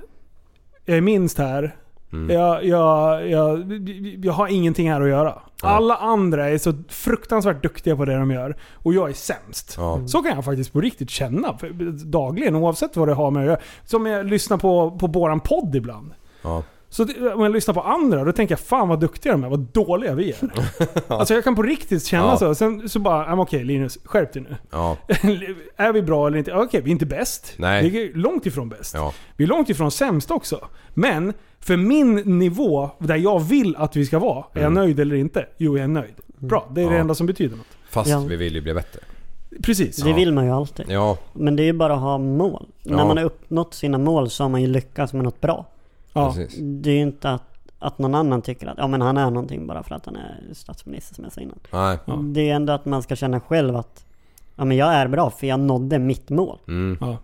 Speaker 5: jag är minst här.
Speaker 11: Mm.
Speaker 5: Jag, jag, jag, jag har ingenting här att göra. Alla andra är så fruktansvärt duktiga på det de gör och jag är sämst.
Speaker 7: Mm.
Speaker 5: Så kan jag faktiskt på riktigt känna för, dagligen oavsett vad det har med att göra. Som jag lyssnar på, på våran podd ibland.
Speaker 7: Ja.
Speaker 5: Så det, om jag lyssnar på andra, då tänker jag fan vad duktiga de är, vad dåliga vi
Speaker 7: (laughs)
Speaker 5: är. Alltså jag kan på riktigt känna
Speaker 7: Ja.
Speaker 5: så. Sen så bara, "Ja, men okej Linus, skärp dig nu.
Speaker 7: Ja.
Speaker 5: (laughs) är vi bra eller inte? Ja, Okej, vi är inte bäst.
Speaker 7: Nej.
Speaker 5: Vi är långt ifrån bäst.
Speaker 7: Ja.
Speaker 5: Vi är långt ifrån sämst också. Men för min nivå, där jag vill att vi ska vara, är jag
Speaker 7: Mm.
Speaker 5: nöjd eller inte? Jo, jag är nöjd. Bra, det är det
Speaker 7: Ja.
Speaker 5: enda som betyder något.
Speaker 7: Fast
Speaker 5: Ja.
Speaker 7: vi vill ju bli bättre.
Speaker 5: Precis.
Speaker 8: Det
Speaker 5: Ja.
Speaker 8: vill man ju alltid.
Speaker 7: Ja.
Speaker 8: Men det är ju bara att ha mål.
Speaker 7: Ja.
Speaker 8: När man har uppnått sina mål så har man ju lyckats med något bra.
Speaker 7: Ja. Precis.
Speaker 8: Det är ju inte att, att någon annan tycker att ja, men han är någonting bara för att han är statsminister som jag sa innan.
Speaker 7: Nej.
Speaker 8: Det är ju ändå att man ska känna själv att ja, men jag är bra för jag nådde mitt mål.
Speaker 7: Mm.
Speaker 5: Ja.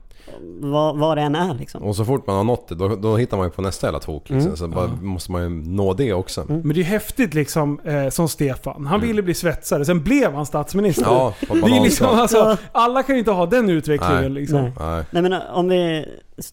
Speaker 8: Vad, vad det än är liksom.
Speaker 7: Och så fort man har nått det då, då hittar man ju på nästa jävla tok. Liksom.
Speaker 5: Mm.
Speaker 7: Så bara, måste man ju nå det också.
Speaker 5: Men det är ju häftigt liksom, eh, som Stefan. Han ville bli svetsare, sen blev han statsminister.
Speaker 7: Mm. Ja, på
Speaker 5: det är
Speaker 7: banan.
Speaker 5: liksom, alltså, alla kan ju inte ha den utvecklingen liksom.
Speaker 8: Nej. Nej men eh, om vi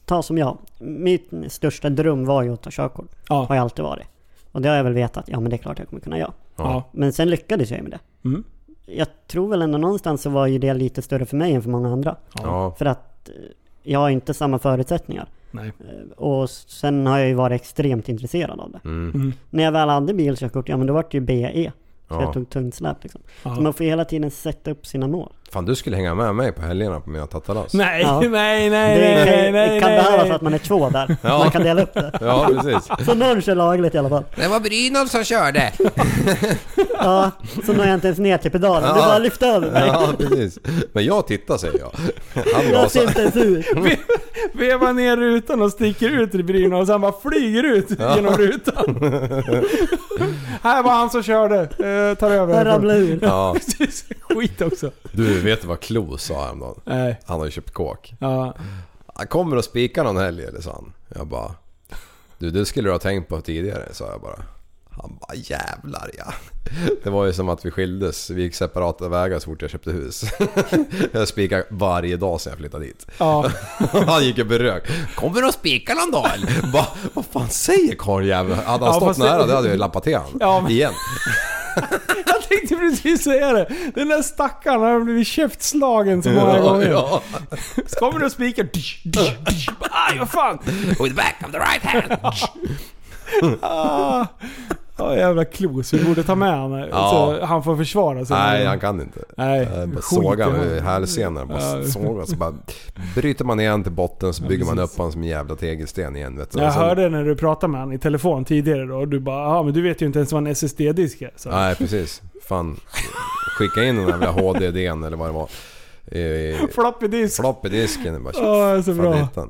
Speaker 8: tar som jag. Min största dröm var ju att ta körkort. Har ju alltid varit. Och det har jag väl vetat, ja men det är klart jag kommer kunna göra.
Speaker 5: Ja.
Speaker 8: Men sen lyckades jag ju med det.
Speaker 5: Mm.
Speaker 8: Jag tror väl ändå någonstans så var ju det lite större för mig än för många andra.
Speaker 7: Ja.
Speaker 8: För att eh, jag har inte samma förutsättningar.
Speaker 5: Nej.
Speaker 8: Eh, Och sen har jag ju varit extremt intresserad av det.
Speaker 7: Mm.
Speaker 5: Mm.
Speaker 8: När jag väl hade bilkörkort, ja men då var det ju BE. Så
Speaker 7: Ja.
Speaker 8: jag tog tungt släp liksom.
Speaker 7: Ja.
Speaker 8: Så man får ju hela tiden sätta upp sina mål.
Speaker 7: Fan du skulle hänga med mig på helgerna på mina tattalas.
Speaker 5: Nej,
Speaker 8: Ja.
Speaker 5: (laughs) nej, nej,
Speaker 8: det
Speaker 5: nej,
Speaker 8: kan-
Speaker 5: nej, nej.
Speaker 8: kan behövas
Speaker 5: nej.
Speaker 8: att man är två där.
Speaker 7: (laughs) Ja.
Speaker 8: Man kan dela upp det.
Speaker 7: Ja, precis.
Speaker 8: Så någon kör lagligt i alla fall.
Speaker 6: Det var Brynolf som körde.
Speaker 8: (laughs) Ja, så når jag inte ens ner till pedalen.
Speaker 7: Ja.
Speaker 8: Du bara lyfter över mig.
Speaker 7: Ja, precis. Men jag tittar säger jag. Han
Speaker 8: Jag ser inte
Speaker 7: gasar.
Speaker 8: ens ut.
Speaker 5: Vevar ner rutan och sticker ut i brynen och sen bara flyger ut
Speaker 7: Ja.
Speaker 5: genom rutan. Här var han som körde. Eh, tar över.
Speaker 7: (laughs)
Speaker 8: Jag ramlade ur.
Speaker 7: Ja.
Speaker 5: Precis. Skit också.
Speaker 7: Du, vet du vad Klo sa häromdagen?
Speaker 5: Nej.
Speaker 7: Han har ju köpt kåk.
Speaker 5: Ja.
Speaker 7: Han kommer och spikar någon helg eller så han. Jag bara... Du, det skulle du ha tänkt på tidigare, sa jag bara. Han bara jävlar ja. Det var ju som att vi skildes. Vi gick separata vägar så fort jag köpte hus. (laughs) Jag spikade varje dag sen jag flyttade dit.
Speaker 5: Ja.
Speaker 7: (laughs) Han gick och berök. Kommer du att spika någon dag eller? Bara, Vad fan säger karljäveln? Hade
Speaker 5: Ja,
Speaker 7: han stått
Speaker 5: fast det-
Speaker 7: nära då hade jag ju lappat till honom.
Speaker 5: Ja, men-
Speaker 7: Igen.
Speaker 5: Jag tänkte precis säga det. Den där stackaren har blivit käftslagen så många
Speaker 7: Ja,
Speaker 5: gånger.
Speaker 7: ja.
Speaker 5: Så kommer du och spikar. Dish, dish, dish. Aj, vad fan.
Speaker 6: With the back of the right hand.
Speaker 5: Ah. Ja, jävla klos. Vi borde ta med honom
Speaker 7: Ja.
Speaker 5: så han får försvara sig.
Speaker 7: Nej, han kan inte.
Speaker 5: Nej,
Speaker 7: Jag Eh, bara
Speaker 5: skit
Speaker 7: sågar
Speaker 5: i honom.
Speaker 7: med hälsenan.
Speaker 5: Ja.
Speaker 7: Bara sågar. Så bara bryter man igen till botten så bygger man upp honom som en jävla tegelsten igen. Vet du.
Speaker 5: Jag
Speaker 7: Och sen-
Speaker 5: hörde när du pratade med han i telefon tidigare då, och du bara ja men du vet ju inte ens vad en SSD-disk är. Så.
Speaker 7: Nej, precis. Fan. Skicka in den där jävla HDDn eller vad det var. Eh,
Speaker 5: Floppy disk.
Speaker 7: Flopp i disken. Bara,
Speaker 5: Ja, så
Speaker 7: fan,
Speaker 5: bra.
Speaker 7: hitta den.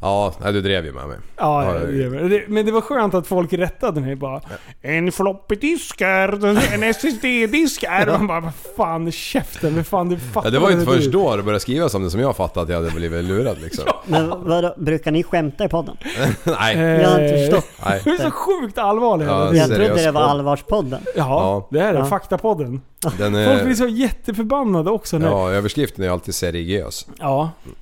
Speaker 7: Ja, nej, du drev ju med mig.
Speaker 5: Ja, ja, det är väl- det- men det var skönt att folk rättade mig bara. En floppy disk är, en SSD-disk
Speaker 7: (laughs)
Speaker 5: är. Man bara, vad fan käften, vad fan du fattar
Speaker 7: Ja, det var ju inte
Speaker 5: vad du-
Speaker 7: först då det började skrivas om det som jag fattade att jag hade blivit lurad
Speaker 5: (laughs)
Speaker 7: liksom.
Speaker 8: Men vadå, brukar ni skämta i podden?
Speaker 7: (laughs) Nej.
Speaker 8: Jag har inte
Speaker 5: Eh,
Speaker 8: förstått.
Speaker 7: Nej.
Speaker 5: Du är så sjukt allvarlig hela
Speaker 7: Ja,
Speaker 5: tiden.
Speaker 8: Jag
Speaker 7: seriös
Speaker 8: trodde det var
Speaker 7: podd.
Speaker 8: allvarspodden.
Speaker 5: Ja,
Speaker 7: Ja.
Speaker 5: det är det.
Speaker 8: Ja.
Speaker 5: Faktapodden.
Speaker 7: Den
Speaker 5: Eh, Folk blir
Speaker 7: är,
Speaker 5: så jätteförbannade också nu. Ja,
Speaker 7: ja, överskriften är alltid seriös.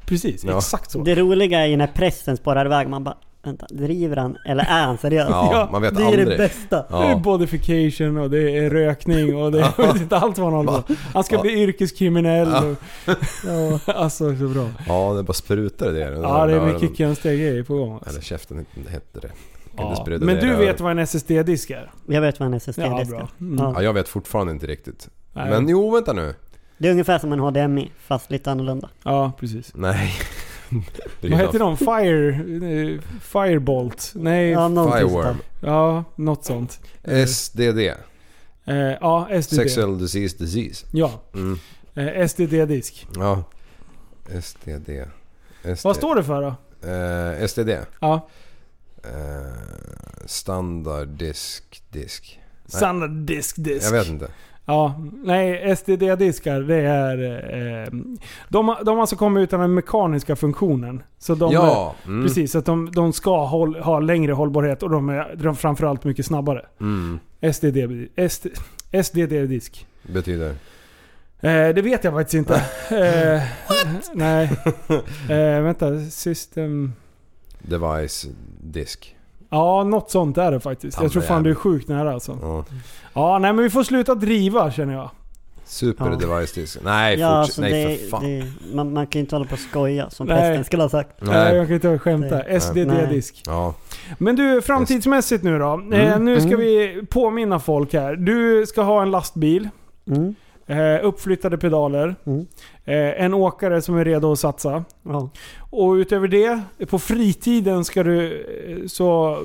Speaker 5: precis.
Speaker 7: Ja.
Speaker 5: Exakt så.
Speaker 8: Det roliga är ju när pressen spårar iväg. Man bara, vänta, driver han eller är han seriös?
Speaker 7: Ja,
Speaker 5: Ja,
Speaker 7: man vet
Speaker 8: det är det
Speaker 7: aldrig.
Speaker 8: bästa.
Speaker 5: Det är
Speaker 7: Ja.
Speaker 5: bodification och det är rökning och det är (laughs) jag vet inte allt vad han håller på Han ska
Speaker 7: Ja.
Speaker 5: bli yrkeskriminell. och- Ja, alltså så bra.
Speaker 7: ja, det bara sprutar det. i den
Speaker 5: Ja,
Speaker 7: där
Speaker 5: det är
Speaker 7: öronen.
Speaker 5: mycket konstiga grejer på gång. alltså.
Speaker 7: Eller käften hette det. Kunde
Speaker 5: Ja.
Speaker 7: spruta
Speaker 5: Men
Speaker 7: det
Speaker 5: du
Speaker 7: där.
Speaker 5: vet vad en SSD-disk är?
Speaker 8: Jag vet vad en SSD
Speaker 5: Ja,
Speaker 8: är.
Speaker 5: bra.
Speaker 8: Ja,
Speaker 5: Mm.
Speaker 7: Ja, jag vet fortfarande inte riktigt.
Speaker 5: Nej.
Speaker 7: Men jo, vänta nu.
Speaker 8: Det är ungefär som en HDMI, fast lite annorlunda.
Speaker 5: Ja, precis.
Speaker 7: Nej.
Speaker 5: (laughs) Vad heter de? Fire... eh, Firebolt? Nej,
Speaker 8: Ja, typ
Speaker 5: ja,
Speaker 8: någonting sånt där.
Speaker 7: Fireworm.
Speaker 5: något sånt.
Speaker 7: SDD.
Speaker 5: Eh, ja, SDD.
Speaker 7: Sexual disease disease.
Speaker 5: Ja.
Speaker 7: Mm.
Speaker 5: Eh, SDD-disk.
Speaker 7: Ja. SDD. SD.
Speaker 5: Vad står det för då?
Speaker 7: Eh, SDD.
Speaker 5: Ja.
Speaker 7: Eh, standard disk disk.
Speaker 5: Standard disk disk.
Speaker 7: Jag vet inte.
Speaker 5: Ja, nej SDD-diskar det är... Eh, de, har- de har alltså kommit utan den mekaniska funktionen. Så de
Speaker 7: ja!
Speaker 5: är,
Speaker 7: Mm.
Speaker 5: Precis, så att de, de ska håll, ha längre hållbarhet och de är, de är framförallt mycket snabbare.
Speaker 7: Mm.
Speaker 5: SDD, SD, SDD-disk.
Speaker 7: Betyder.
Speaker 5: Eh, det vet jag faktiskt inte. eh, nej. Eh, vänta, system...
Speaker 7: Device disk.
Speaker 5: Ja, något sånt är det faktiskt. Jag tror fan du är sjukt nära alltså.
Speaker 7: Ja.
Speaker 5: Ja, nej men vi får sluta driva känner jag.
Speaker 7: Super
Speaker 8: Ja.
Speaker 7: device disk. Nej,
Speaker 8: Ja,
Speaker 7: forts-
Speaker 8: alltså
Speaker 7: Nej
Speaker 8: det,
Speaker 7: för fan.
Speaker 8: det, man, man kan ju inte hålla på och skoja som
Speaker 5: Nej.
Speaker 8: prästen skulle ha sagt.
Speaker 5: Nej. Eh, jag kan inte skämta.
Speaker 8: Nej.
Speaker 5: SDD-disk.
Speaker 7: Ja.
Speaker 5: Men du, framtidsmässigt nu då. Eh, nu ska vi påminna folk här. Du ska ha en lastbil,
Speaker 8: Mm.
Speaker 5: eh, uppflyttade pedaler,
Speaker 8: Mm.
Speaker 5: eh, en åkare som är redo att satsa.
Speaker 8: Ja.
Speaker 5: Och utöver det, på fritiden ska du, eh, så,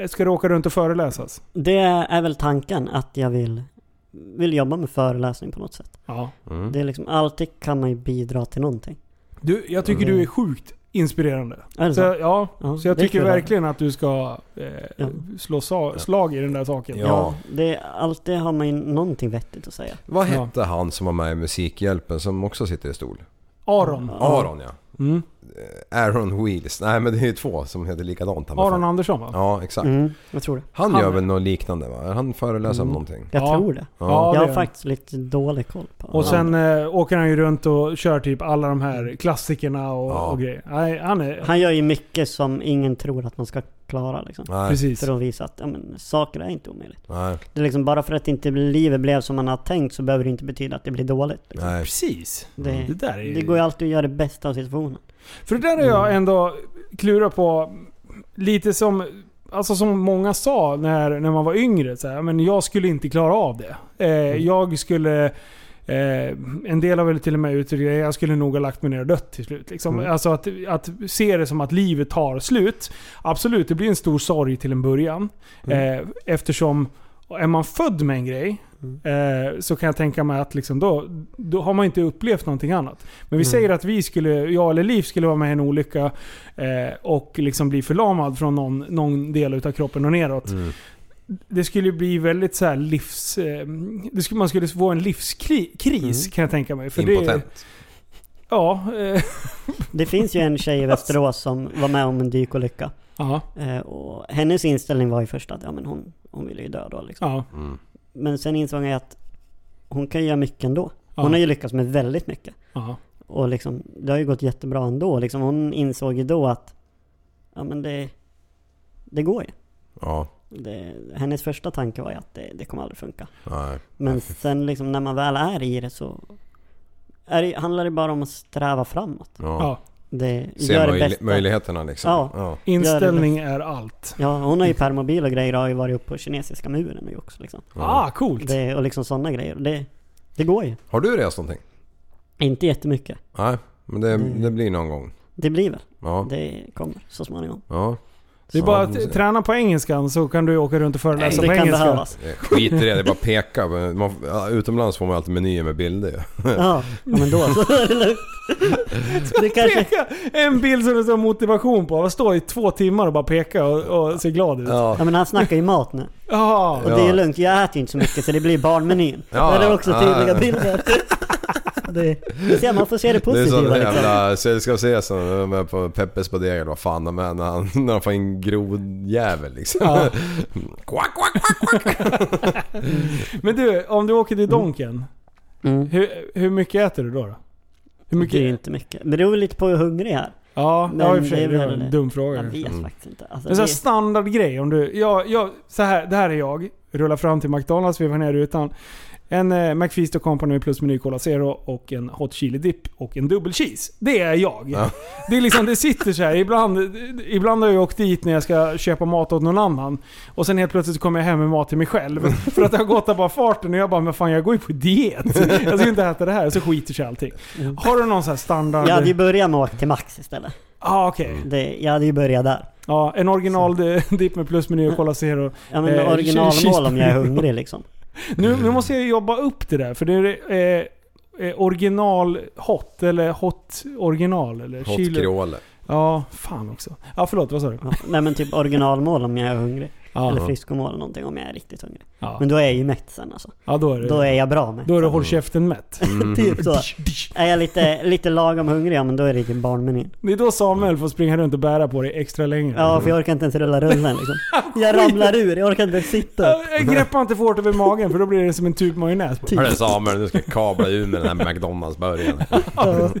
Speaker 5: eh, ska du åka runt och föreläsas.
Speaker 8: Det är väl tanken att jag vill, vill jobba med föreläsning på något sätt.
Speaker 5: Ja.
Speaker 7: Mm.
Speaker 8: Det är liksom, alltid kan man ju bidra till någonting.
Speaker 5: Du, jag tycker du är sjukt inspirerande.
Speaker 8: Är det
Speaker 5: Så,
Speaker 8: så?
Speaker 5: ja,
Speaker 8: Ja,
Speaker 5: så jag
Speaker 8: det är
Speaker 5: tycker
Speaker 8: kul.
Speaker 5: verkligen att du ska eh,
Speaker 8: Ja.
Speaker 5: slå sa- slag i den där saken.
Speaker 8: Ja. det, är- alltid har man ju någonting vettigt att säga.
Speaker 7: Vad hette han som var med i Musikhjälpen som också sitter i stol?
Speaker 5: Aron. Mm.
Speaker 7: Aron ja. Eh, Aaron Wheels. Nej men det är ju två som heter likadant. han med
Speaker 5: Aron
Speaker 7: fan.
Speaker 5: Andersson va?
Speaker 7: Ja exakt.
Speaker 8: Mm, jag tror det.
Speaker 7: Han,
Speaker 5: Han-
Speaker 7: gör väl något liknande va? Är han föreläsare om någonting?
Speaker 8: Jag
Speaker 5: Ja.
Speaker 8: tror det.
Speaker 5: Ja, det
Speaker 8: jag
Speaker 5: är-
Speaker 8: har faktiskt lite dålig koll på
Speaker 5: Och
Speaker 8: honom.
Speaker 5: sen eh, åker han ju runt och kör typ alla de
Speaker 8: Mm.
Speaker 5: här klassikerna och,
Speaker 7: Ja.
Speaker 5: och grejer. Nej, han är...
Speaker 8: Han gör ju mycket som ingen tror att man ska klara liksom.
Speaker 7: Nej.
Speaker 5: precis.
Speaker 8: För att visa att ja, men, saker är inte omöjligt.
Speaker 7: Nej.
Speaker 8: Det är liksom bara för att inte livet blev som man har tänkt så behöver det inte betyda att det blir dåligt.
Speaker 5: Mm.
Speaker 8: Liksom.
Speaker 7: Nej.
Speaker 5: Precis.
Speaker 8: Mm. Det,
Speaker 5: Det där är ju...
Speaker 8: det går ju alltid att göra det bästa av situationen.
Speaker 5: För det där har jag ändå klurat på lite som, alltså som många sa när, när man var yngre. Så här, men jag skulle inte klara av det. Eh, jag skulle... Eh, en del har väl till och med uttryckt att jag skulle nog ha lagt mig ner och dött till slut. Liksom. Alltså att, att se det som att livet tar slut. Absolut, det blir en stor sorg till en början. Eh, eftersom är man född med en grej eh, så kan jag tänka mig att liksom då, då har man inte upplevt någonting annat. Men vi säger att vi skulle, jag eller Liv skulle vara med i en olycka eh, och liksom bli förlamad från någon, någon del av kroppen och neråt. Det skulle bli väldigt så här livs... Eh, det skulle, man skulle få en livskris kan jag tänka mig. För
Speaker 7: Impotent.
Speaker 5: Det, ja. Eh, (laughs)
Speaker 8: Det finns ju en tjej i Västerås som var med om en dykolycka.
Speaker 5: ja,
Speaker 8: Eh, och hennes inställning var ju först att ja, men hon, hon ville ju dö då liksom.
Speaker 5: ja.
Speaker 8: Men sen insåg jag att hon kan ju göra mycket ändå. Hon
Speaker 5: Ja.
Speaker 8: har ju lyckats med väldigt mycket.
Speaker 5: Ja.
Speaker 8: Och liksom, det har ju gått jättebra ändå. Liksom, hon insåg ju då att ja, men det, det går ju.
Speaker 7: Ja.
Speaker 8: Det, hennes första tanke var ju att det, det kommer aldrig funka.
Speaker 7: Nej.
Speaker 8: Men sen liksom, när man väl är i det så är det, handlar det bara om att sträva framåt.
Speaker 7: Ja.
Speaker 5: ja.
Speaker 8: Det,
Speaker 7: Se
Speaker 8: gör det
Speaker 7: möjli-
Speaker 8: bästa.
Speaker 7: möjligheterna liksom.
Speaker 8: Ja.
Speaker 5: Inställning är allt.
Speaker 8: Ja, hon har ju permobil och grejer och har ju varit uppe på kinesiska muren nu också. Liksom.
Speaker 5: Ah, coolt.
Speaker 8: Det, och liksom sådana grejer. Det, det går ju.
Speaker 7: Har du rest någonting?
Speaker 8: Inte jättemycket.
Speaker 7: Nej. Men det, det blir någon gång.
Speaker 8: Det blir väl.
Speaker 7: Ja.
Speaker 8: Det kommer så småningom.
Speaker 7: Ja.
Speaker 5: Det är bara
Speaker 7: Ja,
Speaker 5: att träna på engelskan så kan du åka runt och
Speaker 8: Det
Speaker 5: föreläsa
Speaker 8: kan
Speaker 5: Alltså, på engelska.
Speaker 8: behövas.
Speaker 7: Eh, Skit i det, det är bara att peka. Man, ja, utomlands får man alltid menyer med bilder ju.
Speaker 8: Ja, men då så är det lugnt. Det kanske,
Speaker 5: Peka! (laughs) En bild som det står motivation på. Vad står i två timmar och bara peka och, och se glad ut.
Speaker 8: ja men han snackar ju mat nu.
Speaker 5: Ja.
Speaker 8: Och det är lugnt, jag äter ju inte så mycket så det blir barnmenyn.
Speaker 7: Ja,
Speaker 8: Ja, det är också
Speaker 7: ja.
Speaker 8: tydliga bilder. Det, det ser, man får se det
Speaker 7: Det är
Speaker 8: positiva
Speaker 7: sån
Speaker 8: liksom.
Speaker 7: jävla sällskapsresa när de är på Peppes Bodega eller vad fan de är när han, när han får in grodjävel liksom.
Speaker 5: Ja.
Speaker 7: (laughs) Quack, quack, quack, quack.
Speaker 5: Men du, om du åker
Speaker 8: Mm.
Speaker 5: till Donken. Hur, hur mycket äter du då? då? Hur
Speaker 8: Det är ju
Speaker 5: mycket?
Speaker 8: inte mycket. Men det beror lite på hur hungrig jag är.
Speaker 5: Ja,
Speaker 8: Men
Speaker 5: ja, i och för sig.
Speaker 8: det
Speaker 5: Det
Speaker 8: är
Speaker 5: var en
Speaker 8: väl-
Speaker 5: dum
Speaker 8: Jag
Speaker 5: fråga.
Speaker 8: vet faktiskt inte. Alltså,
Speaker 5: En sån här
Speaker 8: det,
Speaker 5: standardgrej om du... Jag, jag, så här, det här är jag. Rullar fram till McDonalds, vevar ner rutan. En eh, McFeast och Company plus meny Cola Zero och en Hot Chili Dip och en dubbel cheese. Det är jag.
Speaker 7: Ja.
Speaker 5: Det är liksom, det sitter så här. Ibland, ibland har jag åkt dit när jag ska köpa mat åt någon annan. Och sen helt plötsligt så kommer jag hem med mat till mig själv. För att det har gått av bara farten och jag bara, men fan jag går ju på diet. Jag ska inte äta det här. Så skiter sig allting. Har du någon sån här standard...
Speaker 8: jag hade ju
Speaker 5: Ja,
Speaker 8: börjat med att åka till Max istället.
Speaker 5: ah, okej.
Speaker 8: Det, jag hade ju börjat där.
Speaker 5: Ja, en original dipp med plusmeny och Cola Zero.
Speaker 8: Ja men
Speaker 5: Eh,
Speaker 8: originalmål om jag är
Speaker 5: cheeseburgare.
Speaker 8: hungrig liksom.
Speaker 5: Nu,
Speaker 7: Mm.
Speaker 5: nu måste jag jobba upp det där, för det är eh, eh, original hot, eller hot original, eller
Speaker 7: Hot
Speaker 5: chili.
Speaker 7: Creole.
Speaker 5: Ja, fan också. Ja, förlåt, vad sa du?
Speaker 8: Ja, nej men typ originalmål om jag är hungrig.
Speaker 5: Ja.
Speaker 8: Eller friskomål eller någonting om jag är riktigt hungrig.
Speaker 5: Ja,
Speaker 8: Men då är jag ju mätt sen alltså.
Speaker 5: ja då är det...
Speaker 8: Då är jag bra mätt.
Speaker 5: Då är det håll käften
Speaker 8: (laughs)
Speaker 5: mätt.
Speaker 7: Mm.
Speaker 8: typ så. Är jag lite, lite lagom hungrig, ja men då är det typ barnmenyn.
Speaker 5: Det är då Samuel får springa runt och bära på dig extra länge.
Speaker 7: Mm.
Speaker 8: Ja för jag orkar inte ens rulla rullen liksom.
Speaker 7: (laughs)
Speaker 8: Jag ramlar ur, jag orkar inte ens sitta upp.
Speaker 5: Ja, jag greppar Eh, inte för hårt över magen för då blir det som en tub majonnäs.
Speaker 8: Typ.
Speaker 7: Hörru Samuel, du ska kabla ur med den här McDonalds-burgaren.
Speaker 5: (laughs)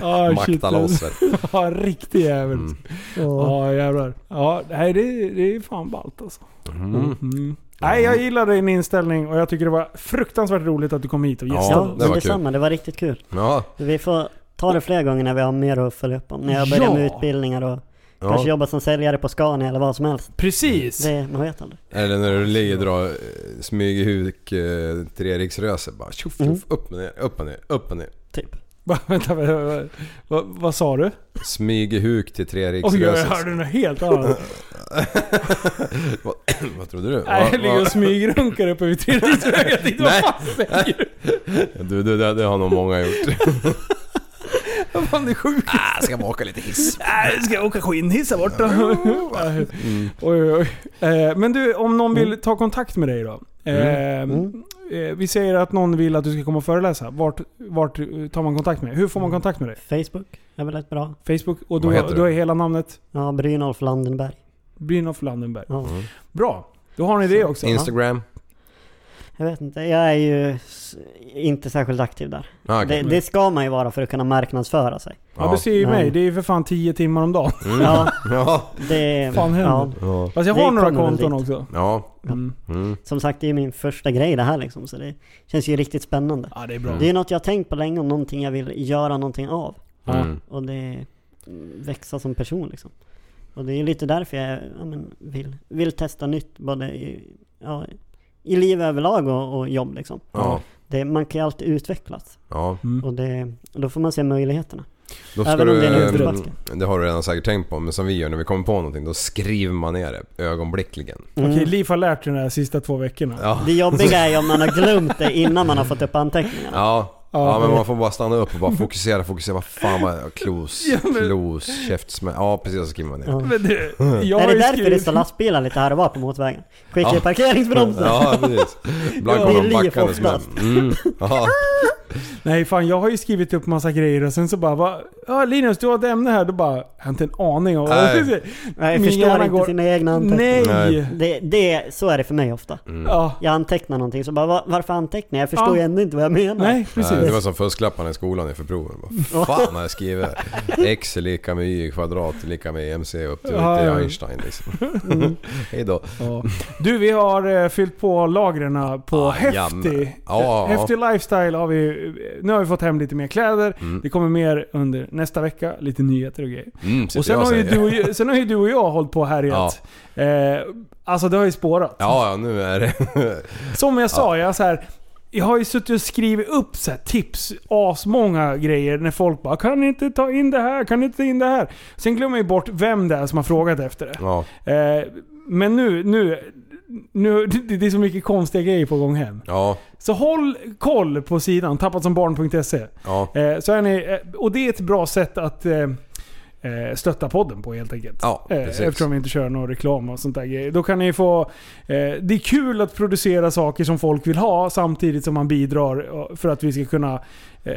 Speaker 5: Ja, ah, shit.
Speaker 7: Makta loss vet du.
Speaker 5: (laughs) Ja, riktig jävel.
Speaker 7: Mm.
Speaker 8: Ja.
Speaker 5: Ja, jävlar. Ja, nej, det, det är fan ballt alltså. Mm. Nej, jag gillar din inställning och jag tycker det var fruktansvärt roligt att du kom hit och gästade.
Speaker 7: Ja,
Speaker 8: Ja,
Speaker 7: det
Speaker 8: men
Speaker 7: var
Speaker 8: detsamma, det var riktigt kul.
Speaker 7: Ja,
Speaker 8: Vi får ta det fler gånger när vi har mer att följa upp om. När jag börjar
Speaker 5: Ja.
Speaker 8: med utbildningar och
Speaker 7: ja.
Speaker 8: kanske jobbar som säljare på Scania eller vad som helst.
Speaker 5: Precis!
Speaker 8: Det, man vet aldrig.
Speaker 7: Eller när du ligger och drar eh, smyger huk eh, treriksröse bara tjoff, tjoff,
Speaker 5: Mm.
Speaker 7: upp och ner, upp och ner, upp och ner.
Speaker 8: Typ.
Speaker 5: Va, (laughs) vänta, vad, vad, vad, vad sa du?
Speaker 7: Smyger huk till
Speaker 5: Oj, jag
Speaker 7: treriksröset.
Speaker 5: hörde något helt annat.
Speaker 7: (laughs) vad, (clears throat) vad trodde du?
Speaker 5: Nej, jag
Speaker 7: Vad-
Speaker 5: ligger och
Speaker 7: vad-
Speaker 5: smygrunkar uppe vid tredjedelsröret. Jag
Speaker 7: Nej.
Speaker 5: tänkte, vad fan säger
Speaker 7: (laughs)
Speaker 5: du?
Speaker 7: Du, du, det, det har nog många gjort.
Speaker 5: Vad fan, det är sjukt.
Speaker 7: Jag Ah, ska bara åka lite hiss.
Speaker 5: Nej, ska jag åka skinnhissa bort då? (laughs) Mm.
Speaker 7: Mm.
Speaker 8: Mm.
Speaker 5: Oj, oj, oj. Eh, Men du, om någon vill ta kontakt med dig då? Eh, eh, vi säger att någon vill att du ska komma och föreläsa. Vart, vart eh, tar man kontakt med dig? Hur får man kontakt med dig?
Speaker 8: Facebook är väl ett bra.
Speaker 5: Facebook, och
Speaker 7: Vad heter
Speaker 5: då,
Speaker 7: du?
Speaker 5: då är hela namnet
Speaker 8: Ja, Brynolf Landenberg.
Speaker 5: Brynolf Landenberg.
Speaker 8: Ja.
Speaker 7: Mm.
Speaker 5: Bra! Då har ni det också.
Speaker 7: Instagram?
Speaker 8: Jag vet inte, jag är ju s- inte särskilt aktiv där.
Speaker 7: Ah, okej.
Speaker 8: Det, det ska man ju vara för att kunna
Speaker 7: (laughs)
Speaker 8: marknadsföra sig.
Speaker 5: Ja, du ser ju mig. Det är ju för fan 10 timmar om dagen.
Speaker 8: Ja,
Speaker 7: Mm. Ja.
Speaker 8: det...
Speaker 5: Fan
Speaker 8: ja.
Speaker 5: händer.
Speaker 7: Ja.
Speaker 5: Fast jag
Speaker 8: Vi
Speaker 5: har några
Speaker 8: kommer väl
Speaker 5: konton
Speaker 8: dit.
Speaker 5: också.
Speaker 7: Ja.
Speaker 5: Mm.
Speaker 7: Mm.
Speaker 8: Som sagt, det är min första grej det här liksom, så det känns ju riktigt
Speaker 7: Mm.
Speaker 8: spännande.
Speaker 5: Ja, det är bra.
Speaker 8: Det är något jag har tänkt på länge och någonting jag vill göra någonting av.
Speaker 7: Mm.
Speaker 8: Och det växa som person liksom. Och det är lite därför jag ja, men, vill, vill testa nytt både i, ja, i liv överlag och, och jobb liksom.
Speaker 7: Ja.
Speaker 8: Det, man kan ju alltid utvecklas.
Speaker 7: Ja.
Speaker 8: Och det, och då får man se möjligheterna.
Speaker 7: Då ska
Speaker 8: Även om
Speaker 7: du,
Speaker 8: det är en
Speaker 7: eh,
Speaker 8: utförsbacke.
Speaker 7: det har du redan säkert tänkt på, men som vi gör när vi kommer på någonting, då skriver man ner det ögonblickligen.
Speaker 8: Mm.
Speaker 5: Okej, Liv har lärt sig de här sista två veckorna.
Speaker 7: Ja.
Speaker 8: Det jobbiga är ju om man har glömt det innan man har fått upp anteckningarna.
Speaker 7: Ja. Ja men man får bara stanna upp och bara fokusera, fokusera. Vad fan var klos, klos, käftsmäll. Ja precis, så skriver man ner.
Speaker 5: Men du, jag
Speaker 8: är
Speaker 5: har
Speaker 8: det
Speaker 5: ju
Speaker 8: därför det
Speaker 5: skrivit-
Speaker 8: står lastbilar lite här och var på motorvägen? Skit
Speaker 7: Ja.
Speaker 8: i parkeringsbromsen!
Speaker 7: Ja precis. Ibland
Speaker 8: Ja,
Speaker 7: kommer
Speaker 8: det
Speaker 7: de
Speaker 8: är
Speaker 7: backandes
Speaker 8: liv
Speaker 7: med.
Speaker 8: oftast.
Speaker 7: Mm. Ja.
Speaker 5: Nej fan, jag har ju skrivit upp massa grejer och sen så bara va, Ja Linus, du har ett ämne här. Då bara, jag har inte en aning om vad
Speaker 7: Nej.
Speaker 5: (laughs)
Speaker 8: Nej, jag
Speaker 5: Min
Speaker 8: förstår
Speaker 5: hjärna
Speaker 8: inte
Speaker 5: går-
Speaker 8: sina egna anteckningar.
Speaker 5: Nej!
Speaker 7: Nej.
Speaker 8: Det, det, så är det för mig ofta.
Speaker 5: Ja.
Speaker 8: Jag antecknar någonting så bara "Va- varför antecknar jag? Jag förstår
Speaker 5: Ja.
Speaker 8: ju ändå inte vad jag menar.
Speaker 5: Nej, precis.
Speaker 7: Mm. Nej, Det var som fusklapparna i skolan inför proven. Vad fan har jag skrivit? X är lika med Y i kvadrat är lika med MC upp till
Speaker 5: Ja, ja.
Speaker 7: Einstein liksom. (laughs) Hejdå.
Speaker 5: Ja. Du, vi har eh, fyllt på lagren på
Speaker 7: Ah,
Speaker 5: häftig,
Speaker 7: jam. Ja.
Speaker 5: häftig lifestyle. Har vi, eh, nu har vi fått hem lite mer kläder. Det kommer mer under nästa vecka. Lite nyheter och grejer.
Speaker 7: Mm,
Speaker 5: Och
Speaker 7: sitter
Speaker 5: sen
Speaker 7: jag
Speaker 5: har, ju
Speaker 7: säger.
Speaker 5: du och, jag- sen har ju du och jag hållit på och härjat. Eh, alltså det har ju spårat.
Speaker 7: Ja, ja nu är det... (laughs)
Speaker 5: Som jag sa, jag, så här, jag har ju suttit och skrivit upp så här, tips, asmånga grejer när folk bara “Kan ni inte ta in det här? Kan ni inte ta in det här?” Sen glömmer jag ju bort vem det är som har frågat efter det.
Speaker 7: Ja.
Speaker 5: Eh, men nu, nu, nu, det det är så mycket konstiga grejer på gång hem.
Speaker 7: Ja.
Speaker 5: Så håll koll på sidan, tappatsombarn.se.
Speaker 7: Ja.
Speaker 5: Eh, så är ni, eh, och det är ett bra sätt att eh, eh, stötta podden på helt enkelt.
Speaker 7: Ja,
Speaker 5: Eh,
Speaker 7: precis.
Speaker 5: Eftersom vi inte kör någon reklam och sånt där grejer. Då kan ni få... Eh, det är kul att producera saker som folk vill ha samtidigt som man bidrar eh, för att vi ska kunna eh,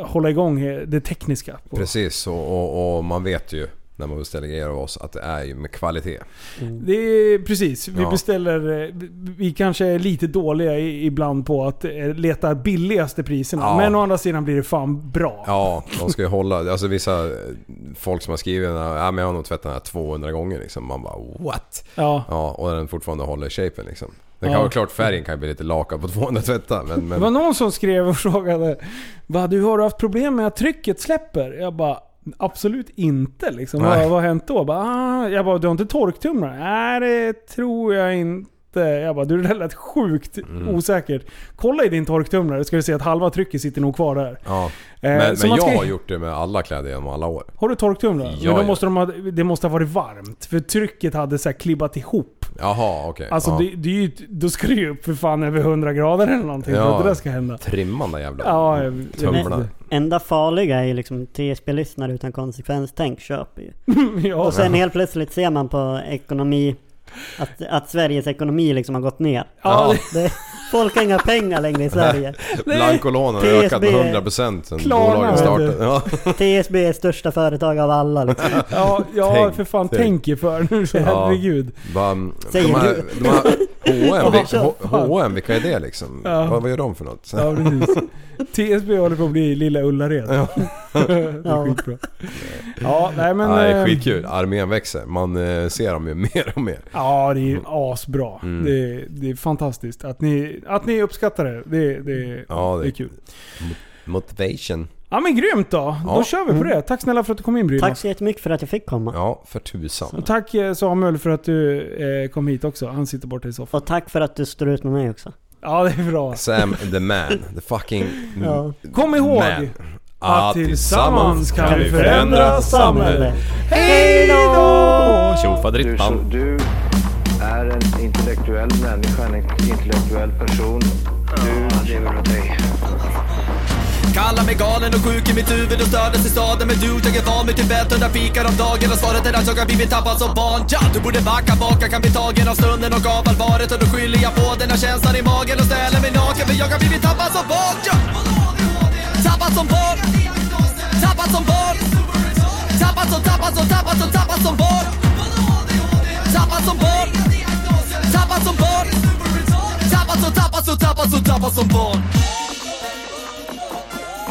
Speaker 5: hålla igång eh, det tekniska. på-
Speaker 7: Precis, och, och, och man vet ju när man beställer grejer av oss att det är ju med kvalitet.
Speaker 5: Det är precis. Vi
Speaker 7: Ja.
Speaker 5: beställer... eh, vi- Vi kanske är lite dåliga i- ibland på att eh, leta billigaste priserna.
Speaker 7: Ja.
Speaker 5: Men å andra sidan blir det fan bra.
Speaker 7: Ja, de ska ju hålla. Alltså vissa folk som har skrivit den här, ja, men jag har nog tvättat den här 200 gånger liksom. Man bara what?
Speaker 5: Ja.
Speaker 7: Ja, och den fortfarande håller shapen liksom. Den
Speaker 5: Ja.
Speaker 7: kan, klart färgen kan ju bli lite lakad på 200 tvättar men...
Speaker 5: Det var
Speaker 7: men
Speaker 5: någon som skrev och (laughs) frågade Va, du har du haft problem med att trycket släpper? Jag bara Absolut inte liksom. Vad,
Speaker 7: Nej.
Speaker 5: vad har hänt då? Bara, ah. Jag bara, du har inte torktumlare? Nej, det tror jag inte. Jag bara, du det där lät sjukt
Speaker 7: Mm.
Speaker 5: osäkert. Kolla i din torktumlare ska du se att halva trycket sitter nog kvar där.
Speaker 7: ja.
Speaker 5: Eh,
Speaker 7: men, men
Speaker 5: så man
Speaker 7: jag
Speaker 5: ska-
Speaker 7: har gjort det med alla kläder genom alla år.
Speaker 5: Har du torktumlare?
Speaker 7: Ja,
Speaker 5: Men då
Speaker 7: ja.
Speaker 5: måste de ha, det måste ha varit varmt. För trycket hade så här klibbat ihop.
Speaker 7: Jaha, okej.
Speaker 5: Alltså
Speaker 7: ja.
Speaker 5: det, det är ju, då ska det ju upp för fan över 100 grader eller någonting för
Speaker 7: Ja.
Speaker 5: att det där ska hända.
Speaker 7: Trimman där jävla
Speaker 5: Ja, jag- jag
Speaker 7: tumlarna.
Speaker 5: vet
Speaker 8: Enda farliga är ju liksom TSB-lyssnare utan konsekvenstänk köper ju.
Speaker 5: (laughs) Ja.
Speaker 8: Och sen helt plötsligt ser man på ekonomi att, att Sveriges ekonomi liksom har gått ner.
Speaker 5: Ja,
Speaker 8: (laughs) Det, folk har inga pengar längre i Sverige.
Speaker 7: Blancolånen har
Speaker 8: TSB
Speaker 7: ökat med 100% sen
Speaker 5: Klarna,
Speaker 7: bolagen startade.
Speaker 5: vet
Speaker 7: Ja.
Speaker 8: TSB är största företag av alla liksom.
Speaker 5: (laughs) Ja, ja
Speaker 7: Tänk,
Speaker 5: för fan
Speaker 7: tänk.
Speaker 5: tänk er för nu. Herregud.
Speaker 7: Bara,
Speaker 8: Säger
Speaker 7: de här, de här H&M, vilka,
Speaker 8: Ja,
Speaker 7: H&M, vilka är det liksom?
Speaker 5: Ja.
Speaker 7: Vad, vad gör de för något?
Speaker 5: Ja,
Speaker 7: (laughs)
Speaker 5: precis. TSB håller på att bli lilla Ullared.
Speaker 7: Ja.
Speaker 5: (laughs) det är
Speaker 8: Ja.
Speaker 5: skitbra. Ja, nej men...
Speaker 7: Ja, det är
Speaker 5: eh,
Speaker 7: skitkul. Armén växer. Man eh, ser dem ju (laughs) mer och mer.
Speaker 5: Ja, det är ju
Speaker 7: Mm.
Speaker 5: asbra. Det, är, det är fantastiskt. Att ni, att ni uppskattar det, det, det,
Speaker 7: Ja,
Speaker 5: det,
Speaker 7: det-
Speaker 5: är kul.
Speaker 7: Motivation.
Speaker 5: Ja men grymt då. Då
Speaker 7: Ja.
Speaker 5: kör vi på det. Tack snälla för att du kom in Brynäs.
Speaker 8: Tack så jättemycket för att jag fick komma.
Speaker 7: Ja, för tusan.
Speaker 5: Och tack eh, Samuel för att du eh, kom hit också. Han sitter borta i soffan.
Speaker 8: Och tack för att du står ut med mig också.
Speaker 5: Ja, det är bra.
Speaker 7: Sam the man. The fucking
Speaker 8: Ja.
Speaker 5: Kom ihåg
Speaker 7: man.
Speaker 5: att tillsammans kan vi förändra samhället.
Speaker 8: Hej då!
Speaker 3: Du, så, du är en intellektuell människa, en intellektuell person. Du lever av dig.
Speaker 1: Kallar mig galen och sjuk i mitt huvud och stördes i staden Men du, jag är van vid Tibet och där fikar om dagen Och svaret är att jag har blivit tappad som barn ja, Du borde backa bak, jag kan bli tagen av stunden och av allvaret Och då skyller jag på den här känslan i magen och ställer mig naken För jag har blivit tappad som barn ja. Tappad som barn Tappad som barn Tappad som, tappad som, tappad som, tappad som barn Tappad som barn Tappad som barn Tappad som, tappad som, tappad som, tappad som barn